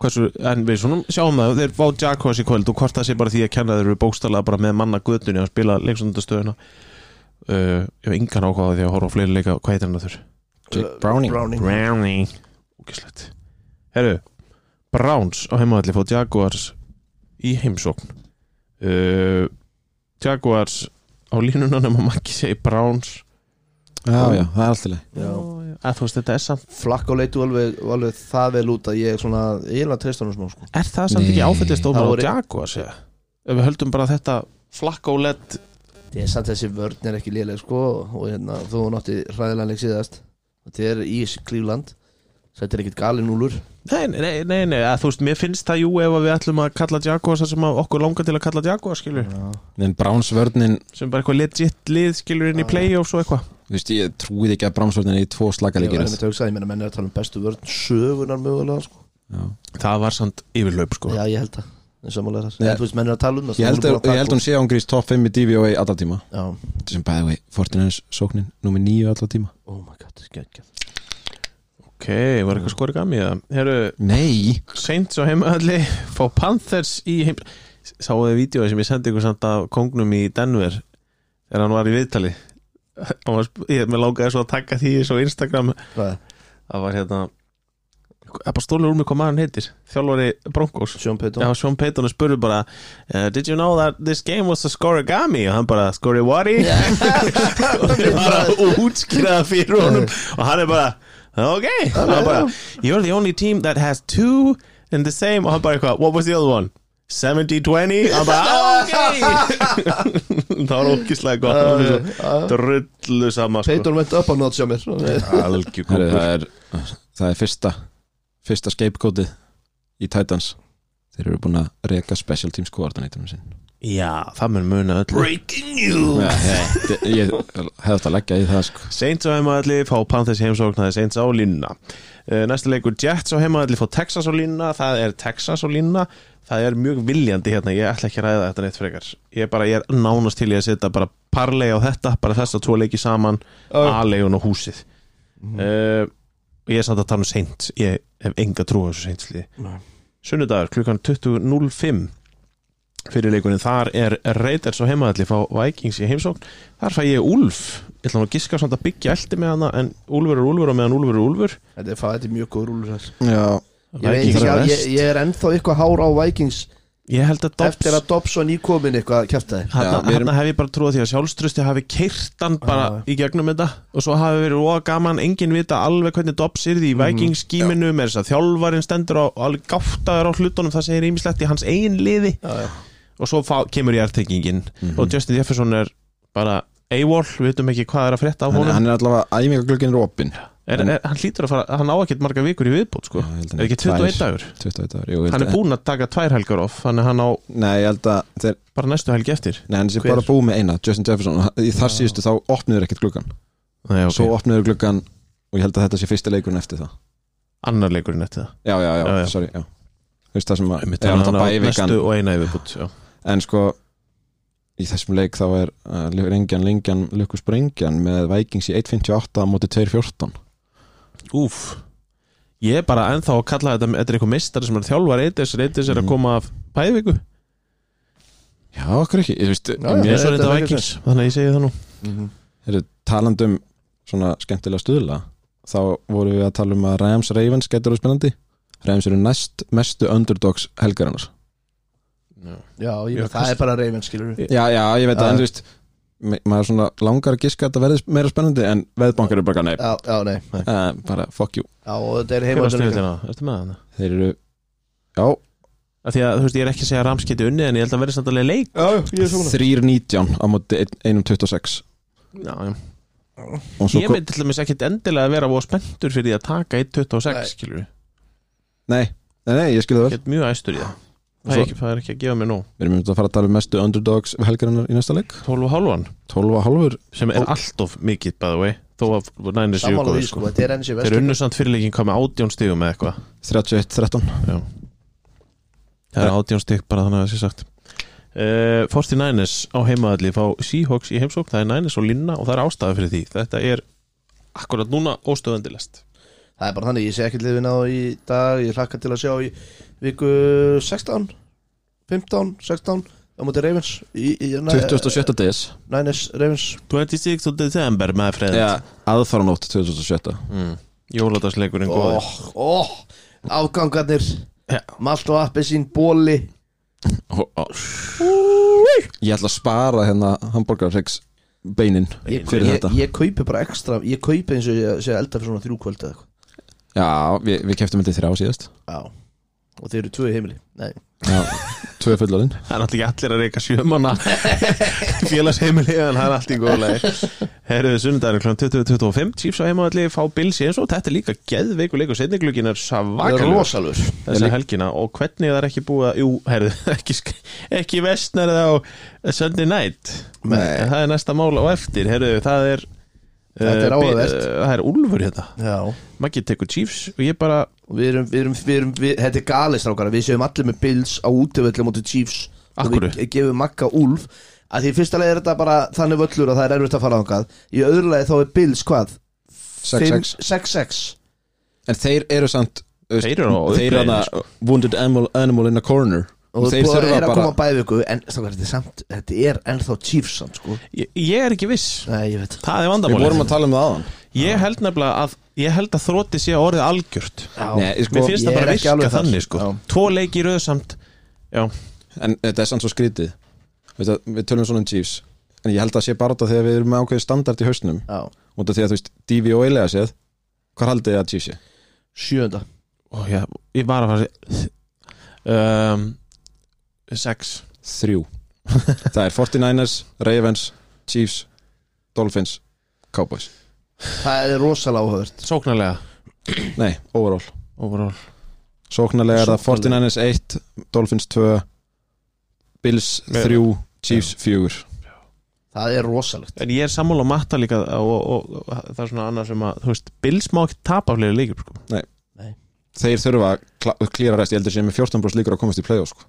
A: Hversu, en við svona sjáum það, þeir fá Jaguars í kvöld og hvort það sé bara því að kenna þeir eru bókstala bara með manna göttunni að spila leiksundastöðuna uh, ég hef engan ákváða því að horfa á fleiri leika, hvað heitir hann að þurr?
C: Jake Browning.
B: Browning.
A: Browning Úkislegt Herru, Browns á heimaðalli fóð Jaguars í heimsókn uh, Jaguars á línuna nema Maggi segi Browns
C: Já, já, það er allt í leið
B: Já.
A: að þú veist þetta er samt
B: Flakk og leitu alveg, alveg það vel út að ég er svona, ég er að treysta hann smá sko.
A: er það samt
C: Nei.
A: ekki áfættist
B: Það
A: á
B: voru-
A: Jaguars eða? ef við höldum bara þetta flakk og lett
B: Ég er samt þessi vörn er ekki léleg sko og hérna, þú nátti hræðilega leik síðast og þetta er í Cleveland þetta er ekkit galin úlur
A: nei, nei, nei, nei að, þú veist, mér finnst það jú ef að við ætlum að kalla Jaguars það sem að okkur langar til að kalla Jaguars skilur,
C: En Brownsvörnin,
A: sem bara eitthvað legit lið skilur inn í playoffs og eitthvað
C: þú veist, ég trúið ekki að Brownsvörnin er í tvo
B: Ég
C: slagalegir
B: var einmitt að hugsa, ég meina menn er að tala um bestu vörn sögunar mögulega sko
A: það var samt yfirlaup sko
B: Já, ég held það Ég sammála þar
C: Nei.
B: En þú veist, menn er að tala um það
C: Ég held, að, ég held hún sé án grís top 5 í DVOA alltaf tíma
B: Já,
C: Þetta sem bæði við Fortinans sóknin Númer 9 alltaf tíma
B: oh my god, geggjað
A: ok, var eitthvað skorið gamið það herru,
C: Nei
A: Saints á heimaðalli fá Panthers í heim sáu þið vídeo sem ég sendi ykkur samt af kongnum í Denver þegar hann var í viðtali Hann var sp- ég með langaði svo að taka því svo á Instagram
B: Hvað?
A: það var hérna það er bara stólið úr mig hvað maður heitir þjálfari Broncos
B: Sean Payton
A: Já, Sean Payton spurði bara uh, Did you know that this game was a scorigami? Og hann bara, scorigwari? og þeir bara útskýra það fyrir honum og hann er bara, ok og hann bara, you're the only team that has two in the same og hann bara eitthvað, what was the other one? 70-20 og hann bara, "Ah, ok það var ókíslega gott Það var svo drullu sama sko.
B: Payton went up a notch á mér
C: Herri,
A: algjúkúkur
C: það, er, það er fyrsta Fyrsta scapegoatið í Titans þeir eru búin að reka special teams coordinatorum sinn
A: Já, það mun muna öll
B: Breaking news
C: Já, ég, ég hefði þetta að leggja í það sko.
A: Saints á heimaðalli fá Panthers heimsókn það er Saints á línuna Eh, Næsti leikur Jets á heimaðalli fá Texas á línuna það er Texas á línuna það er mjög viljandi hérna, ég ætla ekki að ræða þetta neitt frekar ég er bara, ég er nánast til ég að setja bara parlei á þetta, bara þess að tvo leiki saman
B: Já.
A: aðlegun og húsið
B: Mhm.
A: uh, og ég er samt að tala um Saints ég hef enga trú á þessu Saints liði sunnudagur klukkan 20.05 fyrir leikunni þar er Raiders og heimaðalli fá Vikings í heimsókn þar fæ ég Úlf ég ætla nú að giska samt að byggja eldi með hana en Úlfur er Úlfur og meðan Úlfur er Úlfur
B: Þetta er, fa- þetta er mjög góð rúlur þess
C: Já,
B: Ég, veit
A: Vikings
B: ekki,
A: er
B: að- ég,
A: best.
B: ég er ennþá eitthvað hár á Vikings
A: ég held að
B: Eftir
A: Dobbs
B: að Dobson í komin eitthvað kjæftaði
A: Hanna,
C: Já, við erum-
A: hanna hef ég bara trúið því að sjálfstrusti hafi keirt hann bara
B: Já,
A: í
B: já.
A: gegnum þetta og svo hafi verið óa gaman, engin vita alveg hvernig Dobbs er
B: Mhm.
A: því í Vikings skíminu með þess að þjálfarinn stendur á og alveg gáttaður á hlutunum, það segir ýmislegt í hans eigin liði
B: já.
A: og svo fá, kemur ég ertengingin
C: Mhm.
A: og Justin Jefferson er bara A-wall, við veitum ekki hvað er að frétta af
C: hann,
A: honum
C: hann er allavega æmingaglögin Robin
A: er, er, hann hlýtur að fara, hann á ekkert marga vikur í viðbót sko.
C: Já, ég held hann
A: er ekki
C: er tvær.
A: 21 dagur
C: 21 ári, jú, ég held
A: hann er
C: að-
A: búinn að taka tvær helgar off þannig að hann á
C: Nei, ég held að þeir,
A: bara næstu helgi eftir
C: nei, hann sé
B: Hver?
C: bara búið með eina, Justin Jefferson og í þar síðustu þá opnuður ekkert gluggan
A: Nei, okay.
C: Svo opnuður gluggan og ég held að þetta sé fyrsta leikurinn eftir það
A: annar leikurinn eftir það
C: Já, já, já,
A: Já, já.
C: sorry, já Þú veist það sem að,
A: Einmitt,
C: já,
A: hann
C: hann
A: á
C: bæði vikan
A: næstu og eina í viðbót já.
C: En sko, í þessum leik þá er uh, Rengjan, Lengjan, Lukas Brengjan með Vikings í 1.58 á móti 2.14
A: úf ég er bara ennþá að kalla þetta þetta er eitthvað mistari sem er þjálfar reytis reytis er að
C: Mhm.
A: koma af bæðviku
C: Já, okkur ekki, ég veist,
B: Já, já.
A: mér er svo
B: þetta
A: reynda
B: er ekki
A: Vikings þannig að ég segi það nú
B: Mhm.
C: Heru, taland um svona skemmtilega stuðla þá vorum við að tala um að Rams Ravens getur það spennandi Rams eru næst mestu underdogs helgarinnar
B: Já, ég,
A: Já,
B: já það
A: kannski.
B: er bara reyfin skilur við
C: Já, já, ég veit
B: Já.
C: að, en þú veist ma- maður svona langar að giska að þetta verði meira spennandi en veðbankar eru bara, nei,
B: Já, já, nei
C: uh, bara fuck you
B: Já, og þetta er
A: hver var
B: heimaldunum
A: snuðutina, hérna, ertu með það?
C: Þeir eru, já,
A: Af Því að þú veist, ég er ekki að segja að Rams geti unnið en ég held að verði samt alveg leik
B: Já, ég er svona
C: 3.19 á móti 1.26
A: já, já.
C: og svo,
A: Ég
C: kom-
A: veit til dæmis ekkit endilega að vera á spenntur fyrir því að taka 1.26
B: Nei.
A: skilur við,
C: nei, nei, nei, ég skilði það vel
A: get mjög æstur í það það er,
C: Svo-
A: ekki, það er ekki að gefa mér nóg
C: Við erum myndið að fara að tala um mestu underdogs helgarinnar í næsta leik
A: 12 hálfan
C: 12 að hálfur,
A: sem er
C: Ó.
A: allt of mikið by the way þó að nænir séu
B: Sammála
A: góð
B: því sko,
A: sko.
B: þetta er ennsi
A: þeir
B: vestur
A: unnu samt fyrirleikin hvað með 18 stigum eða eitthvað
C: 31, 13
A: það er 18 stig bara þannig að það sé sagt uh, Forsti Næners á heimaðalli fá Seahawks í heimsókn, það er Næners og Linna og það er ástæða fyrir því, þetta er akkurat núna óstöðandilest
B: Það er bara þannig, ég sé ekkert liðin á í dag Ég hlakka til að sjá í viku 16 15, 16 á móti Ravens í, í, næ-
C: 27. DS
B: Niners, Ravens
A: 26. december með freynd
C: Já, aðfaranótt 2007
A: mm. Jóladagsleikurinn
B: Ó,
A: góður
B: ó, Oh, afgangarnir
A: Já.
B: Malt og appi sín bóli
C: Ó, ó. Ég ætla að spara hérna hamburgarregs beinin
B: Ég,
C: fyrir
B: ég,
C: þetta
B: ég kaupi bara ekstra Ég kaupi eins og ég sé elda fyrir svona þrjú kvöld eða eitthvað
C: Já, við, við keftum þetta í þrjá síðast
B: Já, og þeir eru tvö í heimili Nei,
C: Já, tvö fullorinn
A: Það er náttúrulega ekki allir að reyka sjömanna félagsheimili en það er allt í góðlega Herðu sundarinn kl. 20.25 Chiefs á heimaðalli fá Bills í eins og þetta er líka geðveiku leikur setninglugginn er
B: það er
A: savakalur
B: rosalur
A: þessa
C: Ég lík-
A: helgina og hvernig það er ekki búið að jú, herðu, ekki, sk- ekki vestnar það á Sunday night
B: Nei.
A: En það er næsta mál á eftir herðu, það er
B: Þetta er
A: eh,
B: áhugavert.
A: bi- eh, það er Úlfur hérna
B: Já,
A: Maggi tekur Chiefs og ég bara
B: og við erum, við erum, við erum við, Þetta er galið strákara, við séum allir með Bills á útivöldlega móti Chiefs
A: Af
B: Og
A: hverju?
B: við gefum Magga Úlf að Því í fyrsta leið er þetta bara þannig völlur að það er erfitt að fara þangað Í öðru leið þá er Bills hvað?
C: 6-6
B: Fimm- 6-6
C: En þeir eru samt þú veist,
A: Þeir eru á
C: Þeir eru
A: uppleiðinni,
C: þarna Wounded animal, animal in a corner
B: Og
C: Þeir
B: þeir búið,
C: þurfa
B: er að
C: bara-
B: koma bæði viku En strákara, þetta er samt, þetta er ennþá Chiefs samt sko
A: ég, ég er ekki viss
B: Nei, ég veit
A: það er
C: Við vorum
A: vandamál
C: að tala um það aðan
A: ég held nefnilega að ég held að þrótti sé að orðið algjört
B: Já.
C: Nei,
A: mér
C: ég sko,
A: finnst
B: ég
A: það
B: er
A: bara
B: ekki
A: virka
B: alveg þar.
A: þannig sko
B: Já.
A: tvo leiki rauðsamt já,
C: En eh, þetta er samt svo skrítið Veistu, að Við tölum svona um Chiefs En ég held að sé bara þetta þegar við erum með ákveðið standard í hausnum
B: Já,
C: út af því að þú veist, DVOA-lega séð hvað haldið þið að Chiefs sé?
B: sjöunda
A: Ó, já ég var að fara um, sex
C: Þrjú Það er 49ers, Ravens, Chiefs Dolphins, Cowboys
B: Það er rosalega áhugavert
A: sóknarlega
C: Nei, overall
A: overall
C: Sóknarlega er það 49ers 1 Dolphins 2 Bills
A: Já.
C: 3 Chiefs 4
B: það er rosalegt
A: En ég er sammála á matta líka og, og, og, það er svona annað sem að, þú veist, Bills má ekki tapa á fleiri líkur, sko
C: Þeir þurfa að kla- klíra rest Ég heldur sem er 14 brúst líkur að komast í playoff sko.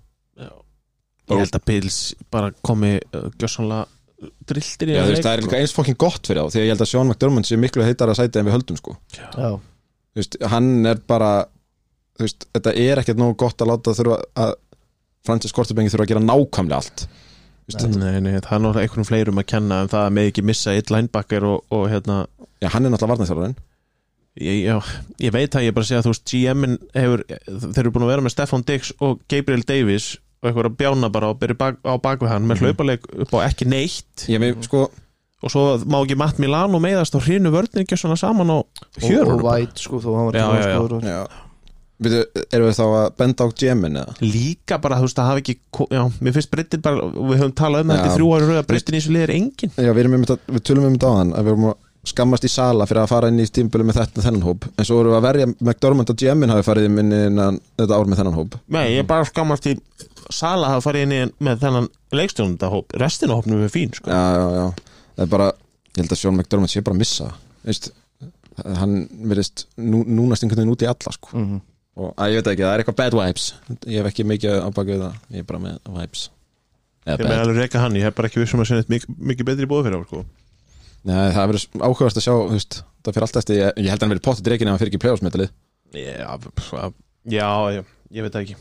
A: Ég held að Bills bara komi uh, gjössanlega drilltir í
C: Já,
A: þennan
C: þú
A: leik,
C: veist, það er
A: sko.
C: líka eins fokkin gott fyrir þá Því að ég held að Sean McDermott sé miklu heitar að sæti en við höldum sko.
B: já,
C: Þú veist, Hann er bara þú veist, Þetta er ekkert nógu gott að láta þurfa að Francis Kortebengi þurfa að gera nákvæmlega allt
A: Nei, nei, nei, það er náttúrulega einhvern fleirum að kenna en það með ekki missa eitt linebacker og, og hérna,
C: Já, hann er náttúrulega varnaþjálfarinn
A: ég, já, ég veit að ég er bara að segja að þú veist, GM-in hefur þeir eru búin að vera með Stefan Dix og Gabriel Davis og eitthvað að bjána bara og byrja bak, á bakvið hann með hlaupaleg upp á ekki neitt
C: Ég með, sko,
A: og svo má ekki Matt Milano meiðast og hrinu vörnir ekki svona saman á
B: og, og
A: hjörunum
B: væt sko þó hann var
A: Já, já, já.
B: tónskóður
C: Já Við erum við þá að benda á GM-in eða?
A: líka bara, þú veist, það hafi ekki ko- já, mér finnst breytin bara, við höfum talað um
C: Já.
A: þetta í þrjú ári röða, breytin í þessu liðir engin
C: Já, við, erum einmitt að, við tölum um þetta á þann að við erum að skammast í sala fyrir að fara inn í tímbölu með þetta þennan hóp en svo erum við að verja McDormand og GM-in hafi farið inn innan þetta ár með þennan hóp
A: nei, ég er bara skammast í Sala hafa farið inn í- með þennan leikstjónundahóp restina af hópnum er fín, sko
C: Já, já, já Það er bara, ég held að Sean McDormand sé bara að missa Veist, hann verðist nú, núnast einhvern veginn út í alla sko.
B: Mhm.
C: og að, ég veit ekki, það er eitthvað bad vibes ég hef ekki mikið á baku við það ég er bara með vibes Eða
A: Ég með alveg reyka hann, ég hef bara ekki vissum að segja mikið, mikið betri bóð fyrir hann sko.
C: Nei, það verður áhugast að sjá þú veist, það fyrir allt eftir, ég, ég held að hann verið potið dreikin ef hann fyrir ekki pljóðsmetalið
A: Já, pff, já, já, ég veit það ekki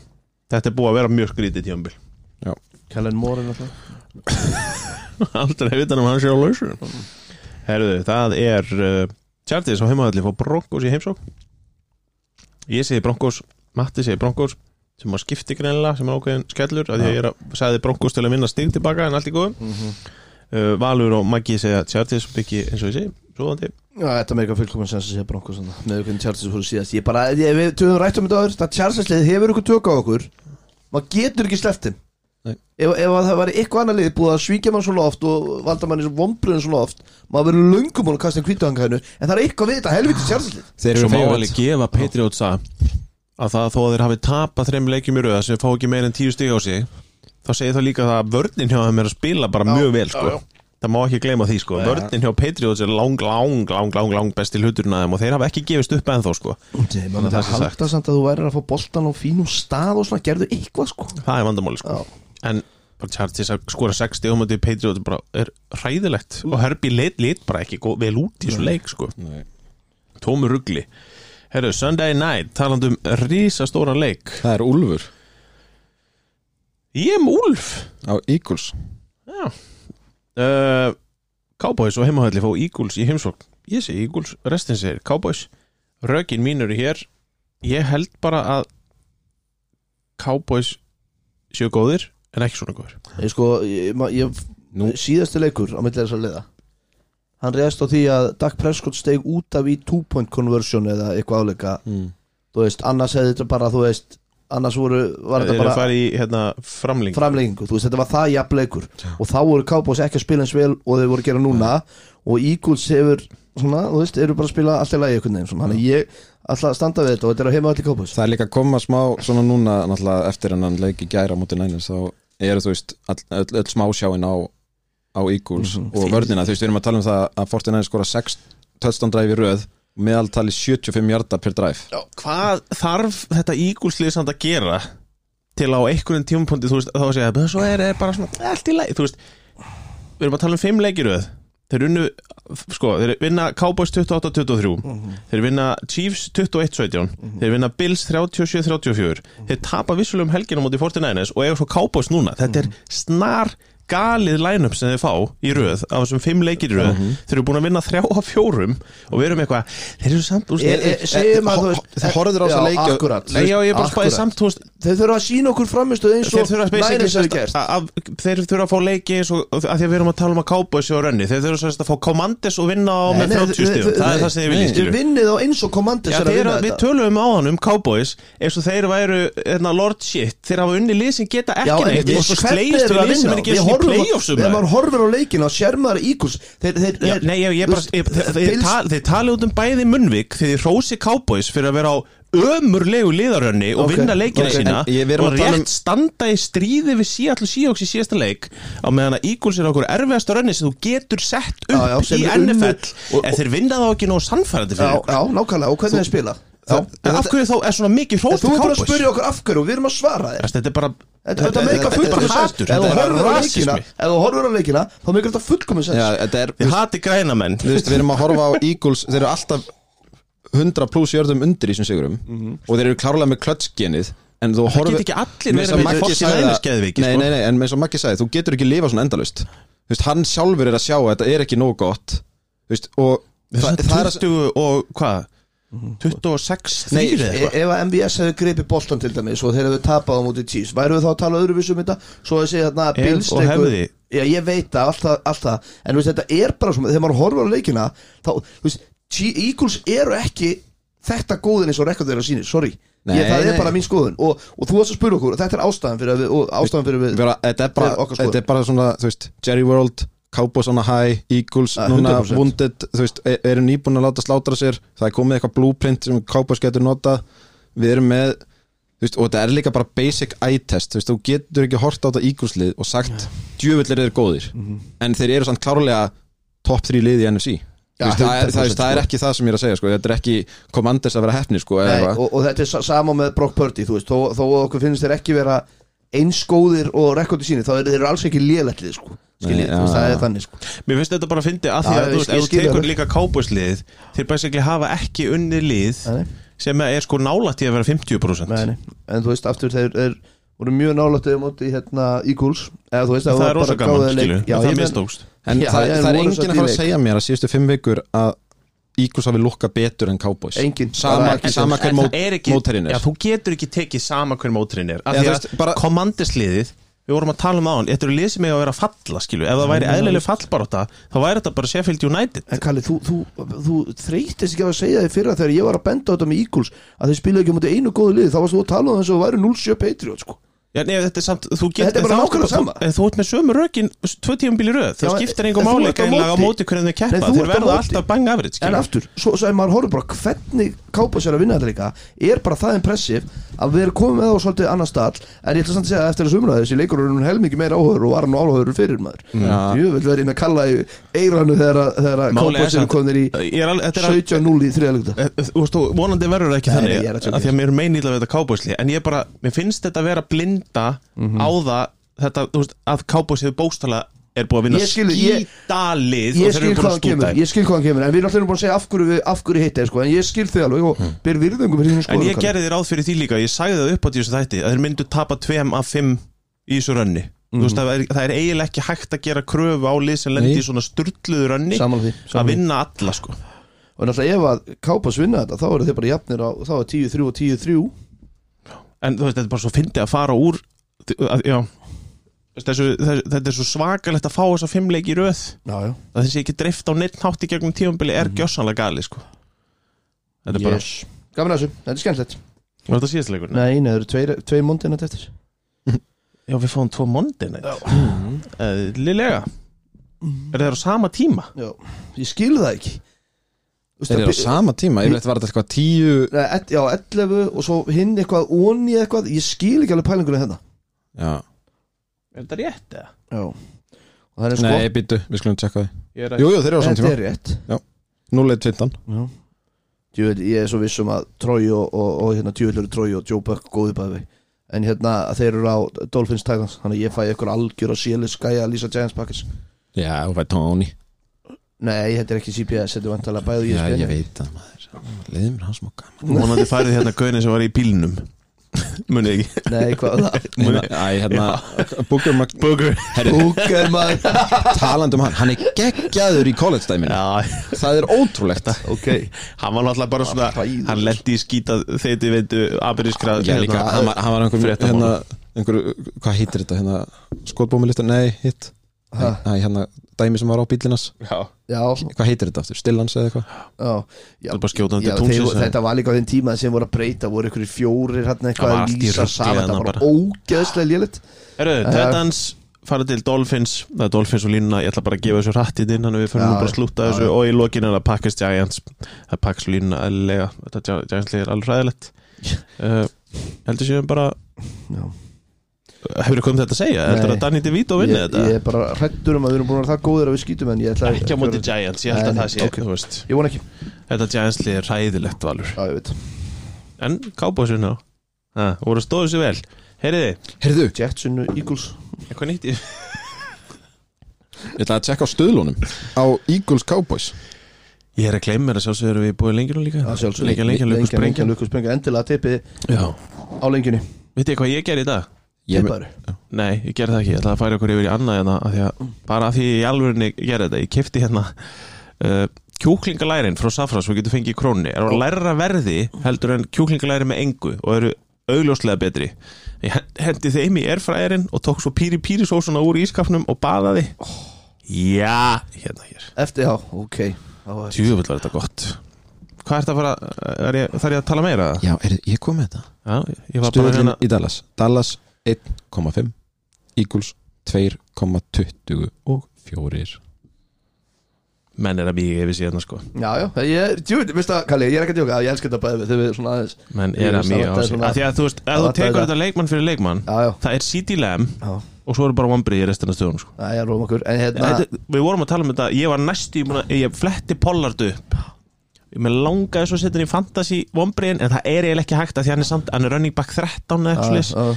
A: Þetta er búið að vera mjög skrítið tíambil
B: Kellen Moore er náttúrulega
A: Aldrei vitan um hann sé á lausur Herðu, það er uh, Tjartis á heimaðalli fá Broncos í heimsók Ég segi Broncos Matti segi Broncos sem að skipti greinlega, sem er ákveðin skellur að ég er að sagði Broncos til að vinna stig tilbaka en allt í góðum
B: Mhm.
A: uh, Valur og Maggi segja Tjartis byggi eins og ég segi, svoðandi
B: Já, þetta með eitthvað fullkominn sens að sé bara okkur svona með hvernig Charles voru síðast ég bara, ég, við töðum rættum þetta áður það Charles leið hefur ykkur tök á okkur maður getur ekki sleppt þeim
C: Nei.
B: ef, ef að það væri eitthvað annað lið búið að svíkja mann svona oft og valda mann í svona vonbröðin svona oft maður verður löngum hún að kasta einn kvítahangæðinu en það er eitthvað við þetta helviti Charles lið
C: Þeir
A: Svo
C: eru
A: má
C: favorit.
A: alveg gefa Patriots að að það þó að þeir hafi tapað þreim leikjum í röða sem fá ekki meira en tíu stig á sig þá segir það líka það að vörnin hjá þeim er að spila bara mjög vel sko það má ekki gleyma því sko vörnin hjá Patriots er lang, lang, lang, lang, lang besti hluturinn að þeim og þeir hafa ekki gefist upp ennþá sko
B: Nei, maður myndi
A: það
B: að
A: sé
B: halda samt að þú værir að fá boltan á fínum stað og svona, gerðu eitthvað sko
A: það er vandamáli sko
B: Já.
A: en bara Chargers að skora 60 og mútið Patriots bara er hræðilegt og Herbie lit, lit bara ekki góð, vel út í þessu leik sko
C: Nei.
A: tómur rugli Herru, Sunday night, talandum risastóra leik
C: Það er Úlfur
A: Ég er með Úlf
C: á Eagles
A: Já uh, Cowboys og heimahölli fá Eagles í heimsókn Ég segi Eagles, restin segir Cowboys Rökin mín eru hér Ég held bara að Cowboys séu góðir en ekki svona góðir
B: Ég sko, ég, ma- ég,
C: Nú.
B: síðasti leikur á milli þessar liða Hann reyðast á því að Dak Prescott steig út af í two point conversion eða eitthvað áleika
C: mm.
B: Þú veist, annars hefði þetta bara, þú veist Annars voru, var
A: Þeir
B: þetta
A: eru að
B: bara
A: fara í hérna, framling
B: framlengingu Þú veist, þetta var það jafn leikur Og þá voru Cowboys ekki að spila eins vel og þeir voru að gera núna Og Eagles hefur, svona, þú veist, eru bara að spila allt í lagi einhvern veginn svona. Þannig að ég ætla að standa við þetta og þetta er að heima allir Cowboys
C: Það er líka að koma smá svona núna náttúrulega eftir en hann leik í gæra mútið nænir þá eru þú veist all- öll, öll smásjáin á, á Eagles og vörnina, þú veist við erum að tala um það að 49 skora 6 touchdown drive í röð meðaltali 75 hjarta per drive
A: Já, Hvað þarf þetta Eagles lið samt að gera til á einhvern tímapunkti þú veist, þá að segja að svo er, er bara svona "Eh, allt í lagi, þú veist við erum að tala um fimm leikiröð þeir unnu, sko, þeir vinna Cowboys 28-23,
B: Mhm.
A: þeir vinna Chiefs 21-17, þeir vinna Bills 37-34,
B: Mhm.
A: þeir tapa vissulega um helgina mútið 49ers og eiga svo Cowboys núna, þetta
B: Mhm.
A: er snar galið line-up sem þeir fá í röð af þessum fimm leikir í röð,
B: Mhm.
A: þeir eru búin að vinna þrjá af fjórum og við erum eitthvað þeir eru samt, þú veist,
B: Ég- ég- Eh, Segjum að þú veist-
C: Það horfður á þess
B: Já,
C: að leikja
B: akkurat.
A: Nei, já, ég er bara að spæði
B: Akkurat.
A: samt, þú veist
B: Þeir þurfa að sína okkur framistuð eins
A: Þeir
B: og
A: þurfa að spæsa
B: Niners hefur gert
A: Þeir þurfa að fá leiki eins og að því að við erum að tala um að Cowboys og Rönni Þeir þurfa sem sagt að fá Commanders og vinna á
B: Nei,
A: með
B: nei,
A: 30
B: þau-
A: stíðum
B: þau-
A: Það
B: þau-
A: er það sem ég vil
B: Þeir
A: skilju
B: vinnið á eins og kommandis
A: Já,
B: er að
A: þeir,
B: vinna
A: að- við
B: þetta
A: tölum á hann um Cowboys eins og þeir væru hérna, Lord Shit þeir hafa unni lið sem geta
B: Já,
A: ekki
B: en
A: neitt
B: við-
A: og svo
B: hvernig
A: slegist
B: þeir
A: við
B: að
A: lið sem
B: vinna?
A: er ekki
B: Við
A: eins og um
B: horfum á-
A: playoffsum
B: Þegar maður horfir á leikin á sérmaður Eagles Þeir, þeir,
A: Já,
B: þeir
A: nei, ég, ég bara, ég, þeir, þeir,
B: Bills-
A: tal, þeir tali út um bæði Munnvik þegar þið hrósi Cowboys fyrir að vera á ömurlegu liðarönni og
B: Ok,
A: vinna leikina
B: ok.
A: sína
C: En ég- við erum
A: og
C: að tala um-
A: rétt standa í stríði við Seattle Seahawks í síðasta leik á meðan að Eagles er okkur erfiðasta rönni sem þú getur sett upp
B: Já, já, sem
A: í
B: er unnu-
A: NFL
B: og-
A: en þeir vinna þá ekki nóg sannfærandi
B: Já,
A: fyrir okkur
B: já, nákvæmlega, og hvernig þið spila Já.
A: en af hverju þá er svona mikið
B: En
A: hrót
B: Þú er bara að spurja okkur af hverju og við erum að svara þér
A: þetta er bara
B: Þetta, þetta
A: þetta
B: meika
A: er bara
B: fullkomun
A: sko.
B: sens
A: hatur,
B: Ef þú
A: þetta er
B: horfir á leikina
A: rasismi
B: Ef þú horfir á leikina Þá meikar þetta fullkomun sens
C: Já, þetta er,
A: Ég hati græna menn
C: þú veist, við erum að horfa á Eagles þeir eru alltaf 100 pluss jörðum undir í þessum sigurum og þeir eru klárlega með klötsgenið en
A: Mhm.
C: þú
A: Það
C: horfir
A: get ekki allir
C: Með
A: verið
C: þess að
A: með sko.
C: Maggi
A: fossi
C: sagði
A: næmis
C: það-
A: geðviki
C: Nei, nei, nei, en eins og Maggi sagði, þú getur ekki lifa svona endalust Þú veist, hann sjálfur er að sjá að þetta er ekki nóg gott Þú veist, og
A: Þa,
C: það, það er að
A: 20 og hvað 26
C: Nei,
A: þýr
B: E- Ef að MVS hefði greipið boltan til dæmis og þeir hefði tapað á móti Chiefs væru við þá að tala öðruvísum um þetta svo að segja þarna að
A: Ef
B: Bills
A: og
B: tekur-
A: hefði.
B: Já, ég veit það, allt það, allt það en þú veist, þetta er bara svona, þegar maður horfir á leikina þá, þú veist, Chi- Eagles eru ekki þetta góðin eins og rekord þeirra sínir, sorry
C: Nei,
B: ég, það er
C: nei.
B: bara mín skoðun og, og þú varst að spura okkur, og þetta er ástæðan fyrir að við, og ástæðan fyrir við
C: vera, þetta, er bara,
B: Fyrir okkar skoðun.
C: þetta er bara svona, þú veist, Jerry World Cowboys on a high, Eagles
B: Ja,
C: núna
B: 100%.
C: wounded, þú veist, e- eru nýbúin að láta slátra sér, það er komið eitthvað blueprint sem Cowboys getur notað, við erum með þú veist, og þetta er líka bara basic eye test, þú veist, þú getur ekki hort á þetta Eagles lið og sagt, djöfull er þeir góðir
B: Mhm.
C: en þeir eru samt klárlega top 3 lið í NFC
B: Já,
C: Þú veist, það, er, það, er,
B: 100%
C: það er
B: sko.
C: ekki það sem ég er að segja sko. þetta er ekki commanders að vera hefni sko, eða
B: Nei,
C: eitthvað.
B: og, og þetta er sa- sama með Brock Purdy þú veist, þó, þó að okkur finnst þeir ekki vera eins góðir og rekordi sínir þá eru þeir eru alls ekki lélætlið sko. Skiljið,
C: Nei,
B: þú veist,
C: já,
B: það
C: já.
B: er þannig sko.
A: Mér finnst þetta bara að fyndi að því
B: Já,
A: að
B: ég
A: þú veist,
B: skil-
A: ef
B: ég
A: þú
B: skil
A: tekur
B: það.
A: líka kápusliðið þeir basically hafa ekki unnið lið
B: Nei.
A: sem er sko nálætt í að vera 50%
B: Nei, nei. en þú veist, aftur þeir er, voru mjög nálættið móti hérna Eagles eða þú veist,
A: það
B: var
A: er rosa
B: bara
A: gaman
B: gáfuðið leik.
A: skilu,
B: Já,
A: en það
B: ég menn-
A: mistókst
C: en
B: Já,
C: það,
B: en
C: það er
B: voru samt
C: enginn að
B: í
C: fara að
B: leik.
C: segja mér að síðustu fimm vikur að Eagles hafi lukka betur en Cowboys
B: Enginn.
C: sama,
B: Bara ekki
C: sama hver
A: En
C: mót,
A: það er ekki-
C: móterinn
A: Já,
C: er
A: þú getur ekki tekið sama hver móturinn er af
C: Já,
A: því að
C: þú veist, bara-
A: komandisliðið við vorum að tala um á hann, þetta eru lið sem eiga að vera að falla skilu, ef það væri eðlileg fallbaróta þá væri þetta bara Sheffield United
B: En Kalli, þú, þú, þú þreytist ekki á að segja þig fyrir að þegar ég var að benda á þetta með Eagles að þeir spila ekki á móti einu góðu liði þá varst þú að tala um þess að þú væri 0-7 Patriot sko.
A: Já, nei, þetta er samt, þú getur
B: Þetta er bara
A: þá-
B: nákvæmlega
A: þú-
B: sama.
A: En þú ert með sömu rökin, tvö tíum bíli röð
B: Já,
A: Það
B: en-
A: skiptir engum
B: en þú
A: máli
B: ert á
A: greinlega á
B: móti.
A: móti hvernig þau keppa
B: Nei, þú
A: Þeir
B: ert á
A: verða
B: móti.
A: alltaf bang average
B: en
A: skilur.
B: aftur, svo, svo ef maður horfður bara hvernig kápa sér að vinna þetta líka er bara það impressiv að við erum komið með þá svolítið annar stall en ég ætla samt að segja að eftir þessu umræðu þessi leikur er hún helmingi meira áhugur og var hann áhugur fyrir maður
C: Já.
B: ég vil verið inn að kalla í eiranu þegar að- þegar að
A: Mm. Málið
B: kápa sér
A: samt-
B: komið í
A: Ég er alveg, þetta er alveg
B: 17-0 í þriðalögda
A: Eh, Þú veist, þú- vonandi verður það ekki
B: Nei,
A: þannig
B: nei, ég er að tjóka.
A: að því að mér er meinýla við þetta kábósli en ég bara, mér finnst þetta vera blinda
B: Mhm.
A: á það þetta, þú veist, að kábósið bóstala er búið að vinna
B: Ég skil- ég-
A: skítalið og
B: ég
A: þeir
B: skil
A: eru búin
B: hvað
A: að
B: hann
A: stúta
B: kemur,
A: þeim.
B: ég skil hvað hann kemur en við erum alltaf búin að segja af hverju, við, af hverju heitt er sko, en ég skil þið alveg og ber virðingum fyrir hinn sko
A: en ég gerði þér áð fyrir því líka, ég sagði það upp á þessu þætti að þeir myndu tapa 2 af 5 í þessu rönni Þú veist, það er, það er eiginlega ekki hægt að gera kröfu á lið sem lendi
C: Nei.
A: í svona sturdluðu rönni
B: saman því
A: að
B: samanlega.
A: vinna alla sko
B: og náttúrulega ef að kápa svinna þetta þá eru þeir bara jafnir á, þá er 10-3 og 10-3
A: en þú veist, þetta er bara svo fyndið að fara úr að, já Þú veist, þessu, þessu, þetta er svo svakalegt að fá þess að fimmleik í röð
B: já, já.
A: að þessi ekki dreift á neitt nátt í gegnum tíumbili er gjössanlega gali sko. þetta er bara
B: yes. gaman að þessu, þetta er skemmtilegt
A: var þetta síðast leikur?
B: nei, nei, það eru tveir, tveir múndina þetta eftir
A: já við fáum tvo mondin
C: Mm.
A: lilega er þeir á sama tíma?
B: já. ég skil það ekki Þú veist,
C: þeir eru á
B: að-
C: sama tíma, ég veit var þetta eitthvað 10
B: Nei, ett- já, 11 og svo hinn eitthvað onni eitthvað, ég skil ekki alveg pælingunni hérna
C: já.
A: er þetta rétt eða?
B: já og það er
C: nei,
B: sko,
C: býtu, við skulum tjekka því
A: Ég er að-
C: jú, jú, þeir eru á sama
B: þetta
C: tíma,
B: er rétt
C: 0-1-15
B: Já Djúvel, ég er svo viss um að Troy og, og, og hérna, djúvel eru Troy og Joe Buck góði bæði En hérna, að þeir eru á Dolphins Titans Þannig að ég fæ ykkur algjör og sélis gæja að lýsa Giants Packers
C: já, þú fætt Tony
B: Nei, þetta er ekki CBS, þetta er vantalega bæði E
C: já,
B: ESPN.
C: ég veit það maður leiði mér hans mokka
A: vonandi færið hérna gauðin sem var í bílnum munið ekki
B: Nei, hvað var það?
C: Æ, hérna, Booker Mag
A: Booker
B: Búker maður
C: talandi um hann, hann er geggjaður í college dæminu
A: já
C: það er ótrúlegt
B: Ok
A: hann var náttúrulega bara svona
B: Hræður.
A: hann lendi í skýta þeiti veitu hérna, aberískra
C: Já, líka, hann, var- hann var einhver,
A: Fréttamála.
C: eh, hérna, einhver hvað heitir þetta, hérna, skotbómilista nei, hitt,
B: Ha,
C: nei, hérna dæmi sem var á bílinas,
A: já
B: Já,
C: hvað heitir þetta aftur, stillans eða eitthvað
B: já, já,
A: Það er bara skjótandi
B: já
A: til tunglsins,
B: þeir,
A: eða?
B: Þetta var líka á þeim tíma sem voru að breyta voru ykkur fjórir hann
A: Það
B: eitthvað
A: var
B: að
A: allt í
B: lýsa
A: rugli
B: saman
A: þarna
B: Það var
A: bara.
B: ógeðslega lélitt
A: Herru, Titans fara til Dolphins Það er Dolphins og línuna, ég ætla bara að gefa þessu rættið inn Þannig að við fyrir
B: Já,
A: nú bara
B: já,
A: að slúta
B: já,
A: þessu
B: já.
A: Og í lokinu er það Packers Giants Það er Packers línuna eðlilega Þetta Gi- Giants lið er alveg ræðilegt uh, heldur séum bara
B: Já.
A: hefur þú komið þetta að segja, heldur
B: Nei.
A: að Danny DeVito vinni
B: ég,
A: þetta
B: ég er bara hrættur um að við erum búin að vera það góðir að við skýtum en ég ætla
A: ekki á móti Giants, ég held
B: Nei,
A: að
B: nei,
A: það sé
B: ok.
A: þú veist,
B: Ég von ekki,
A: þetta Giants lið er ræðilegt valur,
B: já ég veit
A: en Cowboys vinna á það, voru að stóðu sér vel heyriði,
C: Heyrðu,
B: Jets unnu Eagles
A: eitthvað nýtt í
C: ég ætla að tjekka á stöðlunum Á Eagles Cowboys
A: ég er að gleyma mér að sjálfsögur við búið lengjuna líka
B: Já, sjálfsögðu.
A: lengja, lengja, lengja,
B: lengja,
A: sprengja
B: lukku sprengja Endilega tippið
A: já,
B: á lengjunni
A: veit ég hvað ég gerði í dag?
C: Ég-
B: Tippaður
A: Nei, ég gerði það ekki, ég ætlaði að færa okkur yfir í annað hérna, af því að, bara af því ég í alvörinni gerði þetta, ég kefti hérna uh, kjúklingalærin frá Safra svo getur fengið í krónni, er á læra verði heldur en kjúklingalæri með engu og eru augljóslega betri ég hen- hendi þeim í erfræðirinn og tók svo píri píri sósuna úr ískapnum og baðaði Já, hérna hér
B: FDH, ok Á, eh,
A: Tjöfull var þetta gott Hvað er þetta að fara, er ég, þarf ég að tala meira?
C: Já, heyrðu, ég kom með þetta
A: Já, ég var bara
C: Stöðlun
A: hérna
C: í Dallas Dallas 1,5 Eagles 2,24
A: menn er að mýga yfir síðan sko
B: Já, já, ég er, djú, veist það, Kalli, ég er ekki að djóka Ég elska þetta bæði við, þegar við svona aðeins Já,
A: menn
B: Ég
A: er að
B: veist, það
A: mjög á
B: vantaði
A: sig
B: svona-
A: að því að þú veist, ef
B: það
A: þú
B: vantaði
A: tekur
B: það.
A: þetta leikmann fyrir leikmann
B: já,
A: það er CD Lamb
B: já,
A: og svo eru bara vombrið í restina stöðum sko.
B: já, ég er róma okkur En hérna,
A: Þetta- við vorum að tala um þetta, ég var næstu ég, ég fletti Pollard upp ég með langaði svo að setja hann í fantasy vombriðin en það er eiginlega ekki hægt að því hann er, samt, hann er running back 13 eða eitthvað slis
B: já, já,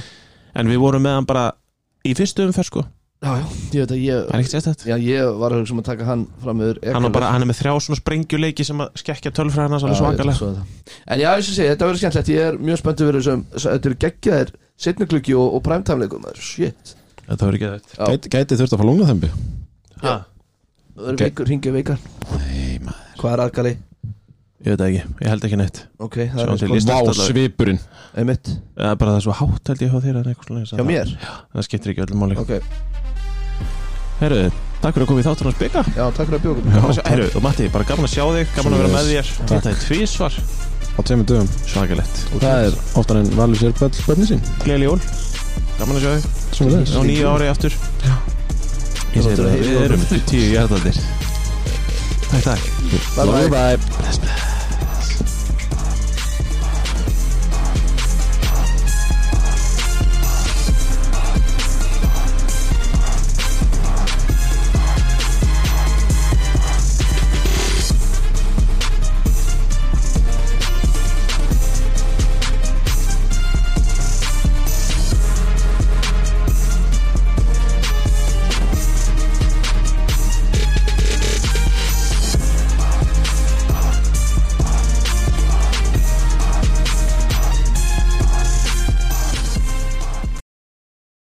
A: en við vorum með hann bara í fyrstu umferð sko,
B: já, já, ég veit að ég
A: það er ekkert sérstætt
B: Já, ég var að hugsa um að taka hann fram yfir
A: hann, á
B: Ekelöf.
A: bara, hann er með þrjá svona sprengjuleiki sem að skekkja tölfræðina
B: Já,
A: svolítið
B: ég
A: svakalega
B: svo þetta. En já, eins og segja, þetta verður skemmtilegt Ég er mjög spenntur fyrir þessum þess- Þetta eru geggjaðir setnuklukki og, og præmtæmleikum Shit
A: þetta voru ekki þetta
B: Já.
C: Gæti, gæti þurft að fá lungnaþembi
A: Ha,
B: Það eru
C: Ge-
B: veikur, hringja veikar
C: Nei, maður
B: Hvað er aðkali?
A: ég veit það ekki, ég held ekki neitt
B: Ok, það
A: Sjáum
B: er
A: til
B: sko
A: list.
C: Vá, svipurinn
B: Einmitt
A: eða bara það er svo hátt held ég hjá þér eða eitthvað svoleiðis að
B: Hjá
A: það-
B: mér?
A: það skiptir ekki öllum máli
B: Ok,
A: Herru, takk fyrir að koma í þáttunars bygga
B: já, takk fyrir að bjóka
A: Herru, og Matti, bara gaman að sjá þig, gaman að vera með þér
C: Takk.
A: Þetta er tvísvar,
C: Á tveimur dögum
A: svakalett
C: Það er oftar en valur sér börn, börni sín
A: Gleðileg jól, gaman að sjá þig
C: Svo með
A: Á nýju ári aftur Ég segir
B: Þetta er
A: það, við
B: heiður.
A: erum tíu hjartandir Takk, takk
B: Bye bye
C: bye
A: Bless, bless